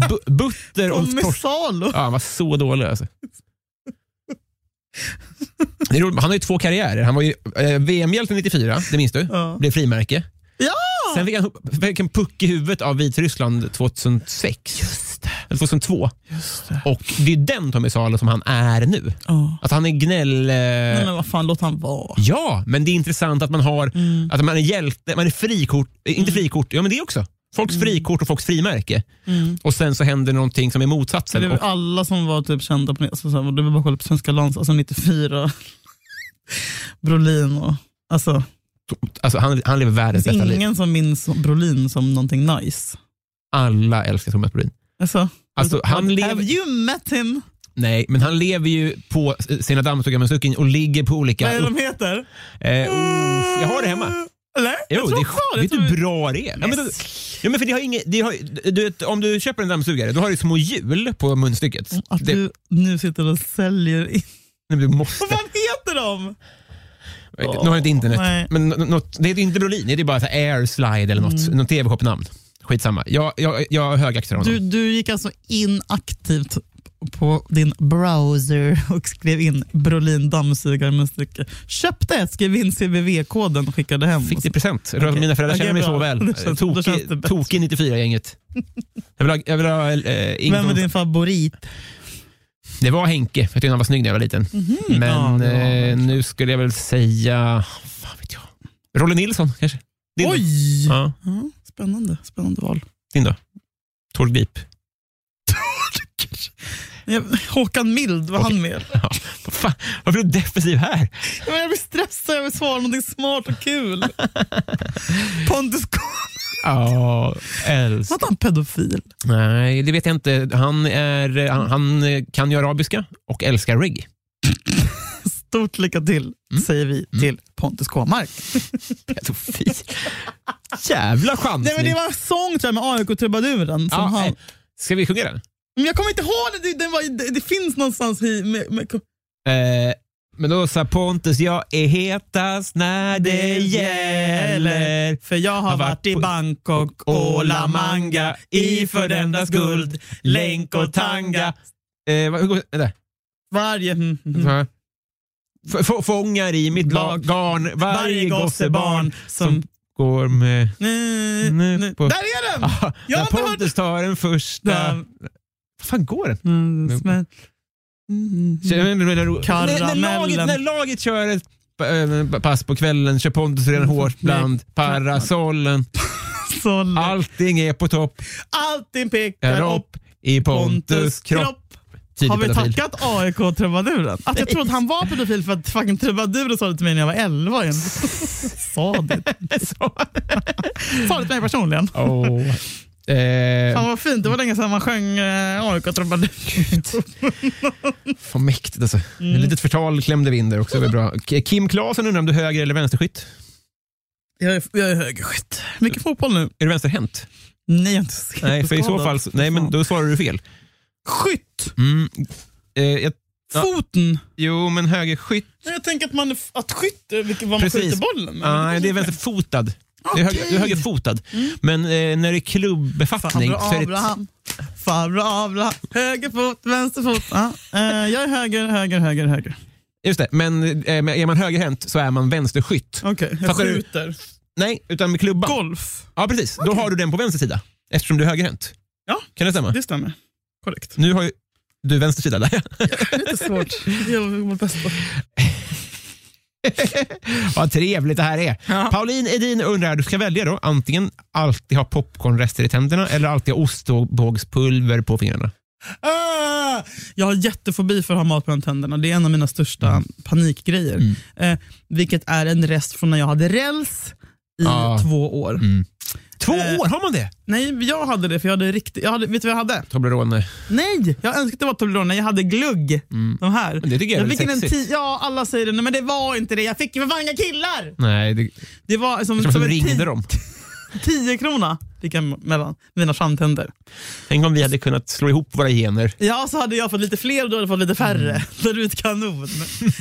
person. Bu- butter och Tommy torsk. Salo. Ja, han var så dålig alltså. Det är roligt, han har ju två karriärer. Han var ju eh, VM-hjälte 94, det minns du? Ja. Blev frimärke. Ja! Sen fick han, fick en puck i huvudet av Vitryssland 2006. Eller 2002. Just det. Och det är den Tommy Salo som han är nu. Ja. Att han är gnäll... eh, Nej, men vad fan, låt han vara. Ja, men det är intressant att man har Mm. att man är hjälte, man är frikort, eh, inte frikort, ja men det också. Folks Mm. frikort och folks frimärke. Och sen så händer någonting som är Så Mm. det motsatsen. var Och, alla som var typ kända på alltså, så här, det var bara att kolla på svenska lands, alltså 94, Brolin och... Alltså, alltså, han, han lever det världens finns bästa liv. ingen som minns Brolin som någonting nice. alla älskar Thomas Brolin. Alltså, Alltså, han Have lever, you met him? nej, men han lever ju på eh, sina dammsugarmunstycken och ligger på olika... Vad är de heter? Eh, oh, jag har det hemma. Eller? Jo, jag tror det, fan det. vet du tror- hur bra det är? Ja, men, då- ja, men för det har inget, det har, du vet, om du köper en dammsugare, då har du små hjul på munstycket. Mm, Att Det, du nu sitter och säljer in. nej, du måste. Vad fan heter de? Nu har du inte internet. Nej. Men, n- något, det heter inte Brolin, det är bara så här Airslide eller något. Något tv-shopnamn. Skitsamma. Jag, jag, jag högaktar honom. Mm. Du, du gick alltså in aktivt på din browser och skrev in Brolin dammsugare med stycke. Köpte ett, skrev in CVV-koden och skickade hem. Fick det i present. Rör- Mina föräldrar Alltså. Okej, känner mig så väl. bra. Det känns- då känns det Tokig- bättre. Tokig 94-gänget. Jag vill ha, jag vill ha eh, Vem är Ingvar- din favorit? Det var Henke, för jag tyckte han var snygg när jag var liten. Mhm. Ja, Men det var han. eh, nu skulle jag väl säga... Fan vet jag. Rolle Nilsson kanske? Din då? Oj! Ja, Ja, spännande, spännande val. din då? Tord Grip. Ja, Håkan Mild, var han med? Ja. Vad fan, Varför är du defensiv här? Ja, men Jag blir stressad, jag vill svara någonting smart och kul. Pontus Gård, Ja, älsk. var han pedofil? Nej, det vet jag inte. Han, är, han, han kan ju arabiska och älskar reggae. Stort lycka till, säger vi till Pontus Kåmark. Pedofil. Jävla chansning. Nej, men det var en sång tror jag, med AIK-trubaduren. ja, Ja, han... eh, Ska vi sjunga den? Men jag kommer inte ihåg det, det, den var, ju- det, det finns någonstans i... Med, med, Eh, men då sa Pontus, jag är hetast när det gäller. För jag har Har varit varit i på- Bangkok, Ola Manga, i för dennas guld, länk och tanga. Eh, vad- hur går det? Varje... Mm, mm. Mm. Fångar i mitt Lag. lag, garn varje, Varje gossebarn gossebarn som- som går med... Nu, nu, Nu på- Där är den! Ah, Jag har när inte hört- Pontus tar den första... Där. Vad fan går den? Mm, smäll. Mm, Så- mm. men- men- men- När, när, Karamellen. laget, när laget kör ett eh, pass på kvällen kör Pontus redan Mm. hårt bland parasollen. Sån. Allting är på topp. Allting pekar Är upp Ah. upp i Pontus Pontus kropp. kropp. Tidig Har vi pedofil. tackat AIK-trubaduren? Att jag trodde att han var pedofil för att fucking trubaduren sa det till mig när jag var 11. igen. sa det Så. sa det till mig personligen. Åh. Eh, Fan vad fint, det var länge sedan man sjöng eh, AIK-trubadur. Vad mäktigt alltså. Mm. Ett litet förtal klämde vi in där också. Det var bra. K- Kim Claesson undrar om du är höger eller vänsterskytt? Jag är, jag är högerskytt. Mycket fotboll nu. Är du vänsterhänt? Nej, jag är inte så Nej, för i så skadad. fall, nej, men då svarar du fel. Skytt! Mm. Eh, jag, Ja. Foten! jo, men högerskytt... Nej, Jag tänker att, man, är f- att skytt är vilket- vad man Precis. skjuter bollen med. Nej, det är vänsterfotad. Du är, höger, du är högerfotad. Men eh, när det är klubbefattning Farbror så är det... Mm. Abraham. Farbror Abraham. Höger fot, vänster fot. Ja. Eh, jag är höger, höger, höger, höger. Just det, men eh, men är man högerhänt så är man vänsterskytt. Okej, jag Fattar du? skjuter. Nej, utan med klubban. Golf. Ja, precis. Då har du den på vänster sida eftersom du är högerhänt. Ja. Kan det stämma? Det stämmer. Korrekt. Nu har ju du vänster sida där. Lite svårt. Jag gör mitt bästa. Vad trevligt det här är. Ja. Pauline Edin undrar, du ska välja då antingen alltid ha popcornrester i tänderna eller alltid ha ostbågspulver på fingrarna. Ah, Jag har jättefobi för att ha mat mellan tänderna. Det är en av mina största Mm. panikgrejer. Eh, vilket är en rest från när jag hade räls i Ah. två år. Två Eh, år, har man det? Nej, jag hade det för jag hade riktigt... Jag hade, vet du vad jag hade? Toblerone. Nej, jag önskar att det var Toblerone. Jag hade glugg. De här. Mm. Men det tycker jag är fick väl en sexigt. ti- Ja, alla säger det. Nej, men det var inte det. Jag fick ju för fan inga killar! Nej, det Det var som, som du en ringde ti- dem. tio krona fick jag mellan mina framtänder. Tänk om vi hade kunnat slå ihop våra gener. Ja, så hade jag fått lite fler och du hade fått lite färre. Då hade du blivit kanon. Mm.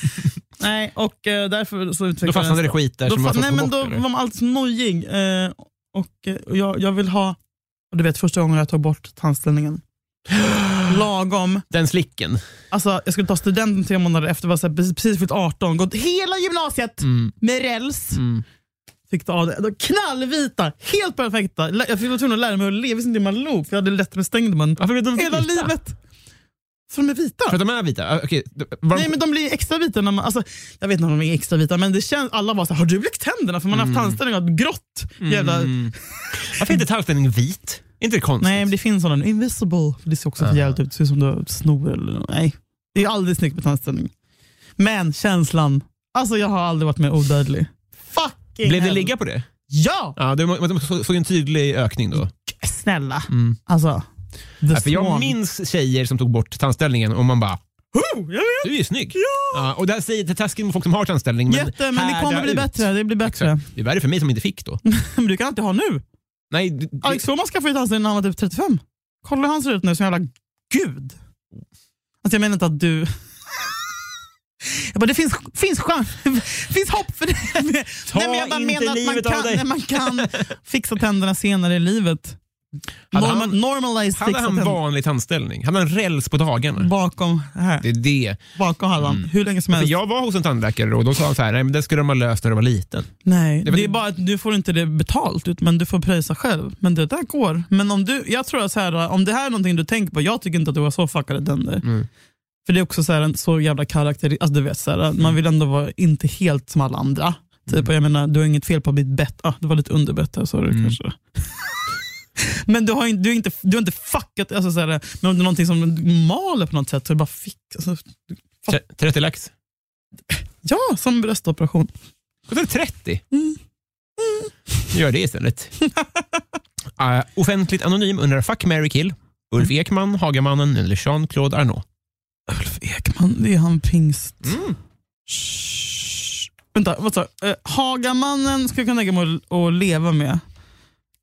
nej, och eh, därför så utvecklade Då fastnade jag det en- skit där Då som man fa- fått nej, få men bort. då eller? var man alltid så nojig. Eh, och eh, jag, jag vill ha, och du vet första gången jag tog bort tandställningen. Lagom. Den slicken. Alltså, jag skulle ta studenten tre månader efter, var så här, precis- precis fyllt 18, gått hela gymnasiet Mm. med räls. Mm. Fick ta av det. De knallvita, helt perfekta. Lä- Jag fick vara tvungen att lära mig att le. Jag visste inte hur man log, för jag hade lätt med stängd mun. Varför blev de vita? Hela livet. För de är vita. För att de är vita? Ah, Okej. Var de- Nej men de blir extra vita när man, alltså, jag vet inte om de är extra vita men det känns, alla bara så här, har du blekt tänderna? För man har Mm. haft tandställning och haft grått. Jävla, Varför är inte tallställningen vit? Är inte det konstigt? Nej men det finns sådana, invisible. För det ser också för jävligt ut, det ser ut som du har snor eller Nej, det är aldrig snyggt med tandställning. Men känslan, alltså jag har aldrig varit mer odödlig. Fucking Blev det hell. ligga på det? Ja! Ja, det var- man såg såg en tydlig ökning då. Snälla. Alltså, the Mm. Ja, för jag swan. minns tjejer som tog bort tandställningen och man bara Oh, jag vet. “du är ju snygg”. Ja! och det här säger det är taskigt mot folk som har tandställning. Men Jätte, men det härda kommer bli ut. bättre. Det blir bättre. Det är värre för mig som inte fick då. Men du kan inte ha nu. Nej, det, det, Alex Schulman skaffade ju tandställning när han var typ 35. Kolla hur han ser ut nu, som jävla gud. Alltså jag menar inte att du... Jag bara, det finns, finns, chans, finns hopp för dig. Ta jag bara inte livet av man kan, dig. nej, man kan fixa tänderna senare i livet. Hade Normal, han- normalize hade fixa han tänderna. vanlig tandställning? Hade han räls på dagarna? Bakom, här, det är det. bakom halvan, hur länge som För helst. jag var hos en tandläkare och då sa han så här, nej men det skulle de ha löst när du var liten. Nej, det, var- är bara att du får inte det betalt, ut- men du får pröjsa själv. Men det där går. Men om du, jag tror att så här, om det här är någonting du tänker på, jag tycker inte att du har så fuckade tänder. För det är också så, här, en så jävla karaktär, alltså du vet, så här, man vill ändå vara inte helt som alla andra. Typ, och jag menar, du har inget fel på ditt bett. Ah, det var lite underbett här, sorry kanske. men du har, inte- du, har inte, du har inte fuckat, alltså, så här, men om det är någonting som maler på något sätt så är det bara fick. Alltså, Tre- 30 lax. ja, som bröstoperation. Kostar 30? Mm. Mm. Gör det istället. uh, offentligt anonym undrar Fuck, Mary kill. Ulf Mm. Ekman, Hagamannen eller Jean-Claude Arnault? Ulf Ekman, det är han pingst. Vänta, vad sa jag? Eh, Hagamannen skulle jag kunna tänka mig att, att leva med.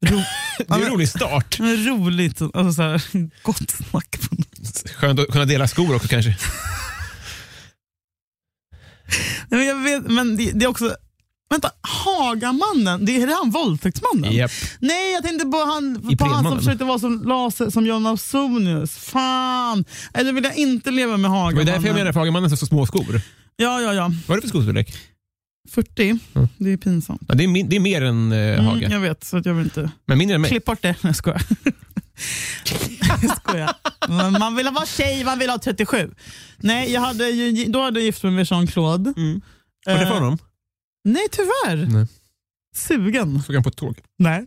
Ro- Det är Ja, en men- rolig start. men roligt, alltså så här, gott snack. på något. Skönt att kunna dela skor också kanske. Nej, men jag vet, men det, det är också... Vänta, Hagamannen, det är det han våldtäktsmannen? Japp. Nej, jag tänkte på han, I på han som Predmannen. försökte vara som, laser, som John Ausonius. Fan! Nej, då vill jag inte leva med Det var Hagamannen. därför jag menar att Hagamannen har så små skor. Vad Ja, ja, ja. är det för skostorlek? 40, Mm. det är pinsamt. Ja, det, är min, det är mer än eh, Mm, Haga. jag vet, så att jag vill inte... Men mindre än mig. Klipp bort det. Nej, jag skojar. jag skojar. Men Man vill vara tjej, man vill ha 37. Nej, jag hade ju, då hade jag gift mig med Jean-Claude. Mm. Var Eh, träffade honom? Nej, tyvärr. Nej. Sugen? Såg han på ett tåg. Nej.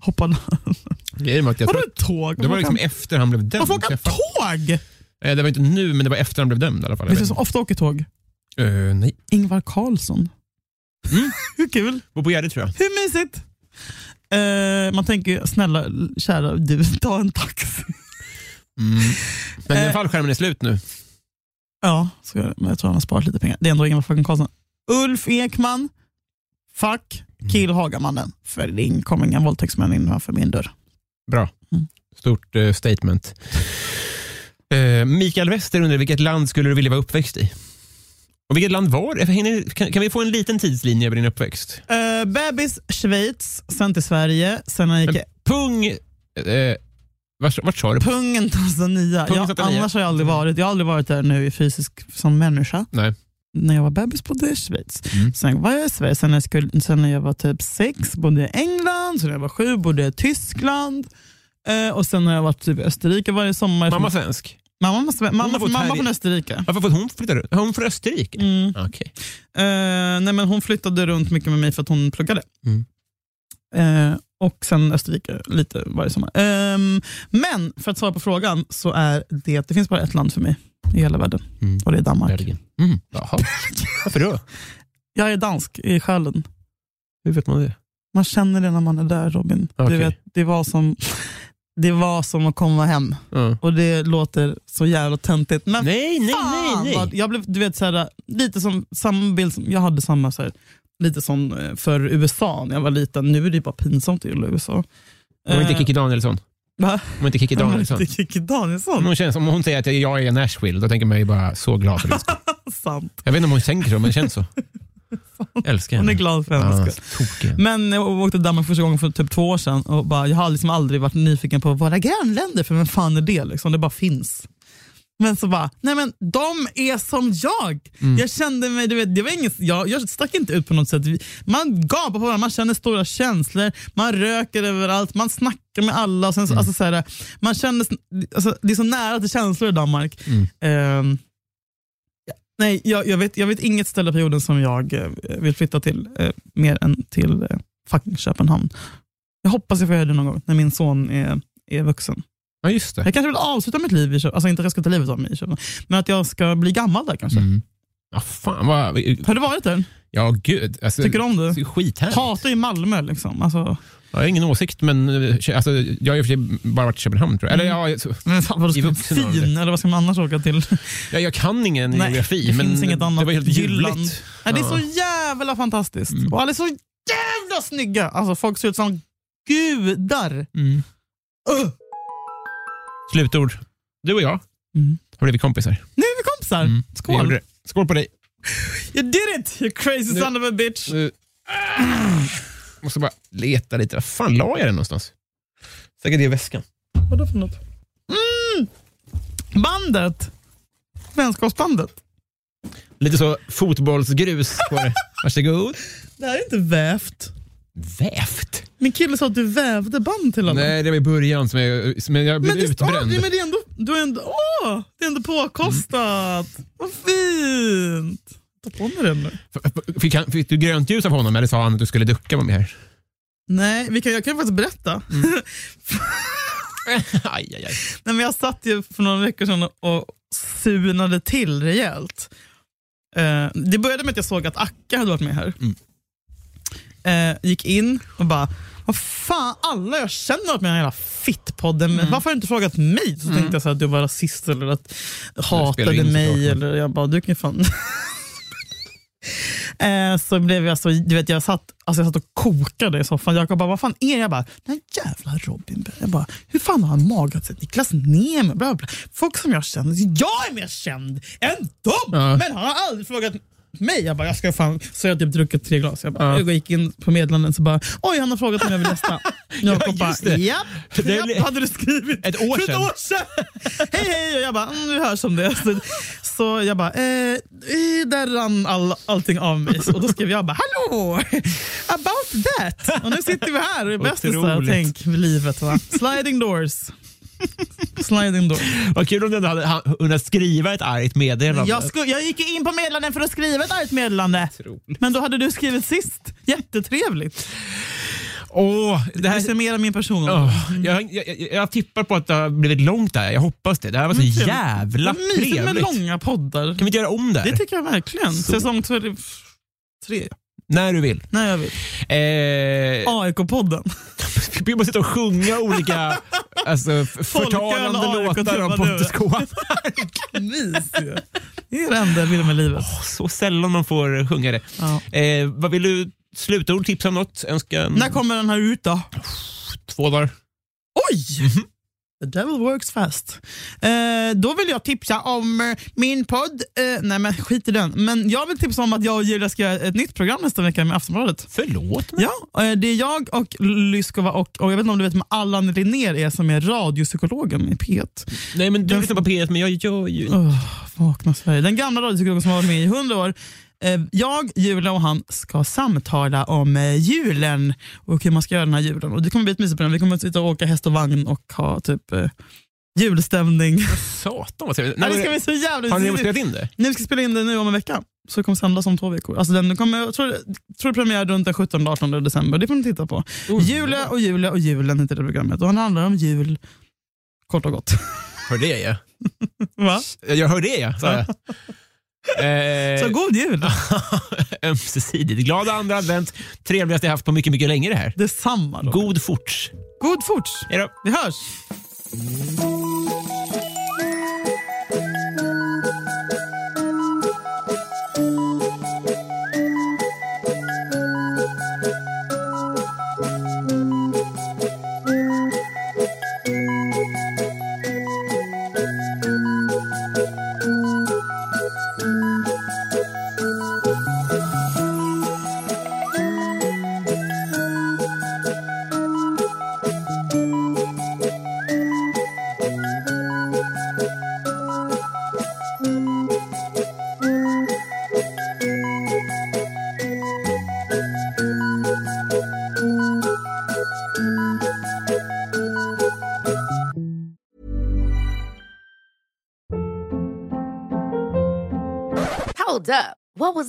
Hoppade Grejen var att jag Vadå tror, ett tåg? det var Man kan- liksom efter han blev dömd. Varför åka träffade- tåg? Eh, Det var inte nu, men det var efter han blev dömd i alla fall. Jag Vet du vet som ofta åker tåg? inte. Eh, nej. Ingvar Carlsson. Mm. Hur kul? Bor på Gärdet tror jag. Hur mysigt? Eh, man tänker ju, snälla kära du, ta en taxi. Mm. Men i Eh. alla fall skärmen är slut nu. Ja, så gör det. men jag tror han har sparat lite pengar. Det är ändå Ingvar fucking Carlsson. Ulf Ekman, fuck, kill Hagamannen. För det kommer inga våldtäktsmän innanför min dörr. Bra. Mm. Stort eh, statement. Eh, Mikael Wester undrar vilket land skulle du vilja vara uppväxt i? Och vilket land var det? Hinner- Kan, kan vi få en liten tidslinje över din uppväxt? Uh, bebis, Schweiz, sen till Sverige, sen när jag gick Pung... Eh, vart, vart sa du? pungen Tanzania. Pungen Ja, Tanzania. annars har jag aldrig varit. Jag har aldrig varit där nu i fysisk som människa. Nej. När jag var bebis bodde jag i Schweiz. Mm. Sen var jag i Sverige. Sen när jag, skulle, sen när jag var typ sex bodde jag i England. Sen när jag var sju bodde jag i Tyskland. Eh, och sen har jag varit typ i Österrike varje sommar. Mamma svensk. Mamma, måste, mamma, har bott här mamma i- från Österrike. Varför får hon flytta runt? Är Hon från Österrike? Mm. Okej. Eh, nej, men hon flyttade runt mycket med mig för att hon pluggade. Mm. Eh, och sen Österrike lite varje sommar. Ehm, men för att svara på frågan så är det, det finns bara ett land för mig i hela världen Mm. och det är Danmark. Bergen. Mm. Jaha. Varför då? Jag är dansk i själen. Hur vet man det? Man känner det när man är där Robin. Du Okej. vet, det, var som, det var som att komma hem Ja. och det låter så jävla töntigt. Men Nej, nej, fan, nej. Vad, nej. jag blev du vet, så här, lite som samma bild som jag hade samma så här, lite som eh, för USA när jag var liten. Nu är det ju bara pinsamt i USA. Hon är inte Eh, Kikki Danielsson. va? Hon är Mm. inte Kikki Danielsson. Det är Kikki Danielsson. Om hon, känns, om hon säger att jag är Nashville, då tänker man ju bara så glad för det. Sant. Jag vet inte om hon tänker så, men det känns så. Jag älskar Hon henne. Ah, är glad för hennes skull. tokig. Men jag åkte till Danmark första gången för typ två år sedan och bara, jag har liksom aldrig varit nyfiken på våra grannländer, för vem fan är det? Liksom, det bara finns. Men så bara, nej men de är som jag. Jag kände mig, du vet, det var inget, jag, jag stack inte ut på något sätt. Vi- Man gapar på varandra, man känner stora känslor, man röker överallt, man snackar med alla. Och sen, så- alltså, så här, man känner, alltså, det är så nära till känslor i Danmark. Ehm, Nej, jag, jag, vet, jag vet inget ställe på jorden som jag eh, vill flytta till eh, mer än till eh, fucking Köpenhamn. Jag hoppas jag får göra det någon gång när min son är, är vuxen. Ja, just det. Jag kanske vill avsluta mitt liv i Köpenhamn, alltså inte att jag ska ta livet av mig i Köpenhamn, men att jag ska bli gammal där kanske. Mm. Ja, fan vad... Har du varit där? Ja, gud. Alltså, Tycker du om det? är skithärligt. Hatar ju Malmö liksom. Alltså, Jag har ingen åsikt, men eh, alltså, jag har i och för sig bara varit i Köpenhamn. Tror jag. Mm. Eller, ja, jag, men fan, vad I ska, vuxen ålder. fin, eller vad ska man annars åka till? jag, jag kan ingen Nej, geografi, det men finns inget annat. det var helt Jylland. ljuvligt. Nej, det är Ja. Mm. så jävla fantastiskt. Och alla är så jävla snygga. Alltså, folk ser ut som gudar. Mm. Uh! Slutord. Du och jag Mm. har blivit kompisar. Nu är vi kompisar. Mm. Vi Skål. gjorde det. Skål på dig. You did it you crazy Nu- son of a bitch. Nu. Måste bara leta lite. Var fan la jag den någonstans? Säkert i väskan. Vadå för något? Mm. Bandet. Vänskapsbandet. Lite så fotbollsgrus på det. Varsågod. Det här är inte vävt. Vävt? Min kille sa att du vävde band till honom. Nej, det var i början som jag, som jag blev men det, ja, utbränd. nej, men det är ändå, du är ändå, åh, det är ändå påkostat. Vad fint. Ta på mig den nu. F- f- Fick, han, fick du grönt ljus av honom eller sa han att du skulle ducka? Var med här? Nej, vi kan, jag kan faktiskt berätta. aj, aj, aj. Nej, men jag satt ju för några veckor sedan och sunade till rejält. Eh, det började med att jag såg att Akka hade varit med här. Mm. Eh, gick in och bara, vad fan, alla jag känner har varit med i den här jävla fittpodden. men Varför har du inte frågat mig? Så tänkte jag så här, att du var rasist eller att spelar hatade in såklart, mig. men- Eller jag bara, du kan ju fan... Eh, Så blev jag så, du vet jag satt, alltså jag satt och kokade i soffan. Jakob bara, vad fan är det? Jag bara, den här jävla Robin. Berg." Jag bara, hur fan har han magat sig? Niklas Nehmer, bla bla, bla. Folk som jag känner, jag är mer känd än dem! Ja. Men han har aldrig frågat mig. Jag bara, jag ska fan... Så jag har typ druckit tre glas. Jag, bara, Ja. jag gick in på meddelanden så bara, oj han har frågat om jag vill gästa. Jakob bara, just det. japp, Det är japp, li- hade du skrivit. Ett år För ett sedan. år sedan. hej hej! Och jag bara, mm, vi hörs om det. Så, så jag bara, eh, eh, där rann all, allting av mig. Och då skrev jag bara, hallå! About that! Och nu sitter vi här och är bästisar. Otroligt. Tänk livet va. Sliding doors. Sliding doors. Vad kul om du ändå hade han- hunnit skriva ett argt meddelande. Jag, sku, jag gick ju in på meddelanden för att skriva ett argt meddelande. Otroligt. Men då hade du skrivit sist. Jättetrevligt. Åh, det Det här... summerar min person. Åh, jag, jag, jag, jag tippar på att det har blivit långt där. Jag hoppas det. Det här var så trevligt. jävla Vad mysigt med trevligt. långa poddar. Kan vi inte göra om det här? Det tycker jag verkligen. Så. Säsong 23. När du vill. Nej, jag vill. Eh, AIK-podden. vi måste sitta och sjunga olika alltså, f- förtalande AIK, låtar om vad du- Pontus Kåmark. Mys ju. Det är det enda jag vill med livet. Så sällan man får sjunga det. Ja. Eh, vad vill du slutord, tipsa om något? Önskan? När kommer den här ut då? Två dagar. Oj! The devil works fast. Eh, då vill jag tipsa om eh, min podd. Eh, nej men skit i den. Men jag vill tipsa om att jag och Julia ska göra ett nytt program nästa vecka med Aftonbladet. Förlåt mig. Ja, eh, det är jag och Lyskova och, och jag vet inte om du vet vem Allan Linnér är som är radiopsykologen i P1. Nej, men du Den- lyssnar på P1, men jag gör ju inte Oh, vakna Sverige. Den gamla radiopsykologen som har varit med i hundra år. Eh, Jag, Julia och han ska samtala om eh, julen och hur man ska göra den här julen. Och det kommer bli ett mysigt program. Vi kommer att sitta och åka häst och vagn och ha typ eh, julstämning. Satan vad trevligt. Nej, det men- ska bli så jävla Har ni mysigt. spelat in det? Nu ska vi spela in det nu om en vecka. Så det kommer sändas om två veckor. Alltså den kommer, jag tror, tror premiär runt den 17-18 december. Det får ni titta på. Oh. Julia och Julia och julen heter det programmet. Och han handlar om jul, kort och gott. Hör det ja. Va? Jag hör det ja, sa jag. Eh, Så god jul! Ömsesidigt. Glad andra advent. Trevligaste jag haft på mycket, mycket länge det här. Detsamma då. God fort. God forts! Hej då. Vi hörs! Hold up. What was